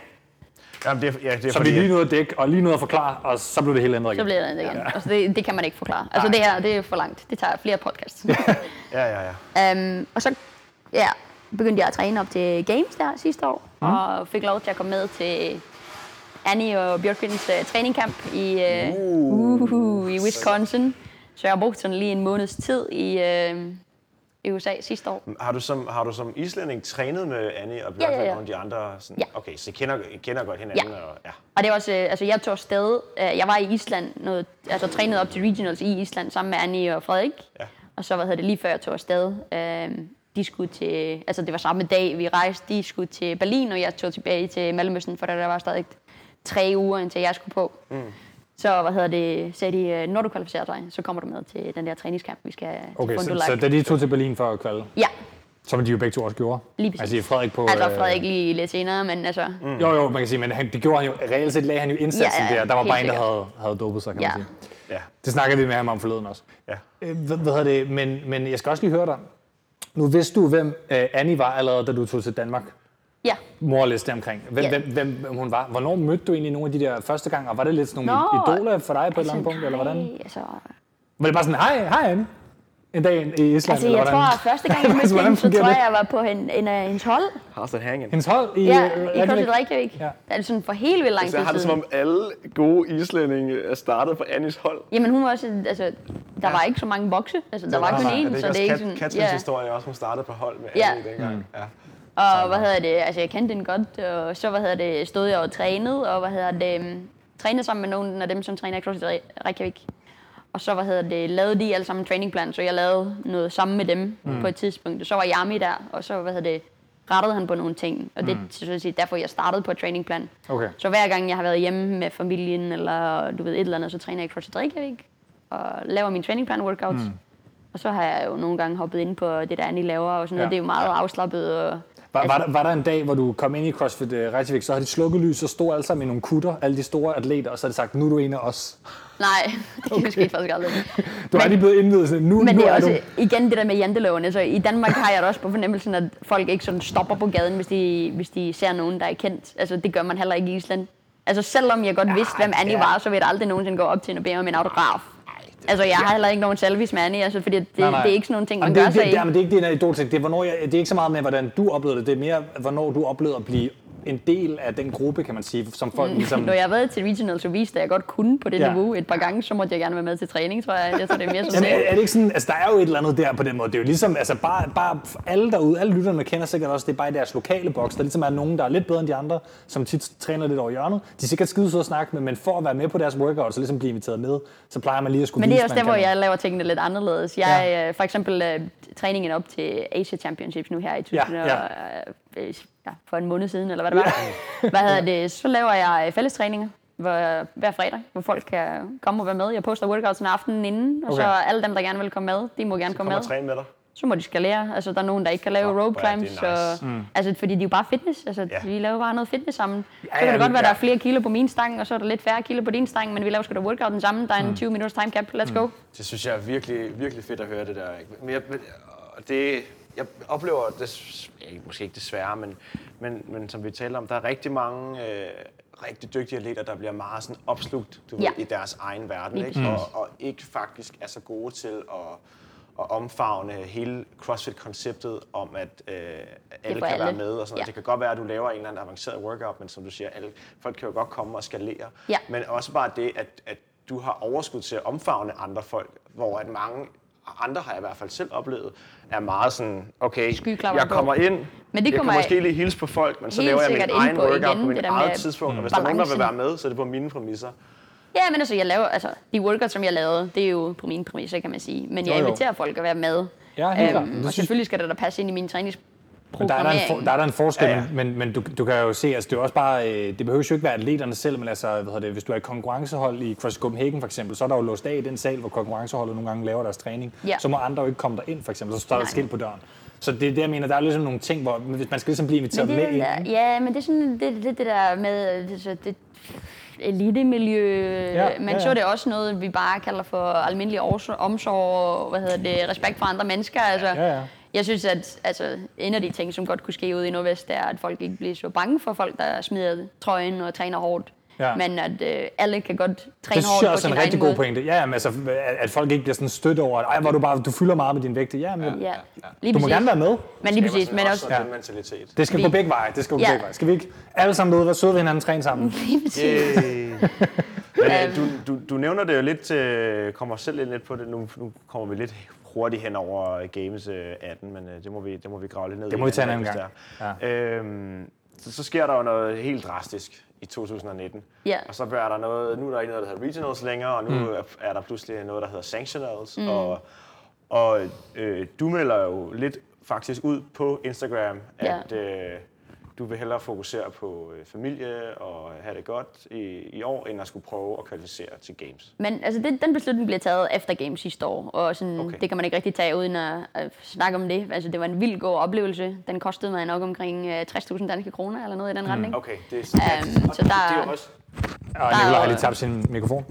Jamen, det er, ja, det er
Så vi
fordi,
lige
at-
nåede at dække, og lige nåede at forklare, og så blev det hele ændret
Så
igen.
bliver det igen. Ja. Altså, det, det kan man ikke forklare. Altså, det her, det er for langt. Det tager flere podcasts.
Ja, ja, ja.
um, og så ja, begyndte jeg at træne op til Games der sidste år, mm. og fik lov til at komme med til Annie og Bjørkvindens uh, træningkamp i, uh, uh. Uh, i Wisconsin. Så jeg har brugt sådan lige en måneds tid i, uh, i USA sidste år.
Har du som, har du som islænding trænet med Annie og
ja,
Bjørn ja, ja,
ja.
ja. og de andre? Sådan,
Ja.
Okay, så I kender, I kender godt hinanden?
Ja.
Og, ja.
Og det var også, øh, altså jeg tog afsted, øh, jeg var i Island, noget, altså trænede op til regionals i Island sammen med Annie og Frederik.
Ja.
Og så, hvad hedder det, lige før jeg tog afsted, øh, de skulle til, altså det var samme dag, vi rejste, de skulle til Berlin, og jeg tog tilbage til Mellemøsten, for der, der var stadig tre uger, indtil jeg skulle på. Mm. Så hvad hedder det, sagde de, øh, når du kvalificerer dig, så kommer du med til den der træningskamp, vi skal til
Okay, så,
Fondulac."
så da de tog til Berlin for at kvalde,
Ja,
som de jo begge to også gjorde.
Lige præcis.
Altså Frederik på...
altså
øh,
Frederik lige lidt senere, men altså, mm.
Jo, jo, man kan sige, men han, det gjorde han jo, reelt set lagde han jo indsatsen
Ja, ja,
der. Der var
helt
bare en, der
sikkert.
havde, havde dopet sig, kan man
Ja.
sige.
Ja.
Det snakkede vi med ham om forleden også.
ja.
Øh, Hvad, hvad hedder det? Men, men jeg skal også lige høre dig. Nu vidste du, hvem øh, Annie var allerede, da du tog til Danmark.
ja.
Mor liste omkring. Hvem,
Ja.
yeah. hvem, hvem, hvem hun var. Hvornår mødte du egentlig nogle af de der første gang? Og var det lidt sådan nogle
Nå,
idoler for dig på et eller andet
Altså,
punkt? Eller
nej,
hvordan?
Altså,
Var det bare sådan, hej, hej Annie. En dag i Island?
Altså,
eller
jeg
hvordan?
tror, at første gang, jeg mødte
Hvordan
hende, så
fungerer
tror
det?
jeg, jeg var på en, øh, en af hendes hold.
How's that hanging?
Hendes hold i,
Ja,
øh,
i
Reykjavik?
Kortet Reykjavik.
Ja.
Ja. Altså sådan for helt vildt lang tid
Så jeg har det som
siden.
om alle gode islændinge er startet på Annis hold.
Jamen, hun var også, altså, der var ikke så mange bokse. Altså, der var kun én, så det er ikke sådan...
Katrins historie også, hun startede på hold med
Ja.
Annie dengang. Ja.
Og hvad hedder det, altså jeg kendte den godt, og så hvad hedder det, stod jeg og trænede, og hvad hedder det, øhm, trænede sammen med nogle af dem, som træner i CrossFit Re- Reykjavik. Og så hvad hedder det, lavede de alle sammen en trainingplan, så jeg lavede noget sammen med dem mm. på et tidspunkt. Og så var Yami der, og så hvad hedder det, rettede han på nogle ting. Og det er så at sige, derfor, jeg startede på et trainingplan.
Okay.
Så hver gang jeg har været hjemme med familien, eller du ved et eller andet, så træner jeg i CrossFit Reykjavik, og laver min trainingplan workouts. Mm. Og så har jeg jo nogle gange hoppet ind på det, der Annie laver, og sådan noget.
Ja.
Ja. Det er jo meget afslappet. Og,
Var, var, der, var der en dag, hvor du kom ind i CrossFit øh, Reykjavik, så havde de slukket lys, så stod alle sammen i nogle kutter, alle de store atleter, og så havde de sagt, nu er du en af os.
Nej, det okay. skete faktisk aldrig.
Du er
Men-
lige blevet indvidet, sådan, nu,
Men
nu
det er
du.
også, igen det der med jantelovene, så i Danmark har jeg da også på fornemmelsen, at folk ikke sådan stopper på gaden, hvis de, hvis de ser nogen, der er kendt. Altså det gør man heller ikke i Island. Altså selvom jeg godt vidste, hvem Annie
ja.
var, så vil jeg aldrig nogensinde gå op til hende og bede om en autograf. Altså jeg har heller ikke nogen selfies med Annie, altså, fordi det, nej, nej. det er ikke sådan nogle ting, man
Jamen,
gør
det, er
sig
ikke,
i.
det, jamen, det er ikke det, der er idol Det er, hvornår jeg, det er ikke så meget med, hvordan du oplevede det. Det er mere, hvornår du oplevede at blive en del af den gruppe, kan man sige, som folk ligesom...
Når Mm. jeg har været til Regional, så viste jeg, at jeg godt kunne på det
Ja.
ja. niveau et par gange, så måtte jeg gerne være med til træning, tror jeg. Jeg tror, det er mere sådan
Jamen, er,
det.
er det ikke sådan, altså der er jo et eller andet der på den måde. Det er jo ligesom, altså bare, bare alle derude, alle lytterne kender sikkert også, det er bare i deres lokale boks. Der ligesom er nogen, der er lidt bedre end de andre, som tit træner lidt over hjørnet. De er sikkert skide søde at snakke med, men for at være med på deres workout, så ligesom blive inviteret med, så plejer man lige at skulle
Men det er
vise,
også
man
der, hvor
kan.
jeg laver tingene lidt anderledes. Jeg, ja. for eksempel øh, træningen op til Asia Championships nu her i
Ja,
2000 ja, ja. Øh, ja, for en måned siden, eller hvad det var. hvad hedder det? Så laver jeg øh, fællestræninger hvor, hver fredag, hvor folk kan komme og være med. Jeg poster workouts en aften inden, og okay. så
Okay.
alle dem, der gerne vil komme med, de må gerne komme
Kom
med.
og træn med dig.
Så må de skalere. Altså, der er nogen, der ikke kan lave
Fuck,
rope
hvor er det
climbs. Og, mm. Altså, fordi de er jo bare fitness. Altså,
Ja.
vi laver bare noget fitness sammen.
Ja,
så kan
ja,
det godt være,
ja.
der er flere kilo på min stang, og så er der lidt færre kilo på din stang, men vi laver sgu da workouten sammen. Der er en
Mm.
20 minutters time cap. Let's go.
Det synes jeg er virkelig, virkelig fedt at høre det der. Ikke? Men jeg, men- og det, jeg oplever, det, måske ikke desværre, men, men, men som vi talte om, der er rigtig mange øh, rigtig dygtige atleter, der bliver meget sådan opslugt du
Ja.
ved, i deres egen verden,
Lige
ikke? Og, og ikke faktisk er så gode til at, at omfavne hele CrossFit-konceptet om, at øh, alle
for
kan være
alle.
med. Og sådan. Ja.
Ja.
Det kan godt være, at du laver en eller anden avanceret workout, men som du siger, alle, folk kan jo godt komme og skalere.
Ja.
Men også bare det, at, at du har overskud til at omfavne andre folk, hvor at mange andre har jeg i hvert fald selv oplevet, er meget sådan, okay,
Skyklapper
jeg
på.
kommer ind,
Men det
jeg
kommer
kan måske lige hilse på folk, men så
helt
laver jeg min
sikkert ind
egen
på
workout
igen,
på min
det der
eget
med
tidspunkt, og hvis der er nogen, der vil være
balancen.
med, så er det på mine præmisser.
Ja, men altså, jeg laver, altså, de workouts, som jeg lavede, det er jo på mine præmisser, kan man sige. Men jeg
Jo, jo.
inviterer folk at være med. Øhm,
Ja, helt klart. Men det
og
synes-
selvfølgelig skal det da passe ind i min
Men der er der, en for,
træningsprogrammering.
der er der en forskel,
Ja,
ja,
ja.
ja. men, men du, du kan jo se, altså det er jo også bare, øh, det behøver jo ikke være atleterne selv, men altså, hvad hedder det, hvis du er et konkurrencehold i CrossFit Copenhagen for eksempel, så er der jo låst af i den sal, hvor konkurrenceholdet nogle gange laver deres træning,
Ja.
så må andre jo ikke komme derind for eksempel, så står der et
Nej.
skilt på døren. Så det er det, jeg mener, der er ligesom nogle ting, hvor hvis man skal ligesom blive inviteret
Men
med
det,
ind.
er den der, ja, men det er sådan lidt det, det, det der med øh, det, så det elitemiljø. Ja, men
ja, ja.
så er det også noget, vi bare kalder for almindelig ors- omsorg og hvad hedder det, respekt for andre mennesker. Altså,
Ja, ja.
Jeg synes, at altså, en af de ting, som godt kunne ske ude i Nordvest, det er, at folk ikke bliver så bange for folk, der smider trøjen og træner hårdt.
Ja.
Men at øh, alle kan godt træne
Det synes
hårdt
jeg
på
også
sin
er en
egen
rigtig
måde.
god pointe. Ja, jamen, altså, at, at folk ikke bliver sådan stødt over, at Ej, hvor du bare du fylder meget med din vægt. Ja, men, ja.
Ja, lige
du må
præcis.
gerne være med.
Men lige præcis, men også...
også den mentalitet.
Det skal
Vi-
gå begge veje. Det skal gå
Ja.
begge veje. Skal vi ikke alle sammen møde, være søde ved hinanden, træne sammen?
Lige præcis.
Men, øh, du, du, du nævner det jo lidt, øh, kommer selv lidt lidt på det, nu, nu kommer vi lidt hurtigt hen over øh, Games øh, 18, men øh, det, må vi, det må vi grave lidt ned i.
Det må vi tage en anden
hvis
gang.
det er. Øhm, så, så sker der jo noget helt drastisk i 2019.
Ja.
Og så er der noget, nu er der ikke noget, der hedder regionals længere, og nu
Mm.
er- er der pludselig noget, der hedder sanctionals. Mm. Og, og øh, du melder jo lidt faktisk ud på Instagram,
Ja.
at øh, du vil hellere fokusere på øh, familie og have det godt i, i år, end at skulle prøve at kvalificere til games.
Men altså, det, den beslutning blev taget efter Games sidste år, og sådan,
Okay.
okay. det kan man ikke rigtig tage uden at, at snakke om det. Altså, det var en vild god oplevelse. Den kostede mig nok omkring øh, 60.000 danske kroner eller noget i den mm. retning.
Okay, det er sådan.
Øhm, så der-
det er jo også,
Og Nicolaj har lige tabt sin mikrofon.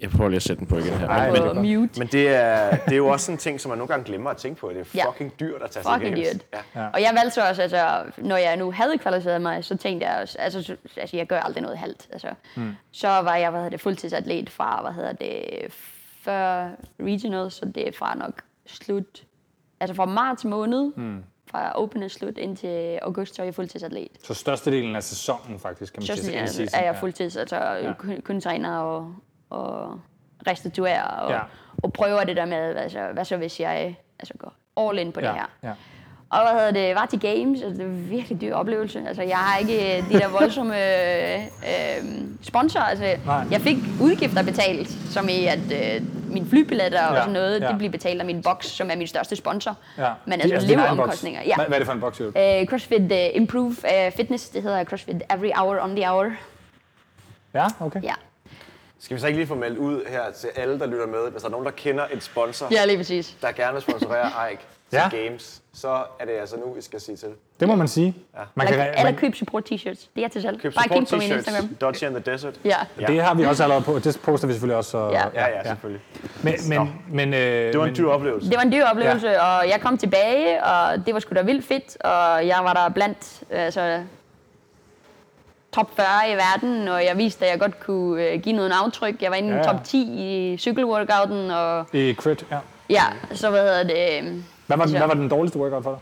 Jeg prøver lige at sætte den på igen her.
Ej,
Okay.
men-
men,
På mute.
men det er, det er jo også sådan en ting, som man nogle gange glemmer at tænke på. Det er
Ja.
fucking dyrt at tage
Fucking
til games.
dyrt.
Ja.
Ja.
Og jeg valgte så også, altså, når jeg nu havde kvalificeret mig, så tænkte jeg også, altså, så- altså jeg gør aldrig noget halvt. Altså. Mm. Så var jeg, hvad hedder det, fuldtidsatlet fra, hvad hedder det, før regional, så det er fra nok slut, altså fra marts måned, mm. fra open er slut indtil august, så er jeg fuldtidsatlet.
Så størstedelen af sæsonen faktisk, kan man
Så
sige.
sådan,
in
jeg,
season.
er jeg
Ja.
fuldtids, altså kun, kun træner og, og restituerer og,
Ja.
ja. og prøver det der med, altså, hvad så hvis jeg altså, går all in på ja. det her.
Ja.
Og hvad hedder det, var til games, og det var en virkelig dyr oplevelse. Altså, jeg har ikke øh, de der voldsomme øh, øh, sponsorer. Altså,
Nej.
jeg fik udgifter betalt, som i at øh, mine flybilletter og
Ja,
sådan noget,
ja.
det blev betalt af min boks, som er min største sponsor.
ja.
Men
Det er
altså,
din egen boks.
leveomkostninger. Ja.
Hvad, hvad er det for en boks, siger du?
Øh, CrossFit øh, Improve øh, Fitness, det hedder CrossFit Every Hour on the Hour.
Ja, okay.
Ja,
Skal vi så ikke lige få meldt ud her til alle, der lytter med, hvis der er nogen, der kender en sponsor,
ja lige præcis.
der gerne vil sponsorere Ike til
Ja.
games, så er det altså nu, I skal sige til.
Det må man sige. Man
Eller,
re-
eller køb support t-shirts. Det er til salg.
Køb
Bare
support
kig på min Instagram.
t-shirts, Dodgy and the Desert.
Ja.
Det har vi også allerede på. Det poster vi selvfølgelig også. Og,
Ja.
Ja, ja, selvfølgelig.
Men, men, men, øh,
Det var en
men-
dyr oplevelse.
Det var en dyr oplevelse, ja. og jeg kom tilbage, og det var sgu da vildt fedt. Og jeg var der blandt altså, top 40 i verden, og jeg viste, at jeg godt kunne øh, give noget aftryk. Jeg var inde i
Ja, ja.
top 10 i cykelworkouten, og
I crit, ja.
ja, så hvad hedder det... øhm,
Hvad var, den,
Ja.
hvad var den dårligste workout for dig?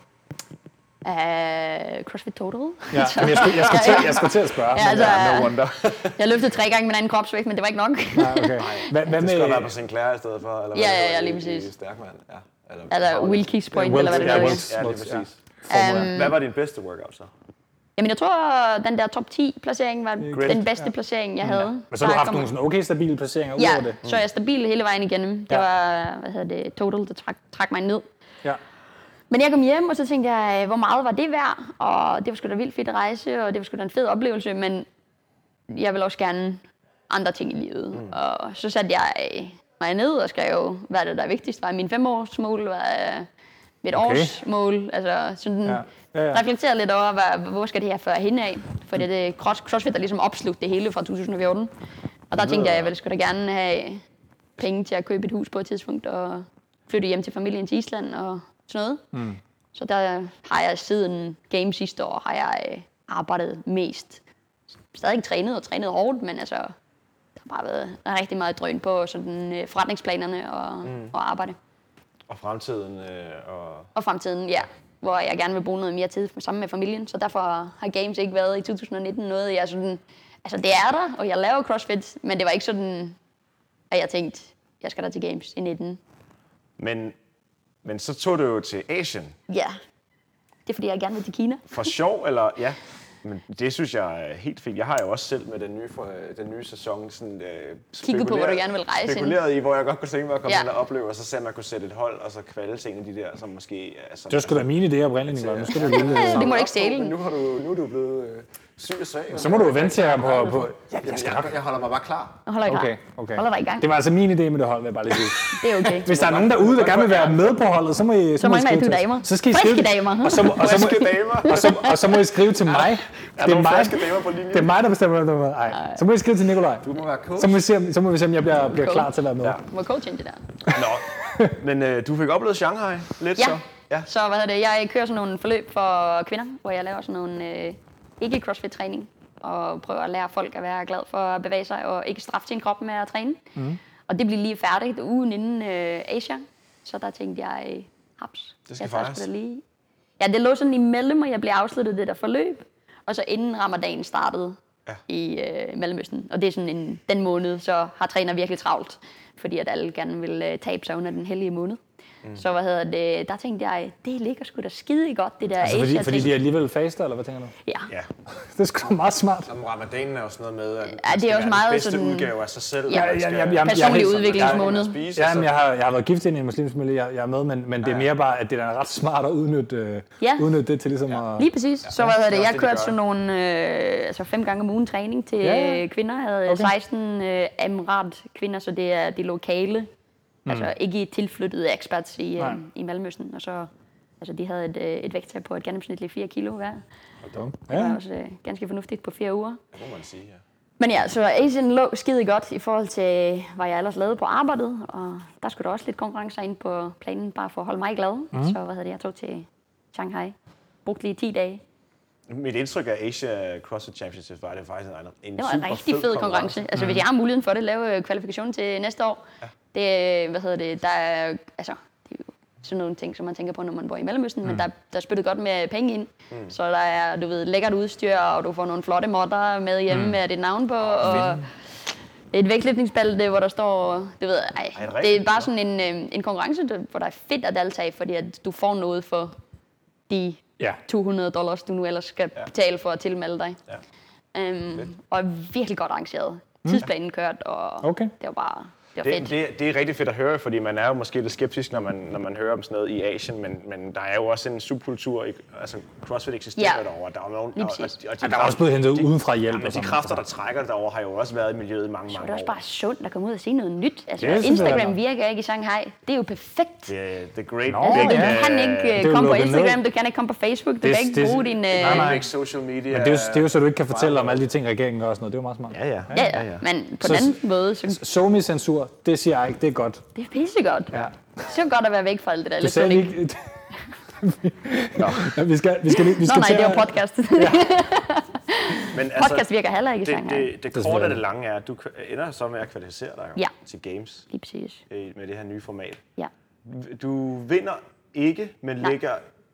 Øh, CrossFit Total.
Ja, men jeg, skulle, jeg, skulle til, jeg skulle til at spørge.
Ja,
men-
altså,
no wonder.
Jeg løftede tre gange min egen kropsvægt, men det var ikke nok.
Nej, okay. Hvad, hvad
Det skal være på
med...
Sinclair i stedet for, eller
Ja,
det
ja,
hedder
ja, lige
i-
præcis.
I Stærkmand, ja. Eller,
Altså,
Power-
Wilkie's Point,
Wilkes-
eller hvad det
ja,
hedder. Um,
Wilkes.
Ja, lige
Ja.
præcis.
Formue, ja.
Hvad var din bedste workout så?
Jamen, jeg tror, den der top 10-placering var
Grid.
den bedste placering, jeg havde.
Mm. Men så har du
Der
haft
kom-
nogle sådan okay stabile placeringer ud
Ja,
over det.
så jeg er stabil hele vejen igennem. Det
Ja.
var, hvad hedder det, total, der trak, trak mig ned.
Ja.
Men jeg kom hjem, og så tænkte jeg, øh, hvor meget var det værd? Og det var sgu da vildt fedt at rejse, og det var sgu da en fed oplevelse, men jeg vil også gerne andre ting i livet. Mm. Og så satte jeg øh, mig ned og skrev, hvad er det, der er vigtigst? Hvad er mine femårsmål? Hvad er mit okay.
Okay.
årsmål? Altså sådan
Ja.
ja.
Ja,
Ja,
ja.
ja. reflektere lidt over, hvad, hvor skal det her føre hen af? For det er det cross, CrossFit, der ligesom opslugte det hele fra 2014. Og der tænkte jeg, jeg ville sgu da gerne have penge til at købe et hus på et tidspunkt, og flytte hjem til familien til Island og sådan noget. Mm. Så der har jeg siden game sidste år, har jeg øh, arbejdet mest. Stadig ikke trænet og trænet hårdt, men altså, der har bare været rigtig meget drøn på sådan, øh, forretningsplanerne og, mm. og arbejde.
Og fremtiden, øh, og
Og fremtiden, ja, hvor jeg gerne vil bruge noget mere tid sammen med familien. Så derfor har games ikke været i 2019 noget, jeg sådan... Altså, det er der, og jeg laver CrossFit, men det var ikke sådan, at jeg tænkte, jeg skal da til games i 19.
Men, men så tog du jo til Asien.
Ja, det er fordi, jeg gerne vil til Kina.
For sjov, eller? Ja. Men det synes jeg er helt fint. Jeg har jo også selv med den nye, for- den nye sæson sådan, øh,
Kigget på, hvor du
spekuleret-
gerne vil rejse hen.
Spekuleret i, hvor jeg godt kunne tænke mig at komme
Ja.
hen og opleve, og så se, om jeg kunne sætte et hold, og så kvalde til en af de der, som måske... Altså,
Det var sgu da mine idéer oprindeligt, Nicolaj. Nu skal du vide det.
Det må du ikke stjæle.
Men nu, har du, nu er du blevet øh, syg og svag.
Så må du jo vente til her på... på
Jamen, jeg, jeg holder mig bare klar.
Jeg holder ikke
okay,
her.
okay.
Holder dig i gang.
Det var altså min idé med det hold, vil jeg bare lige sige.
Det er okay.
Hvis der er nogen derude, der gerne vil være med på holdet, så må I,
Så
må I
mangler
skrive
du
til os.
damer.
Så skal I
Friske
skrive,
damer.
Og så, må- og så,
Friske
må,
damer.
og, så, og så må I skrive til mig.
Er der nogle friske damer på linjen?
det er mig, der bestemmer, hvem der er med. Ej. Så må I skrive til Nikolaj.
Du må være coach.
Så må vi se, om, så må vi se, om jeg bliver, bliver
Coach.
klar til at være med.
Ja.
Må coachen det der?
Nå. Men øh, du fik oplevet Shanghai lidt
Ja.
så? Ja.
Så hvad hedder det? Jeg kører sådan nogle forløb for kvinder, hvor jeg laver sådan nogle øh, ikke crossfit træning og prøver at lære folk at være glad for at bevæge sig og ikke straffe sin krop med at træne. Mm. Og det blev lige færdigt ugen inden øh, Asia, så der tænkte jeg, øh, haps,
Det skal
jeg tager
fejres.
sgu da lige. Ja, det lå sådan imellem, og jeg blev afsluttet det der forløb, og så inden ramadanen startede
Ja.
ja. i øh, Mellemøsten. Og det er sådan en, den måned, så har træner virkelig travlt, fordi at alle gerne vil øh, tabe sig under den hellige måned. Mm. Så hvad hedder det, der tænkte jeg, det ligger sgu da skide godt, det der
Altså,
Asia
fordi,
ting.
fordi de alligevel faster, eller hvad tænker du?
Ja.
Ja.
Det er sgu da meget smart.
Om ramadanen er jo sådan noget med, at
er
man skal
også
være
meget
den bedste
sådan-
udgave af sig selv.
Ja,
og man
ja,
skal-
ja, ja.
Personlig
helt-
udviklingsmåned.
man spiser,
Ja,
så-
men jeg har, jeg har været gift ind i en muslimsk familie, jeg, jeg er med, men, men det er mere bare, at det er da ret smart at udnytte, øh,
Ja.
udnytte det til ligesom ja. at...
Lige præcis. Så hvad hedder
det er
det?
også
Jeg
det, de
kørte
gør.
sådan nogle øh, altså fem gange om ugen træning til
Ja, ja.
ja. kvinder. Jeg havde
Okay.
okay. 16 øh, Amrat kvinder, så det er de lokale. Mm. Altså ikke tilflyttede expats i, øh,
Nej.
i Malmøsten. Og så, altså de havde et, øh, et vægttab på et gennemsnitligt 4 kilo hver.
Ja.
Det var også øh, ganske fornuftigt på fire uger.
Det må man sige, ja.
Men ja, så Asien lå skide godt i forhold til, hvad jeg ellers lavede på arbejdet. Og der skulle der også lidt konkurrencer ind på planen, bare for at holde mig glad. Mm. Så hvad hedder det, jeg tog til Shanghai. Brugte lige 10 dage.
Mit indtryk af Asia CrossFit Championship var, at det faktisk en, en
Det var en
super
rigtig fed konkurrence. Altså, hvis jeg har muligheden for det, lave øh, kvalifikationen til næste år. Det, øh, hvad hedder det, der er, altså, det er jo sådan nogle ting, som man tænker på, når man bor i Mellemøsten, mm. men der, der er spyttet godt med penge ind. Mm. Så der er, du ved, lækkert udstyr, og du får nogle flotte modder med hjemme mm. med dit navn på, og et vægtløftningsbælte, hvor der står, du ved, ej,
er det
det er
rigtigt?
bare sådan en, øh, en konkurrence, der- hvor der er fedt at deltage, i, fordi at du får noget for de
Ja.
200 dollars, du nu ellers skal
Ja.
betale for at tilmelde dig.
Ja.
Øhm, og virkelig godt arrangeret. Tidsplanen kørt, og
Okay.
det var bare det var
Det,
fedt. Det,
det, det er rigtig fedt at høre, fordi man er jo måske lidt skeptisk, når man, når man hører om sådan noget i Asien, men, men der er jo også en subkultur, i, altså CrossFit eksisterer
Ja.
derovre, og der er jo nogen,
Lige
og, og,
præcis.
og de,
Ja, der er også blevet hentet
de-
udenfra hjælp.
Jamen,
og
de
sådan.
kræfter, der trækker det derovre, har jo også været i miljøet i mange,
det
mange
er
år.
også bare sundt at komme ud og se noget nyt. Altså,
Det er
yes,
sådan, det er
Instagram
der.
virker ikke i Shanghai. Det er jo perfekt. Yeah.
The, the great
Nå,
big,
Du
ja.
kan
øh,
ikke
er jo
øh, komme på
lukket ned.
Instagram, du kan ikke komme på Facebook, du
Det-
kan ikke
det-
bruge din... Øh,
nej, nej.
big social media.
Men det er, jo, det er jo så, du ikke kan fortælle om alle de ting, regeringen gør og sådan noget. Det er jo meget smart.
Ja, ja.
Ja, ja, men på
Så-
den anden måde, så
Somi-censur, det siger jeg ikke, det er godt.
det er pissegodt.
Ja.
Så godt at være væk fra alt det der
Du sagde
elektronik.
ikke... Nå. vi skal, vi skal, lige- vi
Nå
skal
nej,
til
det
at-
var podcast. Ja,
Men altså,
podcast virker heller ikke i
det,
Shanghai.
det, det,
Det er
det korte
selvfølgelig.
af det lange er, at du k- ender så med at kvalificere dig jo
Ja.
til games
Lige præcis.
øh, med det her nye format.
Ja.
Du vinder ikke, men
Nej.
ligger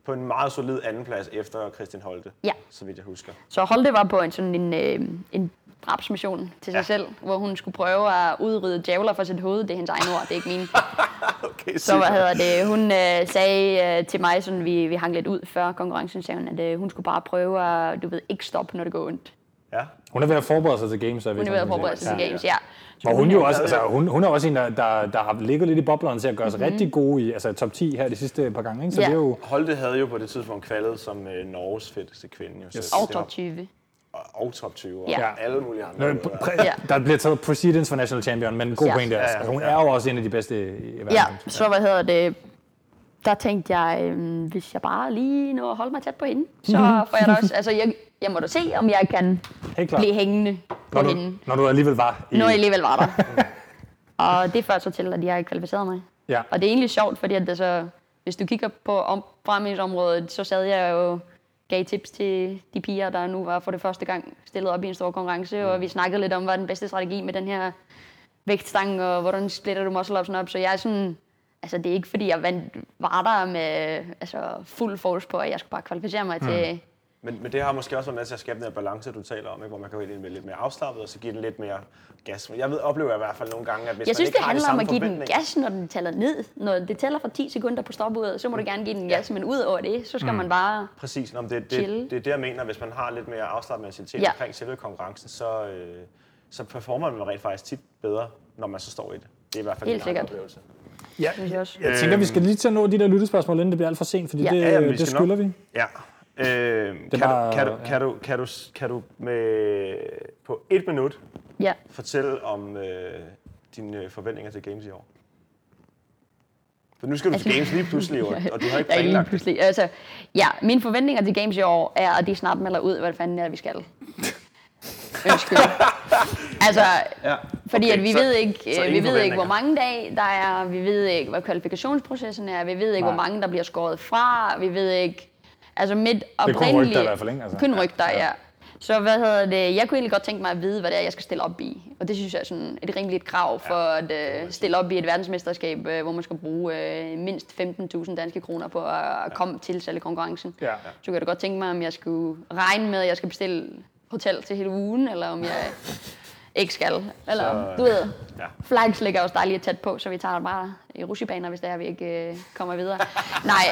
på en meget solid andenplads efter Christian Holte,
Ja.
så vidt jeg husker.
Så Holte var på en sådan en, øh, en drabsmission til sig
Ja.
ja. selv, hvor hun skulle prøve at udrydde djævler fra sit hoved. Det er hendes egne ord, det er ikke mine.
Okay,
Så hvad hedder det? Hun øh, sagde øh, til mig, sådan vi, vi hang lidt ud før konkurrencen, sagde hun, at øh, hun skulle bare prøve at, du ved, ikke stoppe, når det går ondt.
Ja.
Hun er ved at forberede sig til games.
Hun er ved at forberede sig til games, ja. Så
Og hun, jo
øh,
også, altså, hun, hun er også en, der, der, der har ligget lidt i boblerne til at gøre sig mm-hmm. rigtig gode i altså, top 10 her de sidste par gange. Ikke? Så
Mhm. Ja.
det er jo...
Holte havde jo på det tidspunkt kvalet som øh, Norges fedeste kvinde. Jo, yes.
Og top 20.
Og top 20. Og
Ja.
alle mulige andre.
Nå,
måder.
præ-
Ja.
Der bliver taget precedence for national champion, men god
Ja.
pointe er,
Ja, ja,
altså, hun
ja.
er jo også en af de bedste i i verden.
Ja, så hvad hedder det? Der tænkte jeg, øh, hvis jeg bare lige når at holde mig tæt på hende, så får jeg da også, altså jeg, jeg må da se, om jeg kan
Helt klart.
blive hængende på
Når
hende.
du, når du alligevel var i...
Nu er jeg alligevel var der. og det førte så til, at jeg har kvalificeret mig.
Ja.
Og det er egentlig sjovt, fordi at det så, hvis du kigger på om, fremgangsområdet, så sad jeg jo gav tips til de piger, der nu var for det første gang stillet op i en stor konkurrence, og vi snakkede lidt om, hvad er den bedste strategi med den her vægtstang, og hvordan splitter du muscle-upsen op, så jeg er sådan, altså det er ikke fordi, jeg vandt, var der med altså, fuld fokus på, at jeg skulle bare kvalificere mig mm. til,
Men, men det har måske også været med til at skabe den her balance, du taler om, ikke? hvor man kan gå ind i lidt mere afslappet, og så give den lidt mere gas. Men Jeg ved, oplever jeg i hvert fald nogle gange, at hvis
Jeg
man
synes,
ikke
det
har de
handler om
samme
at give den
forventninger-
gas, når den tæller ned. Når det tæller fra 10 sekunder på stopuret, så må du
Mm.
gerne give den gas, men ud over det, så skal man bare...
Præcis, Nå, men det,
Chill.
det, det er det, jeg mener, hvis man har lidt mere afslappet mentalitet
Ja.
ja. omkring selve konkurrencen, så, øh, så performer man rent faktisk tit bedre, når man så står i det. Det er i hvert fald
Helt
min egen
sikkert.
oplevelse. Øh,
Ja,
synes jeg også.
jeg tænker, vi skal lige til at nå de der lyttespørgsmål, inden det bliver alt for sent, fordi
Ja.
det,
Ja,
jamen, vi
det
skal
skylder
nok.
vi.
Ja. Øh, kan,
var-
du, kan, du,
ja.
kan, du, kan, du, kan du med, på et minut
Ja.
fortælle om øh, dine øh, forventninger til Games i år? For nu skal du til
Altså-
Games lige pludselig, og, og du har ikke
Ja, lige
planlagt det.
pludselig. Altså, ja, mine forventninger til Games i år er, at de snart melder ud, hvad fanden det er, vi skal. Undskyld. altså,
Ja.
fordi
okay,
at vi
så-
ved ikke,
så
øh, vi
ingen
ved ikke, hvor
forventninger.
mange dage der er, vi ved ikke, hvad kvalifikationsprocessen er, vi ved ikke,
Nej.
hvor mange, der bliver skåret fra, vi ved ikke... Altså midt
kun
oprindeligt...
rygter i hvert fald, ikke? Altså,
Altså, kun rygter, ja. ja. Så hvad hedder det? Jeg kunne egentlig godt tænke mig at vide, hvad det er, jeg skal stille op i. Og det synes jeg er sådan et rimeligt krav for at øh, stille op i et verdensmesterskab, øh, hvor man skal bruge øh, mindst 15.000 danske kroner på at at komme til selve konkurrencen.
Ja.
Så kunne jeg da godt tænke mig, om jeg skulle regne med, at jeg skal bestille hotel til hele ugen, eller om jeg ikke skal. Eller, så... du ved, ja. flags ligger også dejligt tæt på, så vi tager det bare i rusjebaner, hvis det er, vi ikke øh, kommer videre. Nej,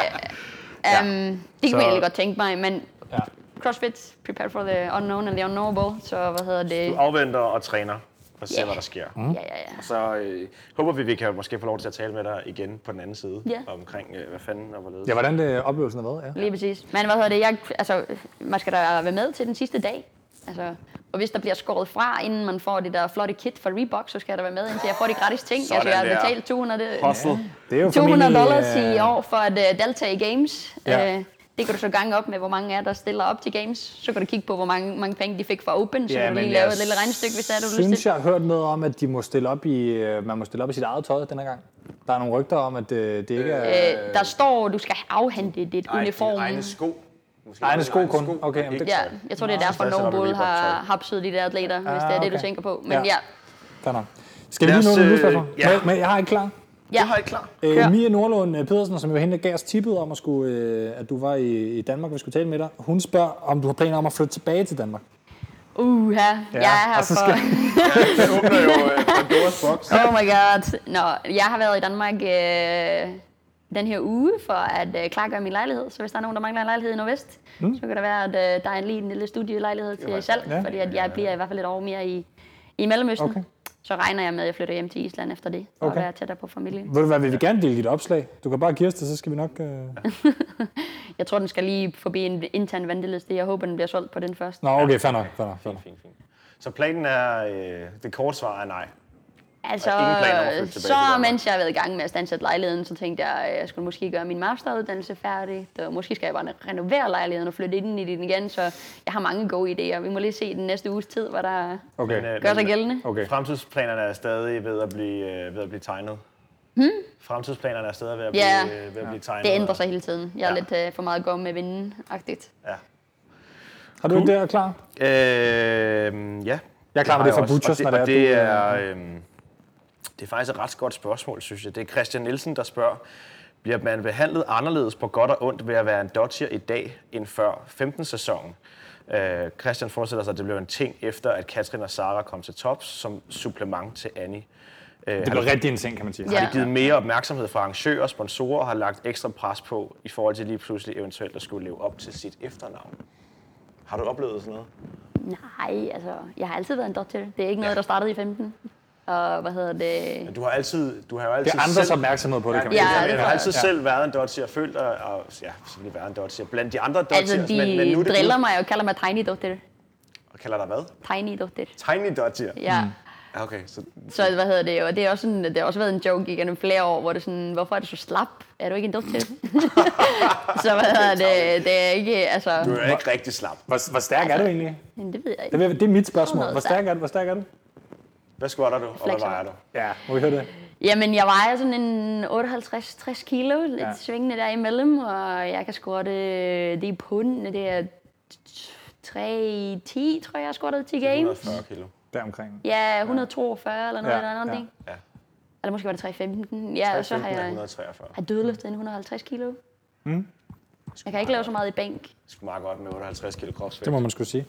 øh, um, ja. det kunne
Så-
jeg egentlig godt tænke mig, men
Ja.
CrossFit, prepare for the unknown and the unknowable, så hvad hedder det?
Du afventer og træner og ser,
Ja.
hvad der sker.
Ja, ja, ja.
Så øh, håber vi, vi kan måske få lov til at tale med dig igen på den anden side.
Ja.
Omkring, øh, hvad fanden og hvorledes.
Ja, hvordan det, oplevelsen har været, ja.
Lige præcis. Men hvad hedder det? Jeg, altså, man skal da være med til den sidste dag. Altså, og hvis der bliver skåret fra, inden man får det der flotte kit fra Reebok, så skal jeg da være med, indtil jeg får de gratis ting.
Sådan
altså, jeg
der.
har betalt 200, det-
Hustle.
Det er jo
200
formentlig,
dollars i
øh,
år for at uh, deltage i games.
Ja.
Ja. Uh, det kan du så gange op med, hvor mange er der stiller op til games. Så kan du kigge på, hvor mange, mange penge de fik fra Open, så
Ja,
kan du
men
lige lave
jeg
et lille regnestykke, hvis det er, du har lyst
Synes
til.
jeg har hørt noget om, at de må stille op i, øh, man må stille op i sit eget tøj den her gang. Der er nogle rygter om, at øh, det ikke er...
Øh, der står, du skal afhente dit
Ej,
uniform.
dine egne sko. Måske
Egne
dine
sko kun. Okay,
og
men
ikke
det-
Ja,
tøj.
jeg tror, det er derfor,
stadig sætter du
Noble
Reebok-tøj.
har hapset de der atleter, hvis det er
Ah,
det, du
okay.
tænker på. Men
Ja.
ja, ja.
Fair nok. Skal vi
Lad
lige nå
os,
nogle
øh,
lydspørgsmål?
ja.
Men- Men jeg har ikke klar.
Du har ikke klar.
Øh,
Kør.
Mia Nordlund øh, Pedersen, som jo hende der gav os tippet om, at, skulle, øh, at du var i, i Danmark, og vi skulle tale med dig, hun spørger, om du har planer om at flytte tilbage til Danmark.
Uha,
Ja,
jeg er her
og så skal-
for...
Det åbner jo øh, Pandoras box.
Oh my god. Nå, jeg har været i Danmark øh, den her uge for at øh, klargøre min lejlighed. Så hvis der er nogen, der mangler en lejlighed i Nordvest, mm. så kan det være, at øh, der er lige en lille studielejlighed til salg.
ja.
Ja. Fordi at jeg bliver i hvert fald et år mere i, i Mellemøsten.
Okay.
Okay. Så regner jeg med, at jeg flytter hjem til Island efter det. For
Okay.
at være tættere på familien.
Ved du hvad, vi vil gerne dele dit opslag. Du kan bare give os det, så skal vi nok... Øh...
Jeg tror, den skal lige forbi en intern venteliste. Jeg håber, den bliver solgt på den først.
Nå, okay, fair nok. Fair nok, fair nok.
Fint, fint. Så planen er, øh, det korte svar er nej.
Altså,
Og ingen planer om at flytte tilbage til
så
Danmark?
mens jeg har været i gang med at standsætte lejligheden, så tænkte jeg, at jeg skulle måske gøre min masteruddannelse færdig. Så måske skal jeg bare renovere lejligheden og flytte ind i den igen, så jeg har mange gode idéer. Vi må lige se den næste uges tid, hvad der
Okay.
gør sig gældende.
Okay.
øh, Fremtidsplanerne er stadig ved at blive, øh, ved at blive tegnet. Hmm? Fremtidsplanerne er stadig ved at blive,
Ja.
øh, ved at blive tegnet.
Det ændrer sig hele tiden. Jeg er
Ja.
lidt øh, for meget gå med vinden-agtigt.
Ja.
Har du ikke det, der klar?
Øh, ja.
Jeg er klar med det
har
fra
også.
Butchers,
og
når
det, og det
det
er...
er,
Øh, det er faktisk et ret godt spørgsmål, synes jeg. Det er Christian Nielsen, der spørger, bliver man behandlet anderledes på godt og ondt ved at være en dodger i dag end før 15-sæsonen? Øh, Christian forestiller sig, at det blev en ting efter, at Katrin og Sara kom til tops som supplement til Annie. Øh,
Det
har
blev
der-
rigtig en ting, kan man sige.
Ja.
har de givet mere opmærksomhed fra arrangører og sponsorer og har lagt ekstra pres på i forhold til lige pludselig eventuelt at skulle leve op til sit efternavn? Har du oplevet sådan noget?
Nej, altså, jeg har altid været en doktor. Det er ikke noget, der startede i 15. Og hvad hedder det?
Men du har altid, du har jo altid
Det er andres
selv,
opmærksomhed på det, kan man
Ja,
sige.
men
det
du har
tror
altid
jeg.
selv været en dodger og følt dig, og ja, selvfølgelig været en dodger blandt de andre dodgers,
Altså, de
men, men nu er det
driller
ud-
mig og kalder mig Tiny Doktor.
Og kalder dig hvad?
Tiny Doktor.
Tiny dodger?
Ja.
Ja, okay, så
Så hvad hedder det, og det, er også sådan, det har også været en joke igennem flere år, hvor det er sådan, hvorfor er du så slap? Er du ikke en dumt til? så hvad hedder det, det er ikke, altså,
du er ikke rigtig slap.
Hvor, hvor stærk er du egentlig?
men det ved jeg
Det
ikke.
er, det er mit spørgsmål.
Sådan noget
Hvor stærk er du? Hvor stærk er du?
Hvad squatter du, og hvad
Flexer.
vejer du?
Ja, må vi høre det?
Jamen, jeg vejer sådan en 58-60 kilo, lidt
Ja.
ja. svingende derimellem, og jeg kan squatte, det er i pund, det er 3-10, tror jeg, jeg har squattet til games.
140 kilo.
Deromkring.
Ja, 142 eller noget,
Ja,
ja. eller andet.
ja.
Ja.
Ja.
Eller måske var det 315. Ja, og så har
15 er
jeg,
143.
har dødløftet en 150 kilo. Mm. Jeg kan ikke lave så meget i bænk.
Det skulle meget godt med 58 kilo kropsvægt.
Det må man skulle sige.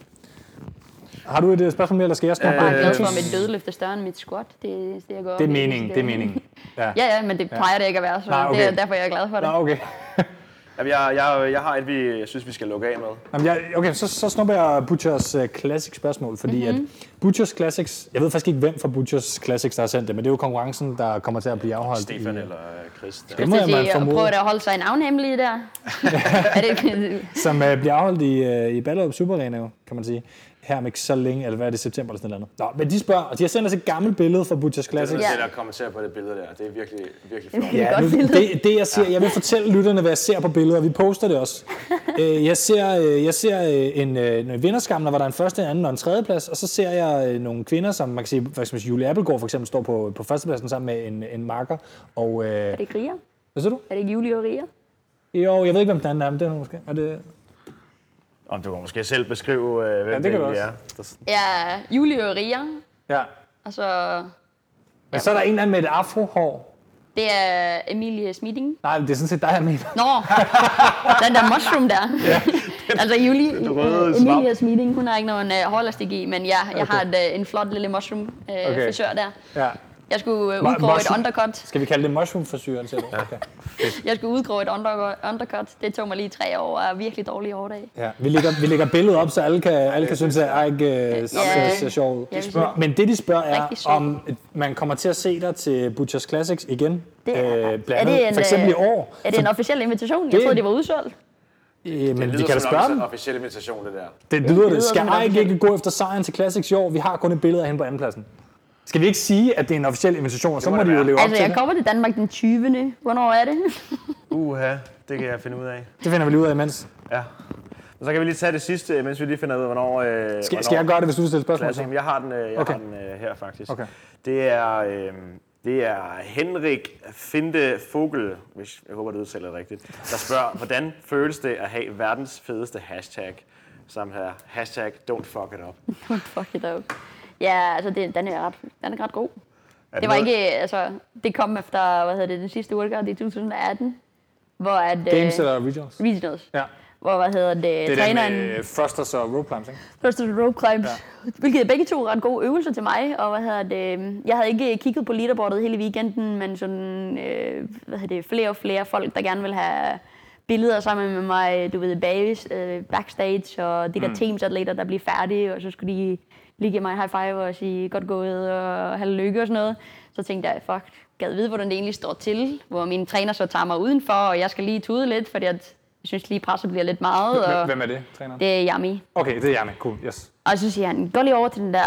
Har du et øh, spørgsmål mere, eller skal jeg snakke? om
Jeg er glad
Bluetooth?
for, at mit dødløft er større end mit squat. Det, det, jeg går op
Det er
i.
meningen, det er meningen. Ja.
Ja, ja, men det plejer det ikke at være, så
Nej,
Nej,
okay.
okay. det er derfor, jeg er glad for det.
Nå, okay.
Jamen, jeg, jeg, jeg har et, vi jeg synes, vi skal lukke af med.
Jamen, jeg, okay, så, så snupper jeg Butchers uh, Classics spørgsmål, fordi mm-hmm. at Butchers Classics, jeg ved faktisk ikke, hvem fra Butchers Classics, der har sendt det, men det er jo konkurrencen, der kommer til at blive afholdt.
Stefan
i,
eller øh, Chris. der.
det må jeg
Så
man
sige, og
formode,
prøve at holde sig en navnhemmelige der. er det ikke?
som uh, bliver afholdt i, uh, i Ballerup Superarena, jo, kan man sige. Her om ikke så længe, eller hvad er det, september eller sådan noget. Nå, men de spørger, og de har sendt os et gammelt billede fra Butchers
Det er
Classics.
nødt
Ja.
til at kommentere på det billede der. Det er virkelig, virkelig flot.
Ja,
Godt
nu,
billede.
det, det jeg ser, jeg vil fortælle lytterne, hvad jeg ser på billedet, og vi poster det også. Øh, Jeg ser, øh, jeg ser øh, en, øh, en vinderskamler, hvor der er en første, en anden og en tredjeplads, og så ser jeg øh, nogle kvinder, som man kan sige, for eksempel Julie Appelgaard for eksempel står på, på førstepladsen sammen med en, en marker, og...
Er
Øh,
det Ria?
hvad siger du?
Er det ikke Julie og Ria?
Jo, jeg ved ikke, hvem den anden er, men det er hun måske. Er det,
Om du kan måske selv beskrive, øh, hvem
Ja, det
ja, det,
kan du
egentlig
også.
er. Der-
Ja, Julie og Ria.
ja.
Og så,
Men så er der en eller anden med et afrohår.
det er Emilie Smiding.
Nej, det er sådan set dig, jeg mener.
Nå, den der mushroom der. altså, Julie,
Den røde
øh,
svamp.
Emilia Smiding, hun har ikke nogen øh, hårlastik i, men jeg, jeg har et, øh, en flot lille mushroom øh,
Okay.
okay. frisør der.
Ja.
Jeg skulle øh,
Mu-
udgrå et
mushroom?
undercut.
Skal vi kalde det mushroom-frisyren, siger du? Okay.
Jeg skulle udgrå et under, undercut. Det tog mig lige tre år og er virkelig dårlig hårdag.
Ja. Vi, lægger, vi lægger billedet op, så alle kan, alle kan synes, at Eik øh, ser, ser sjov ud.
Ja, vi ser-
Men det, de spørger, er,
Rigtig sjov.
om man kommer til at se dig til Butchers Classics igen. øh,
Det øh, er,
blandt andet, for eksempel i år. Øh,
Er det en officiel invitation?
Det-
Jeg troede, det var udsolgt.
Øh, men vi
lyder
kan da
som en
spørge
offici-
dem.
officiel invitation, det der.
Det lyder det.
lyder
Skal
som en
Eik
officiel-
ikke gå efter sejren til Classics i år? Vi har kun et billede af hende på andenpladsen. Skal vi ikke sige, at det er en officiel invitation, og så
må
må,
det
de jo
være.
leve op
Altså,
til
jeg
det?
kommer til Danmark den 20. Hvornår er det?
Uha, det kan jeg finde ud af.
Det finder vi lige ud af imens.
Ja. Og så kan vi lige tage det sidste, mens vi lige finder ud af, hvornår... Øh,
Skal, skal jeg gøre det, hvis du stiller spørgsmål?
Lad os se, jeg har den, øh, jeg
Okay.
okay. har den øh, her faktisk.
Okay.
Det er, øh, det er Henrik Finte Fogel, hvis jeg håber, det udtaler det rigtigt, der spørger, hvordan føles det at have verdens fedeste hashtag? Sammen her, hashtag don't fuck it up.
Fuck it up. Ja, altså, det, den, er ret, den er ret god.
Er
Det var
noget-
ikke, altså, det kom efter, hvad hedder det, den sidste World Cup i 2018, hvor at...
Games
øh,
eller regionals?
Regionals.
Ja.
Hvor, hvad hedder det, det
Det er
træneren...
den øh, med thrusters og rope climbs, ikke?
Første rope climbs, ja. hvilket er begge to ret gode øvelser til mig, og hvad hedder det, øh, jeg havde ikke kigget på leaderboardet hele weekenden, men sådan, øh, hvad hedder det, flere og flere folk, der gerne vil have billeder sammen med mig, du ved, bag, øh, backstage, og de der mm. teamsatleter, der bliver færdige, og så skulle de lige give mig en high five og sige godt gået og have lykke og sådan noget. Så tænkte jeg, fuck, gad vide, hvordan det egentlig står til, hvor min træner så tager mig udenfor, og jeg skal lige tude lidt, fordi at, jeg synes lige presset bliver lidt meget,
Hvem-
og
Hvem er det, træneren?
det er yummy.
Okay, det er jeg med. Cool, yes.
Og så siger han, gå lige over til den der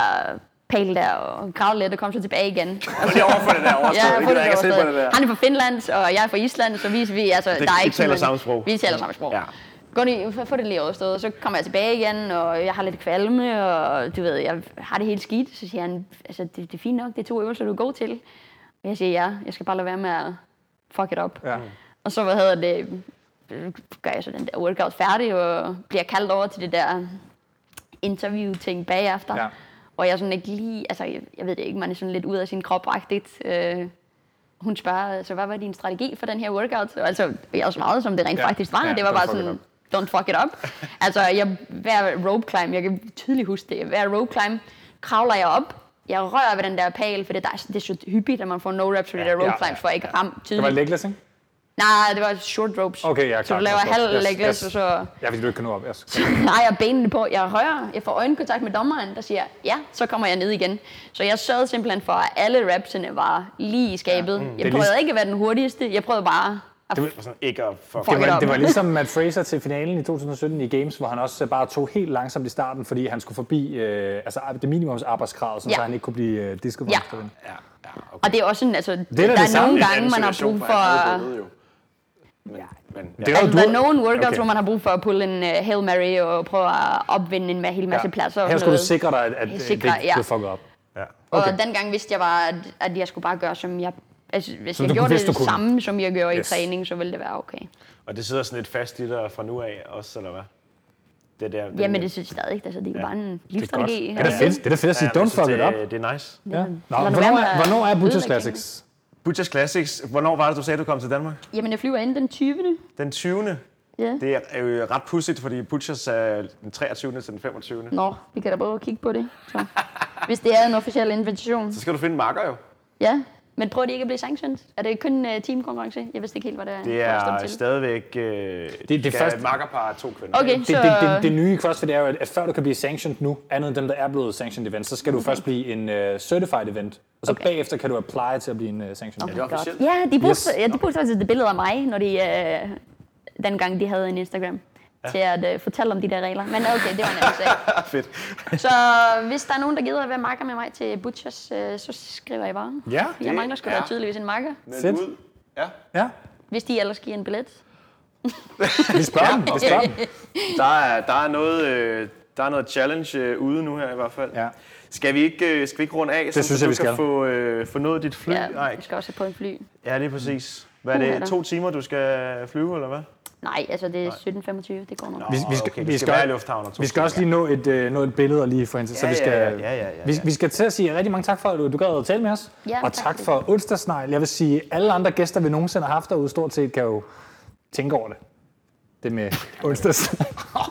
pæl der, og græd lidt, og kom så tilbage igen. Og
Prøv lige over for det der overstået.
jeg
det kan jeg ikke se på det der.
Han er fra Finland, og jeg er fra Island, så vi, vi altså, der er
I
ikke
taler
sådan-
samme sprog.
Vi taler samme sprog.
Ja.
Ja. Gå lige, få- få det lige overstået, og så kommer jeg tilbage igen, og jeg har lidt kvalme, og du ved, jeg har det helt skidt. Så siger han, altså, det, det er fint nok, det er to øvelser, du er god til. Og jeg siger, ja, jeg skal bare lade være med at fuck it up.
Ja.
Og så, hvad hedder det, gør jeg så den der workout færdig, og bliver kaldt over til det der interview-ting bagefter.
Ja.
Ja. Og jeg sådan ikke lige, altså jeg, jeg ved det ikke, man er sådan lidt ud af sin krop -agtigt. Øh, hun spørger, altså hvad var din strategi for den her workout? Og altså, jeg svarede, som det rent
Ja.
ja. faktisk var.
Ja,
Ja, det var
don't
bare
fuck it
sådan, don't fuck it up. altså, jeg, hver rope climb, jeg kan tydeligt huske det, hver rope climb kravler jeg op, jeg rører ved den der pæl, for det, der, er- det er så hyppigt, at man får no reps ved ja, det der rope
ja,
ja, climbs, for at ikke ja. ramme
Det var
tydeligt.
legless, ikke?
Nej, det var short ropes.
Okay, ja,
Så
klart.
du laver
Godt,
halv
godt. Yes,
legless,
yes.
og så
Ja, fordi du ikke kan nå op. Yes.
Nej, jeg har benene på, jeg rører, jeg får øjenkontakt med dommeren, der siger, ja, så kommer jeg ned igen. Så jeg sørgede simpelthen for, at alle rapsene var lige i skabet. Ja, mm. Jeg
er lige-
prøvede ikke at være den hurtigste, jeg prøvede bare at
Og sådan, ikke at fuck.
fuck
Det
it
var,
up.
det var ligesom Matt Fraser til finalen i 2017 i Games, hvor han også bare tog helt langsomt i starten, fordi han skulle forbi øh, altså, det minimums arbejdskrav,
Ja.
så han ikke kunne blive øh, disket for
Ja.
eftervinden.
Ja, ja, okay.
Og det er også sådan, altså, det
da
er
det
der er
samme
nogle
Det er en
gange,
anden
man har
situation,
brug
han
for...
havde vundet jo. Men, men ja.
Det
Altså, der er
du,
nogen workouts,
Okay.
okay. hvor man har brug for at pulle en uh, Hail Mary og prøve at opvinde en hel masse
ja.
pladser. og
Her
sådan
skulle du
noget.
sikre dig, at, at øh, det
Sikre,
ikke
ja.
blev fucket op.
Okay. Og dengang vidste jeg bare, at, at jeg skulle bare gøre, som jeg... Altså, hvis
Som
jeg
du
gjorde
vidste,
det
du kunne.
samme, som jeg gjorde
Yes.
yes. i træning, så ville det være okay.
Og det sidder sådan lidt fast i dig fra nu af også, eller hvad? Det der,
Jamen, det synes jeg stadig ikke. Altså, det er jo bare en livsstrategi.
Det er da fedt, det er da fedt at sige, don't fuck it up.
Det er nice.
Ja. Nå,
være
hvornår,
med
er,
at
hvornår er Butchers
ødelægge
Classics?
Butchers Classics, hvornår var det, du sagde, du kom til Danmark?
Jamen, jeg flyver ind den 20.
Den 20.
Ja.
Det er jo ret pudsigt, fordi Butchers er den 23. til den 25.
Nå, vi kan da prøve at kigge på det. Så. Hvis det er en officiel invitation.
Så skal du finde en makker jo.
Ja, men prøver de ikke at blive sanktionet? Er det kun uh, teamkonkurrence? Jeg vidste ikke helt, hvad det,
Det
hvad stod
er
til.
stadigvæk... Øh, det,
det
det
første-
første... makkerpar af to kvinder.
Okay,
Det,
så...
det, det, det nye i CrossFit er jo, at- at før du kan blive sanctioned nu, andet end dem, der er blevet sanctioned event, så skal du først blive en uh, certified event, og så okay.
Okay.
bagefter kan du apply til at blive en uh, sanctioned event.
det officielt?
Ja, de brugte,
Yes.
yes. ja, de brugte faktisk et billede af mig, når de, øh, dengang de havde en Instagram, ja. til at øh, fortælle om de der regler. Men okay, det var en anden sag.
Fedt.
Så hvis der er nogen, der gider at være makker med mig til Butchers, øh, så skriver jeg bare.
Ja,
Jeg mangler sgu da
Ja.
tydeligvis en makker,
Men
Fedt.
ud. Ja.
ja.
hvis de ellers giver en billet.
Vi spørger dem, vi spørger dem.
Der er, der er noget... Øh, der er noget challenge øh, ude nu her i hvert fald.
Ja.
Skal vi ikke, øh, skal vi ikke runde af, det
synes
så
jeg,
du
vi
kan
skal.
få, øh, få noget af dit fly?
Ja,
Nej,
jeg skal også på en fly.
ja, lige præcis. Hvad er
Uha da.
det? To timer, du skal flyve, eller hvad?
Nej, altså det er 17.25, det går nok.
Vi, vi,
Åh,
skal,
okay,
vi,
det
skal,
skal være i lufthavnen om to
vi skal også lige nå et, øh, nå et billede og lige få hende til, så
Ja,
vi
ja,
skal,
ja, ja, ja, ja, ja.
Vi, vi skal til at sige rigtig mange tak for, at du, du gad at tale med os,
Ja,
og
tak
tak
for
for onsdagsnegl. Jeg vil sige, alle andre gæster, vi nogensinde har haft derude, stort set kan jo tænke over det. Det med onsdags.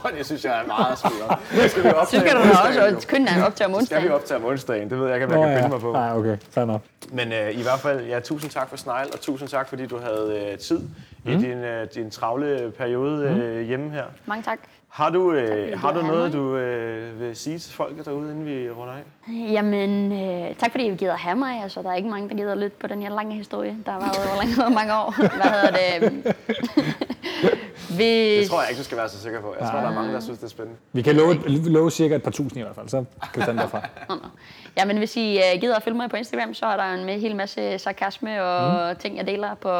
Åh, det synes jeg er meget svært. Det skal vi optage
Så skal du
om
da
onsdagen,
også
jo.
og skynde dig op til om
Det skal vi
onsdagen.
optage om onsdagen. Det ved jeg ikke, om jeg kan finde mig på.
Nej, okay. Fair nok.
Men øh, i hvert fald, ja, tusind tak for snegl, og tusind tak, fordi du havde øh, tid mm. i din, øh, din travle periode
Mm.
øh, hjemme her.
Mange tak.
Har du, øh,
du
har du
havde
noget,
mig.
du øh, vil sige til folk derude, inden vi runder af?
Jamen, øh, tak fordi I gider have mig. Altså, der er ikke mange, der gider lytte på den her lange historie, der har været over lang, mange år. Hvad hedder det? Hvis...
Det tror jeg ikke, du skal være så sikker på. Jeg tror, der er mange, der synes, det er spændende.
Vi kan love, love cirka et par tusind i hvert fald, så kan vi tage den derfra.
Jamen, hvis I øh, gider at følge mig på Instagram, så er der en hel masse sarkasme og mm. ting, jeg deler på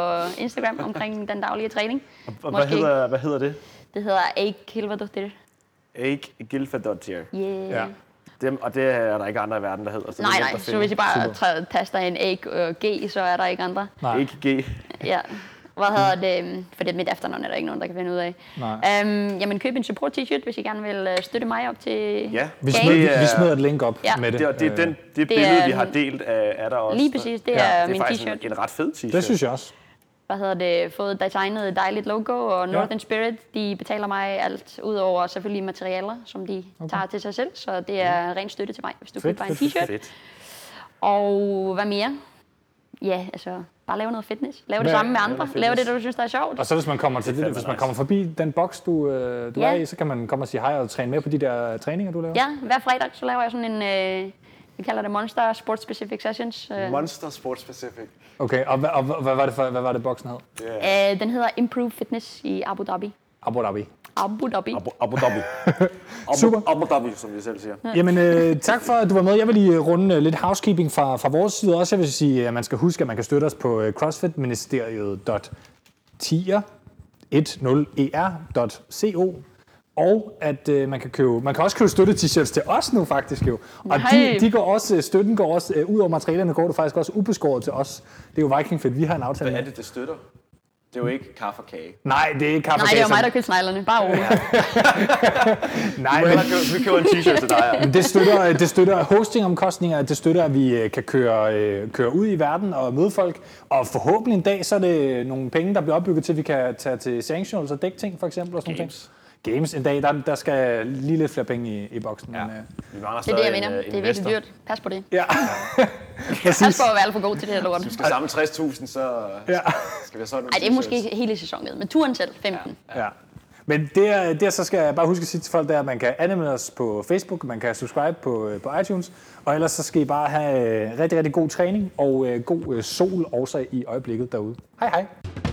Instagram omkring den daglige træning.
Og hvad
Måske ikke.
hedder, hvad hedder det?
Det hedder Eik Kilverdottir.
Ikke Gilfadottier.
Yeah. Ja.
Dem, og det er der ikke andre i verden, der hedder. Så det er
Nej,
nemt
nej,
at
så
finde.
hvis I bare tra- taster en æg og G, så er der ikke andre.
Nej.
Ikke G.
Ja. Hvad hedder det? øhm, For det er mit efternavn, er der ikke nogen, der kan finde ud af.
Nej.
Øhm, jamen, køb en support t-shirt, hvis I gerne vil øh, støtte mig op til
Ja,
Vi
gain.
smider, vi, vi
er-
smider et link op
Ja.
med det.
Det, og det er
Øh,
den, det, det billede,
er-
vi har delt af, er der også.
Lige præcis, det
Ja,
er
Det er
min
faktisk
t-shirt.
en, en ret fed t-shirt.
Det synes jeg også.
Hvad hedder det? Fået designet et dejligt logo, og Northern
Ja.
Spirit, de betaler mig alt, udover selvfølgelig materialer, som de okay. tager til sig selv. Så det er ren støtte til mig, hvis du
Fedt,
køber en
fedt,
t-shirt.
Fedt.
Og hvad mere? Ja, altså, bare lave noget fitness. Lav det
Hvad-
samme med andre. Lav det, du synes, der er sjovt.
Og så hvis man kommer, til det,
fandme
hvis man
nice.
kommer forbi den boks, du, øh, du
Ja.
er i, så kan man komme og sige hej og træne med på de der træninger, du laver.
Ja, hver fredag, så laver jeg sådan en, øh, vi kalder det Monster Sport Specific Sessions. Øh,
Monster Sports Specific.
Okay, og, hva- og, hva- hvad, var det for, hvad var det, boksen hed?
øh, den hedder Improve Fitness i Abu Dhabi.
Abu Dhabi.
Abu Dhabi.
Abu- Abu Dhabi. Abu-
Super.
Abu Dhabi, som vi selv siger.
Jamen, øh, tak for, at du var med. Jeg vil lige runde øh, lidt housekeeping fra, fra vores side også. Jeg vil sige, at man skal huske, at man kan støtte os på øh, E crossfitministeriet.tier10er.co og at øh, man kan købe, man kan også købe støtte t-shirts til os nu faktisk jo. Og
Nej.
de, de går også, øh, støtten går også, øh, ud over materialerne går det faktisk også ubeskåret til os. Det er jo Viking Fit, vi har en aftale.
Hvad er
med.
det, det støtter? Det er jo ikke kaffe og kage.
Nej, det er ikke
Altså,
kaffe
Nej, det var mig, der købte sneglerne. Bare roligt.
Nej,
Vi
men-
køber, vi køber en t-shirt til dig. ja.
Men det støtter, det støtter hostingomkostninger, det støtter, at vi øh, kan køre, øh, køre ud i verden og møde folk. Og forhåbentlig en dag, så er det nogle penge, der bliver opbygget til, at vi kan tage til sanctionals og dække ting, for eksempel. Og sådan Games. Ting. Games en dag, der, der skal lige lidt flere penge i, i boksen. Ja. Men, øh,
Vi mangler
Det er
stadig
det, jeg
en,
mener.
øh,
Det er
investor.
virkelig dyrt. Pas på det.
ja.
Pas
Præcis.
på at være alt for god til det her lort.
Vi skal samle 60.000, så øh,
Ja.
skal vi have sådan nogle
Ej, det er måske
t-shirts.
ikke hele sæsonen, men turen selv, 15.
Ja. Men det, er- det, jeg så skal jeg bare huske at sige til folk, det er, at man kan anmelde os på Facebook, man kan subscribe på, øh, på iTunes, og ellers så skal I bare have øh, rigtig, rigtig god træning og øh, god øh, sol også i øjeblikket derude. Hej hej!